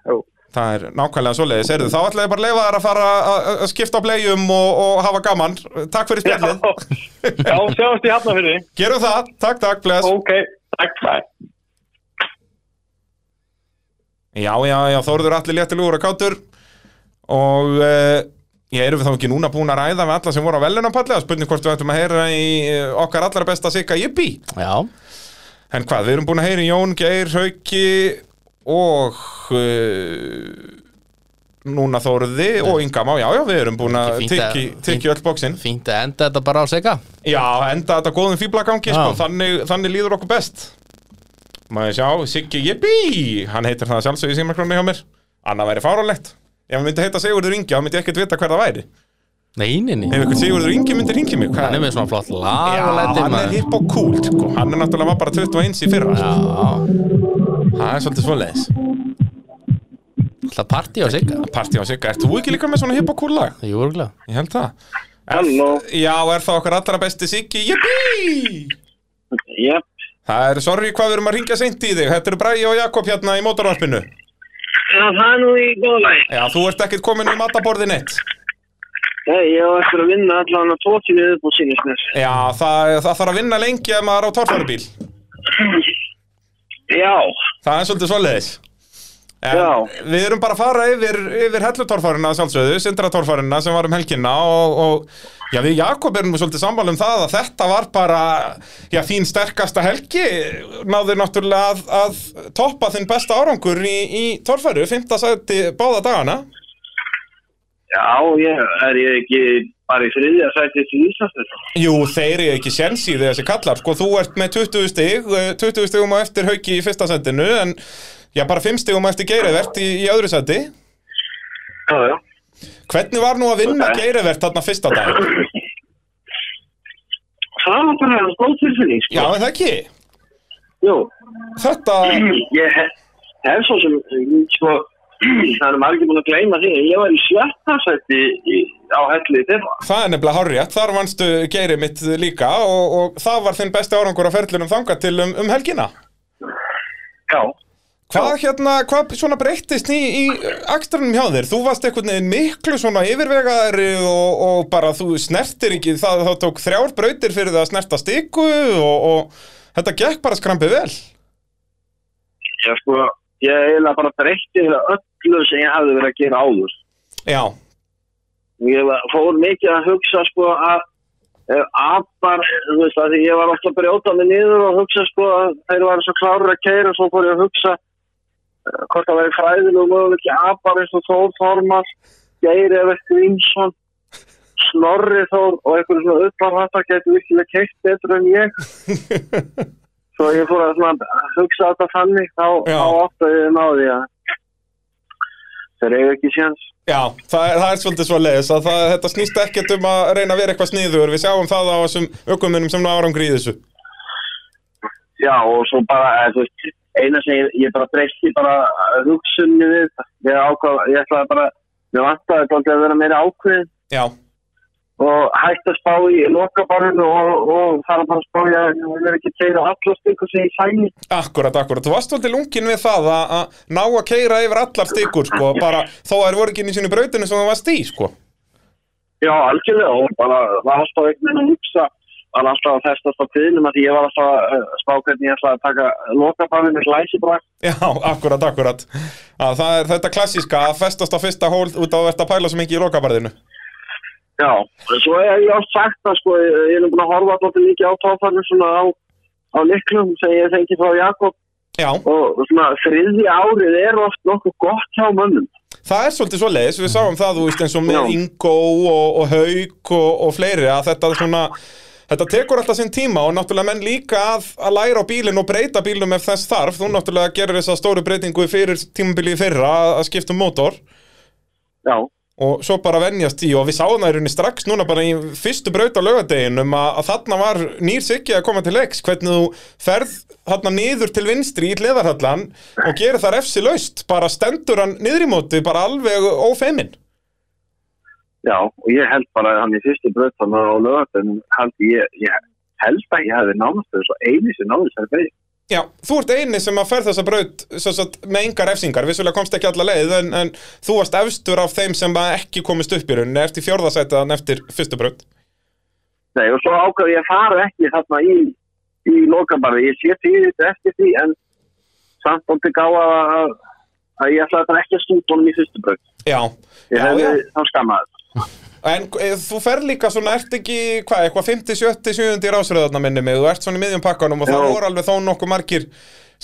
S7: Jú.
S2: það er nákvæmlega svoleiðis, erðu þá ætla ég bara að leifa þær að fara að, að skipta á bleium og, og hafa gaman, takk fyrir
S7: Já,
S2: spjallið
S7: já, sjáumst í hafnafyrði.
S2: gerum það, takk, takk, bless
S7: Ok, takk, bæ.
S2: Já, já, já, Þórður allir léttilegur og kátur og uh, ég erum við þá ekki núna búin að ræða við alla sem voru á velunapalli að spurning hvort við ættum að heyra í eh, okkar allra besta Sigga Jippi
S3: Já,
S2: en hvað, við erum búin að heyra í Jón Geir, Hauki og uh, núna Þórði og Inga Má, já, já, við erum búin að
S3: Ekki fínt að-
S2: tykki tykki öll bóksinn
S3: fínt að enda þetta bara á sega
S2: Já, enda þetta góðum fýblagangi,
S3: Já.
S2: sko, þannig, þannig líður okkur best. Maður sjá, Siggi Jippi, hann heitir það sjálfsög í símarkrónu hjá mér. Annað væri fáránlegt. Ef hann myndi heita Sigurður Ingi, þá myndi ég ekkert vita hver það væri.
S3: Nei, nei, nei,
S2: Ef einhvern Sigurður Ingi myndi ringi mig,
S3: hann
S2: hvað?
S3: er með svona flott
S2: Já,
S3: lag og læti
S2: hann er
S3: maður
S2: hipp og cool, sko. Hann er náttúrulega var bara 21 í fyrra. sko.
S3: Já,
S2: Það er svolítið svoleiðis.
S3: alltaf partí á sega
S2: Partí á Sigga, ert þú ekki líka með svona hipp og cool lag?
S3: Jú, örgulega
S2: Ég held það. Er-
S6: Halló.
S2: Já, er það okkar allra besti Siggi Jippi?
S6: Jep,
S2: Það er, sorry hvað við erum að ringja seint í þig. Þetta eru Bræi og Jakob hérna í mótorvarpinu.
S6: já, það er nú í góða lagi.
S2: Já, þú ert ekkert komin um í mataborðin eitt.
S6: Nei, ég á eftir að vinna allan að tvo tími upp á sínisnes.
S2: Já, það, það þarf að vinna lengi ef maður er á torfarubíl.
S6: Já,
S2: Það er svolítið svoleiðis. En
S6: Já.
S2: Við erum bara að fara yfir, yfir hellutorfarina sjálfsögðu, sindratorfarina sem var um helgina og, og já, við Jakob erum nú svolítið sammála um það að þetta var bara, já, þín sterkasta helgi, náður náttúrulega að, að toppa þinn besta árangur í, í torfaru, fymta sæti báða dagana.
S6: já, ég er ég ekki bara í þriðja sæti til Íslandsnes.
S2: Jú, þeir eru ekki séns í þessi kallar sko, þú ert með 20 stig eh, 20 stigum á eftir hauki í fyrsta sendinu en já, bara 5 stigum á eftir geirivert í, í öðru sendi
S6: Já, já.
S2: Hvernig var nú að vinna geirivert þarna fyrsta dag?
S6: Það var bara góð tilfinning,
S2: Já,
S6: sko.
S2: er það ekki
S6: Jú,
S2: Þetta,
S6: ég hef, hef svo sem, sko, það er margir búin að gleyma því. Ég var í sjötta sæti í, á helli þeirra.
S2: það er nefnilega horrið þar vannstu geiri mitt líka og, og það var þinn besti árangur á ferlunum þangað til um, um helgina
S6: Já.
S2: Hvað hérna, hvað svona breyttist í, í akstranum hjá þér? Þú varst einhvern veginn miklu svona yfirvegaðari og, og bara þú snertir ekki, það, það tók þrjár brautir fyrir það að snerta stikku og, og þetta gekk bara skrampið vel.
S6: Já, sko, ég eiginlega bara breytti öllu sem ég hafði verið að gera áður.
S2: Já,
S6: Ég var- fór mikið að hugsa, sko, að eh, apar, þú veist, að því ég var ofta að brjóta mig niður og hugsa, sko, að þeir var svo klárir að keira, svo fór ég að hugsa eh, hvort það væri fræðinu og möguleiki apar eins og Þór Þormar, Geir Evert Grímsson, Snorri Þór og einhverju svona upparhattar getur virkilega keitt betur en ég. Svo ég fór að svona, hugsa þetta þannig, þá,
S2: Já.
S6: þá ofta ég náði að þeir eiga ekki séns.
S2: já, það er, það er svolítið svo leiðis að það, þetta snýst ekkert um að reyna að vera eitthvað sniður, við sjáum það á þessum ökumunum sem ná árangri í þessu.
S6: Já, og svo bara, eh, þú veist, eina sem ég, ég bara breytti bara eh, hugsunni við þetta. Ég ákvað, ég ætlaði bara, ég vantaði dálítið að vera meira ákveðin
S2: Já,
S6: og hætti að spá í lokabarinu og, og fara bara að spá í að ég verði ekki teira allast ykkur sem ég sæni.
S2: Akkurat, akkurat, þú varst svolítið lungin við það að, að ná að keira yfir allar stikkur sko, bara þó að það voru ekki einu sinni í brautinu sem það varst í sko.
S6: Já, algjörlega, og bara, það var alltaf einhvern veginn að hugsa var alltaf að festast á kviðnum að því ég var alltaf að eh, spá hvernig ég ætlaði að taka lokafamið með glæsibrak.
S2: Já, akkurat, akkurat að Það er þetta klassíska að festast á fyrsta hól út á að verða að pæla sem ekki í lokabarðinu
S6: Já, svo hef ég oft sagt það sko, ég ég er nú búin að horfa alltaf mikið á tófarnir svona á, á liklum sem ég fengi frá Jakob
S2: Já,
S6: og svona þriði árið er oft nokkuð gott hjá mönnum.
S2: það er svolítið svo leiðis Við sáum það, þú veist, eins og
S6: Já.
S2: með Ingo og, og Hauk og, og fleiri að þetta svona Þetta tekur alltaf sinn tíma og náttúrulega menn líka að, að læra á bílinn og breyta bílum ef þess þarf. Þú náttúrulega gerir þessa stóru breytingu í fyrir tímabili í fyrra að, að skipta um mótor.
S6: Já,
S2: og svo bara venjast í og við sáum það í rauninni strax núna bara í fyrstu braut á laugardeginum að, að þarna var nýr siggi að koma til leiks hvernig þú ferð þarna niður til vinstri í hliðarhallan og gerir það refsi laust bara stendur hann niður í móti bara alveg ófeimin
S6: já, og ég held bara að hann í fyrstu bröð þannig á lögatunum held ég, ég held að ég hefði nánast þess að einu sem náðu sér fyrir.
S2: Já, þú ert eini sem að ferð þessa braut sem sagt, með engar refsingar, vissulega komst ekki alla leið en, en þú varst efstur af þeim sem að ekki komist upp í rauninni eftir fjórðasætaðan eftir fyrstu braut
S6: Nei, og svo ákveð ég að fara ekki þarna í, í lokabarði. Ég sé fyrir eftir því en samt átti gáða að, að ég ætlaði bara ekki að stúta honum í fyrstu bröð.
S2: Já, já,
S6: Ég
S2: já.
S6: hefði þá skammaði.
S2: En eh, þú fer líka svona, ert ekki, hvað, eitthvað 50, 70, 70 rásröðarna minni mig, þú ert svona í miðjum pakkanum og það
S6: Já.
S2: voru alveg þó nokkuð margir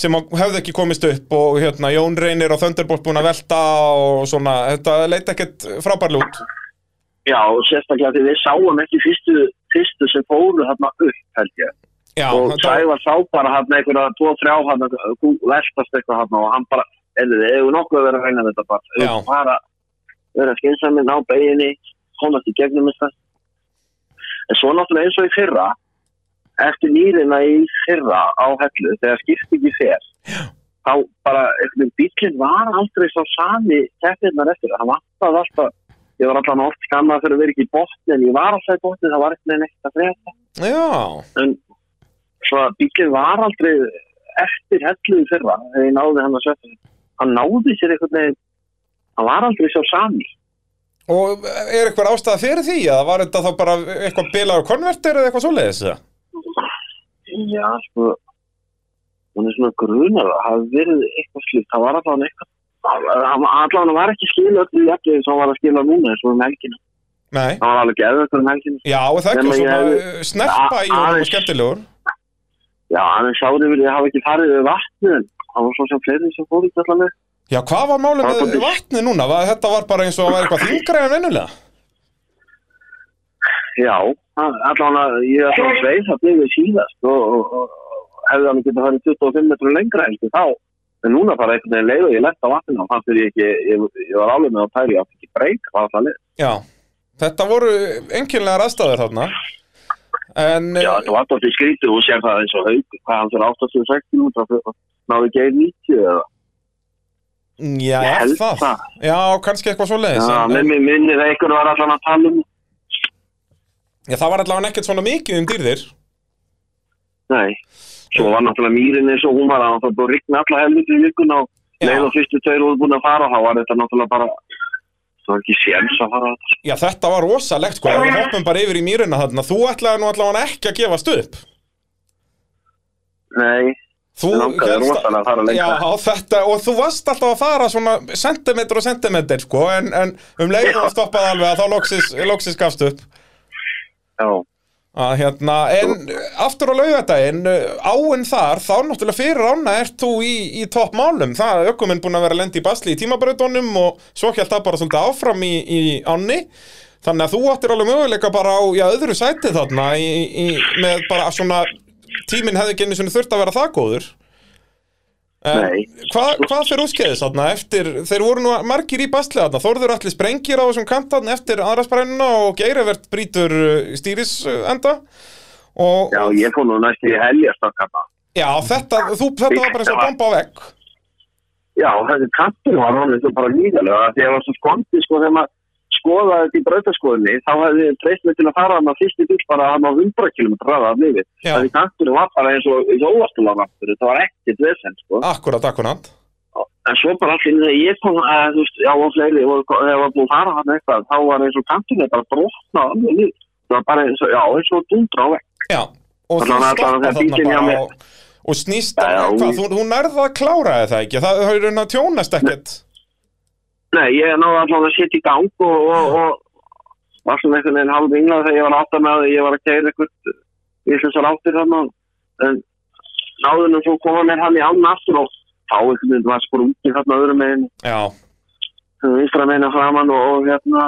S2: sem að- höfðu ekki komist upp og hérna, Jón Reynir og Thunderbolt búin að velta og svona, þetta leit ekkert frábærlega út.
S6: Já, og sérstaklega því við sáum ekki fyrstu, fyrstu sem fóru þarna upp, held ég.
S2: Já,
S6: og
S2: þetta,
S6: Sævar sá bara hann einhverja 2-3 hann veltast eitthvað hann og hann bara, eða þið hefur nokkuð að vera að reyna þetta bara,
S2: Já.
S6: Eigum bara vera skynsami, ná beginni komast í gegnum þetta en svo náttúrulega eins og í fyrra eftir nýrina í fyrra á hellu, þegar skipti ekki fer þá bara, einhvern veginn bílinn var aldrei svo sami keppirnar eftir, hann vantaði alltaf ég var alltaf oft skammað fyrir að vera ekki í botni en ég var alltaf í botni, það var eitthvað neitt að frétta
S2: já,
S6: en svo að bílinn var aldrei eftir helluðu fyrra þegar ég náði hann að setja hann náði sér einhvern veginn hann var aldrei svo sami
S2: og er eitthvað ástæða fyrir því að var þetta þá bara eitthvað bilaður konverter eða eitthvað svoleiðis? eða?
S6: já sko hún er svona grunar það hafi verið eitthvað slíkt það var allavega eitthvað hann- allavega var ekki skil öllu í allir eins og hann var að skila núna eins og um helgina
S2: Nei,
S6: hann var alveg geðvökkur um helgina
S2: já, er það
S6: Nema
S2: ekki
S6: ég
S2: svona
S6: hefði-
S2: eh, snerpa í honum og
S6: Aðeins.
S2: skemmtilegur.
S6: já hann er sárið vilja hafa ekki farið við vatnið en hann var svo sem fleiri sem fór í allavega
S2: Já, hvað var málið
S6: Það var
S2: með
S6: dálítið-
S2: vatni núna? Var, þetta var bara eins og að vera eitthvað þingra en vennulega?
S6: Já, allan að ég er alltaf sveið það bleið síðast og, og, og hefði hann getið farið 25 metrur lengra heldur þá. En núna bara einhvern veginn leið og ég lett á vatninu og fannst þér ég ekki, ég, ég var alveg með að pæli að ekki breyk, það var alltaf leið.
S2: Já, þetta voru enginlegar aðstæður þarna En
S6: Já, þetta var alltaf skrítið og sér það eins og haug, hvað hann fyrir 86 minútur að náðu geir 90 eða.
S2: eh, já,
S6: ég
S2: er
S6: held
S2: það.
S6: það.
S2: Já, kannski eitthvað eh, svo
S6: Já,
S2: leiðis
S6: með mér minni það einhvern var allan að tala um.
S2: já, Það var allavega ekkert svona mikið um dýrðir
S6: Nei, svo var náttúrulega mýrin eins og hún var að það búið að rigna alla helviti í vikuna og
S2: Já.
S6: leið og fyrstu tveir voru búin að fara og þá var þetta náttúrulega bara, það var ekki séms að fara þetta.
S2: Já, þetta var rosalegt sko, ef við hoppum bara yfir í mýruna þarna Þú ætlaði nú allavega ekki að gefast upp
S6: Nei,
S2: Þú
S6: Mig langaði
S2: hélst
S6: rosalega að fara lengra.
S2: Já, á þetta, og þú varst alltaf að fara svona sentimetr og sentimetr sko, en, en um leiðum að stoppaði alveg að þá loksis, loksis gafst upp
S6: já,
S2: að hérna, en aftur á laugardaginn uh, áinn þar, þá náttúrulega fyrir ána ert þú í, í toppmálum það er ökuminn búin að vera að lendi í basli í tímabrautunum og svo hjælt það bara svolítið áfram í, í ánni, þannig að þú áttir alveg möguleika bara á, já, öðru sæti þarna í, í, með bara svona tíminn hefði ekki einu sinni þurft að vera það góður Eh.
S6: Nei.
S2: Hvað hva fyrir útskeiðis þarna eftir, þeir voru nú margir í basli þarna, Þórður allir sprengir á þessum kantarn eftir aðrasprænuna og Geirivert brýtur eh, stýris enda og
S6: já,
S2: já,
S6: ég fór nú næstu í heljast að kappa.
S2: þetta, þú, þetta var bara eins og að bomba á vegg
S6: Já, þessi kattur var honum svo bara líðalega því að það var svo skondið sko þegar maður skoðaði þetta í brautaskoðinni þá hefði treyst mig til að fara hann að fyrstu bíl bara hann á 100 km ræða af lífi.
S2: Já.
S6: Þessi kattur var bara eins og jóastulavartur, þetta var ekkert vesend sko.
S2: akkurat, akkurat
S6: en svo bara allir þegar ég kom að þú veist, já og fleiri og þegar ég var búin að fara hann eitthvað þá var eins og kantinni bara brotna alveg niður. það var bara eins og, já eins og dundra á vekk
S2: Já, og þú
S6: Þannig að-
S2: stoppa
S6: þannig að
S2: þarna
S6: bíllinn hjá
S2: bara
S6: mér-
S2: og, og snýst á
S6: Já,
S2: eitthvað,
S6: hún-
S2: þú, þú nærði að klára þér það ekki, það það er raun að tjónast ekkert.
S6: Nei, ég náði allavega að setja í gang og, og, og var svona einhvern veginn halv vinglað þegar ég var átt að með því, ég var að keira eitthvað visslisar áttir þarna en náður nú svo koma mér hann í aln aftur og þá einhvern veginn var sprungið þarna öðrum meginn
S2: Já,
S6: vinstra meginn að framann og, og hérna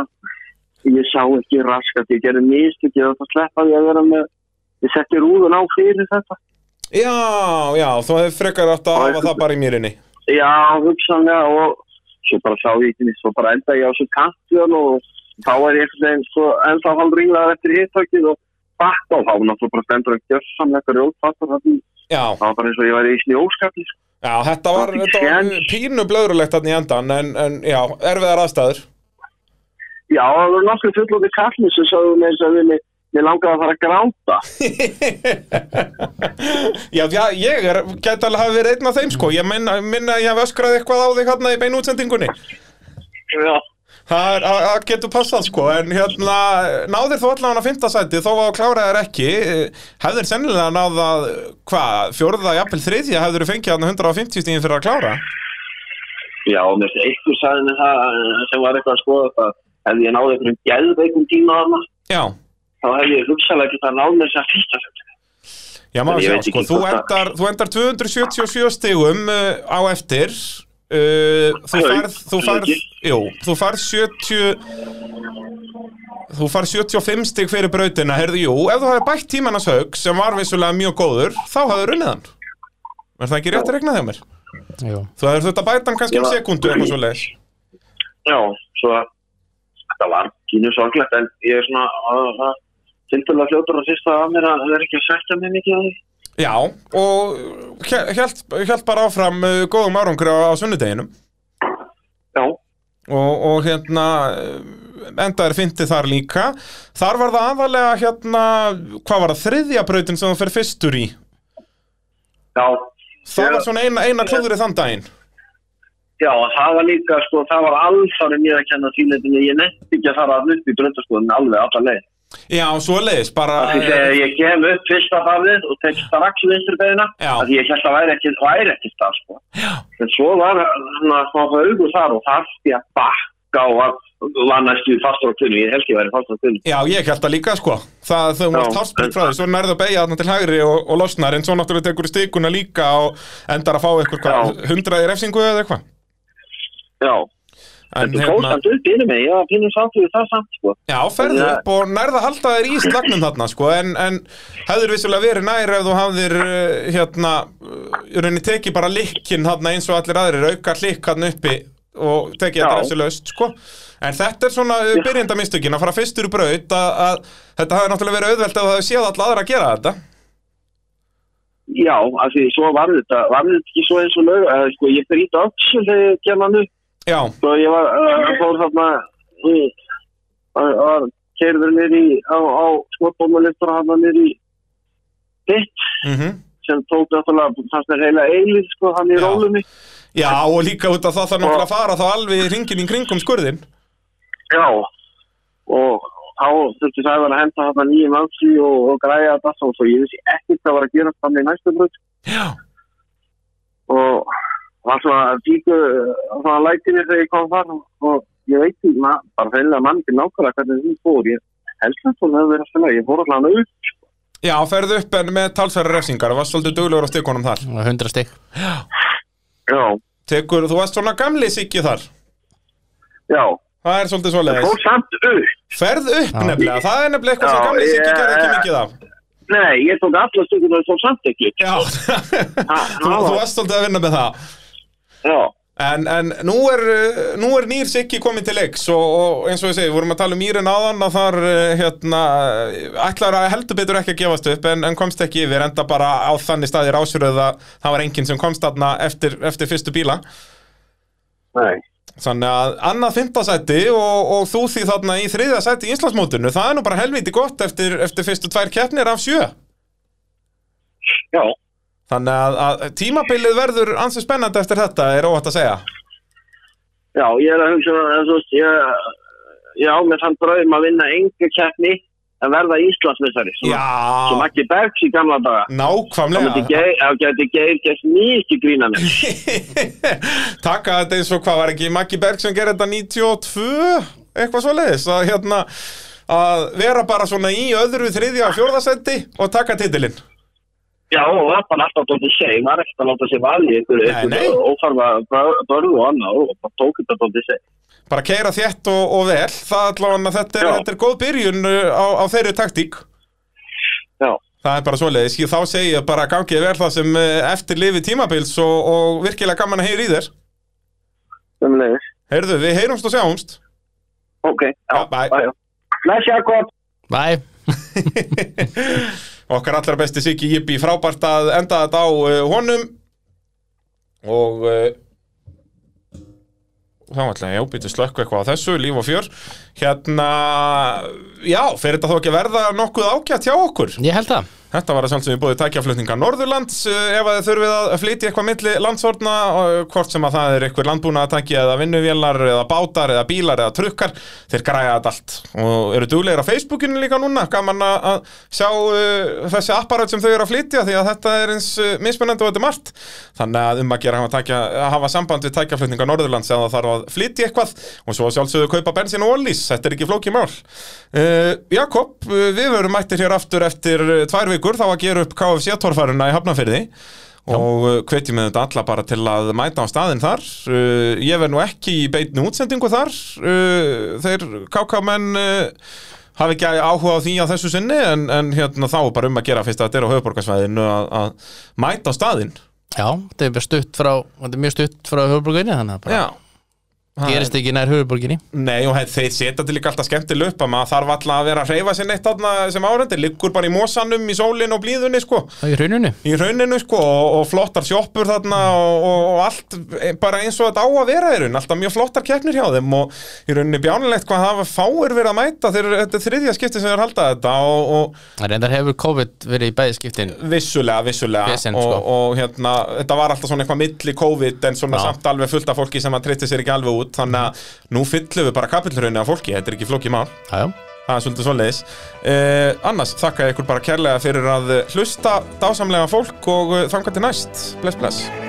S6: ég sá ekki raskat, ég gerði mist ég var að sleppa því að vera með ég setti rúðun á fyrir þetta
S2: já, já, þú hefði frekar átt að hafa
S6: Og einhvern-
S2: það bara í mýrinni.
S6: Já, hugsanlega og svo bara sá ég ekki nýtt, svo bara enda ég á svo kantjón og þá er ég einhvern veginn sko ennþá hann ringlaður eftir hittökið og bakt á þá, náttúrulega bara stendur að gjörsamleika rjóðfattur þannig,
S2: Já,
S6: það var bara eins og ég væri í snjóskalli sko.
S2: já, þetta var,
S6: Það er
S2: þetta var
S6: séns.
S2: pínu blöðrulegt þarna í endan, en, en já, erfiðar aðstæður.
S6: Já, það voru nokkuð fullóti kallin sem sagði með þess að við mig, mér langaði að fara að gráta.
S2: já, já, ég er, gæti alveg hafa verið einn af þeim, sko, ég minna, minna að ég hef öskrað eitthvað á þig hérna í beinu útsendingunni.
S6: Já.
S2: Það er- það- það getur passað sko, en hérna, náðir þú allan að fymta sæti þó að kláraðir ekki, eh, hefðir sennilega náðað, hvað, fjórða, jafnvel þriðja, hefðir þú fengið hann 150 stíðin fyrir að klára?
S6: Já, og mér finnst eitthvað sagði mér það eh, sem var eitthvað að skoða það, ef ég náði einhverjum geðveikum tíma þarna,
S2: Já,
S6: þá hef ég hugsanlega getað náð með þess að fyrsta sæti.
S2: já maður
S6: Ég
S2: sjá,
S6: veit ekki
S2: sko, þú
S6: hvort að-
S2: endar, þú endar 277 stígum uh, á eftir, uh, þú
S6: Nei,
S2: færð, þú færð,
S6: ekki.
S2: jú, þú færð 70, þú færð 75 stíg fyrir brautina, heyrðu, jú, ef þú hefði bætt tímannas haug, sem var vissulega mjög góður, þá hefði runnið hann. Er það ekki rétt að regna þegar mér?
S3: Jú.
S2: Þú hefur þetta bæta hann kannski um
S6: Já.
S2: sekundu eitthvað svo leiðis.
S6: Já, svo að þetta var kínu sorglegt en ég er svona að það tildalega fljótur að fyrsta af mér að það er ekki að sætta mig mikið á því.
S2: Já, og held, held bara áfram uh, góðum árangri á, á sunnudeginum
S6: Já,
S2: og, og hérna uh, endaðir fyndi þar líka. Þar var það aðalega hérna, hvað var það, þriðja brautin sem þú fer fyrstur í.
S6: já,
S2: Það
S6: Já.
S2: var svona eina, eina klúðrið þann daginn.
S6: já, og það var líka, sko, það var alfarið mér að kenna tíleitinu, ég nefndi ekki að fara að upp í bröndaskoðinu alveg alla leið.
S2: Já, svo leiðis, bara...
S6: Því þegar ég kem upp fyrsta farið og tek strax vinstur beina,
S2: Já.
S6: að ég held að væri ekki, væri ekki það, sko. Já. En svo var hann að smá það augur þar og þarfti að bakka og var, var næstu fastur á tunnu, ég held ég væri fastur á tunnu.
S2: Já, ég held það líka sko Það þú mátt hálfsbyrg frá því, svo nærðu að beigja þarna til hægri og, og losnar, en svo náttúrulega tekur stikuna líka og endar að fá eitthvað
S6: Já.
S2: hundraði refsingu eða eitthvað
S6: Já,
S2: En hérna-
S6: Þetta fór samt upp innum mig, ég var pínum sáttur við það samt, sko.
S2: Já, ferðu
S6: Já.
S2: upp og nærða að halda þér í slagnum þarna sko, en, en hefur vissulega verið nær ef þú hafðir eh, hérna, í rauninni tekið bara likkinn þarna eins og allir aðrir, auka likk hann uppi og tekið
S6: Já.
S2: þetta þessi laust sko. en þetta er svona eh, byrjendamistökin að fara fyrstur í braut að, að þetta hafi náttúrulega verið auðvelt að það hefði séð allar aðra að gera þetta
S6: Já, af því svo var þetta, var þetta ekki svo eins og lög, eða sko, ég brýta öxul þegar ég kem hann upp,
S2: Já,
S6: svo ég var, uh, fór þarna, í, var, var kerður niður í, á, á skotbómulistur hann niður í pitt,
S2: mhm
S6: sem tók náttúrulega, fannst mér heila eilið, sko, hann í
S2: Já.
S6: rólunni.
S2: Já, og líka út af það þarf náttúrulega að fara þá alveg ringin í kringum skurðin
S6: Já, og þá þurfti það að henda þarna nýjum öxi og, og græja þetta og svo ég vissi ekkert hvað var að gera þannig í næstu bröð.
S2: Já,
S6: og var svona díku svona lætinir þegar ég kom þar og ég veit ekki, ma- bara feillega mann ekki nákvæmlega hvernig því fór ég held að hún hefur verið að finna, ég fór allan upp
S2: já ferðu upp en með talsverðar refsingar og varst svolítið duglegur á stikunum þar
S3: Það var 100 stykk
S6: já,
S2: Tekur, þú varst svona gamli sikki þar
S6: já,
S2: Það er svolítið
S6: ég
S2: svoleiðis
S6: fór samt upp
S2: Ferð upp nefnilega, það er nefnilega eitthvað sem
S6: Já,
S2: gamli sikki
S6: ég-
S2: gerði ekki mikið af
S6: nei, ég tók alla stundin og ég fór samt ekki
S2: Já, þú,
S6: já.
S2: þú varst svolítið að vinna með það
S6: já,
S2: En, en nú, er, uh, nú er nýr Siggi komin til leiks og, og eins og ég segi, við vorum að tala um Írin áðan að þar uh, hérna, ætlar að heldur betur ekki að gefast upp en, en komst ekki yfir enda bara á þannig staði rásröð að það var enginn sem komst þarna eftir, eftir fyrstu bíla
S6: nei
S2: Þannig að annað fimmtasæti og, og þú því þarna í þriðja sæti í Íslandsmótinu það er nú bara helviti gott eftir, eftir fyrstu tvær keppnir af sjö
S6: já,
S2: Þannig að, að tímabilið verður ansið spennandi eftir þetta er óhætt að segja
S6: já, ég er að hugsa eða, svo, ég, ég á með þann draum að vinna engu keppni
S8: en verða Íslandsmissari sem
S2: Já,
S8: ekki bergs í gamla daga þá myndi
S2: nákvæmlega
S8: Geir- þá gæti Geir gert mikið grínan
S2: Takka þetta eins og hvað var ekki Maggi Berg sem gerði þetta 92 eitthvað svo leiðis að hérna að vera bara svona í öðru, þriðja og fjórðasendi og taka titilinn
S8: já og var bara alltaf dóttir seg var ekkert að láta sér valið ykkur,
S2: Nei,
S8: ykkur
S2: nei.
S8: ófarfa bör- börðu og annað og bara tók þetta dóttir seg
S2: bara keira þétt og, og vel það allavega þetta er,
S8: Já.
S2: þetta er góð byrjun uh, á, á þeirri taktík
S8: Já.
S2: það er bara svoleiðis, Ég- þá segi ég bara gangið vel það sem uh, eftir lifi tímabils og, og virkilega gaman að heyra í þér
S8: Sömuleiðis.
S2: heyrðu, við heyrumst og sjáumst
S8: ok, já,
S2: Já, bye.
S8: já, já. Bless Jakob
S3: Bæ,
S2: okkar allra besti Siggi Jippi frábært að enda þetta á uh, honum og uh, þá ætla ég að býta slökku eitthvað á þessu, líf og fjör hérna, já, fer þetta þó ekki að verða nokkuð ágætt hjá okkur
S3: ég held það
S2: Þetta var að sjálfsögum búið tækjaflutninga Norðurlands eh, ef að þið þurfið að flytja eitthvað milli landsortna hvort sem að það er eitthvað landbúnaðatæki eða vinnuvélar eða bátar eða bílar eða trukkar þeir græja þetta allt og eru duglegir á Facebookinu líka núna gaman að- að sjá uh, þessi apparat sem þau eru að flytja því að þetta er eins uh, mismunandi og þetta er margt þannig að um að gera að hafa, tækja, að hafa samband við tækjaflutninga Norðurlands eða þarf að flytja eitthvað og svo að sjálfsögðu kaupa bensin og ólís þetta er ekki flókið mál Uh, Jakob, uh, við verum mættir hér aftur eftir uh, tvær vikur þá að gera upp KFC-torfæruna í Hafnafyrði og uh, hvetjum við þetta alla bara til að mæta á staðinn þar uh, ég verð nú ekki í beitni útsendingu þar uh, þeir KK-menn uh, hafi ekki áhuga á því á þessu sinni en, en hérna þá er bara um að gera fyrst að þetta er á höfuborgarsvæðinu að, að mæta á staðinn
S3: Já, þetta er bara stutt frá, þetta er mjög stutt frá höfuborginni þannig að bara
S2: Já Það er-
S3: gerist ekki nær höfuborginni
S2: Nei og he- þeir setja til líka alltaf skemmtileg upp að maður þarf alltaf að vera að hreyfa sér neitt þarna sem árendi, liggur bara í mosanum, í sólinu og blíðunni sko
S3: Það er í rauninu
S2: í rauninu sko og, og flottar sjoppur þarna og, og, og allt e, bara eins og þetta á að vera í raun alltaf mjög flottar keppnir hjá þeim og í rauninni bjánulegt hvað hafa fáir verið að mæta þeir, þetta er þriðja skipti sem þeir halda þetta og, og
S3: Það reyndar hefur COVID verið í bæði skiptin
S2: vissulega, vissulega
S3: Vesen,
S2: og,
S3: sko.
S2: og hérna, þetta var alltaf svona eitthvað milli COVID en svona
S3: Já.
S2: samt alveg fullt af fólki sem að treytti sér ekki alveg út þannig að nú fyllum við bara kapillrunni af fólki, þetta er ekki flókið mál
S3: Já, já
S2: Það er svolítið svoleiðis. Eh, annars þakka ég ykkur bara kærlega fyrir að eh, hlusta dásamlega fólk og eh, þangað til næst. Bless, bless.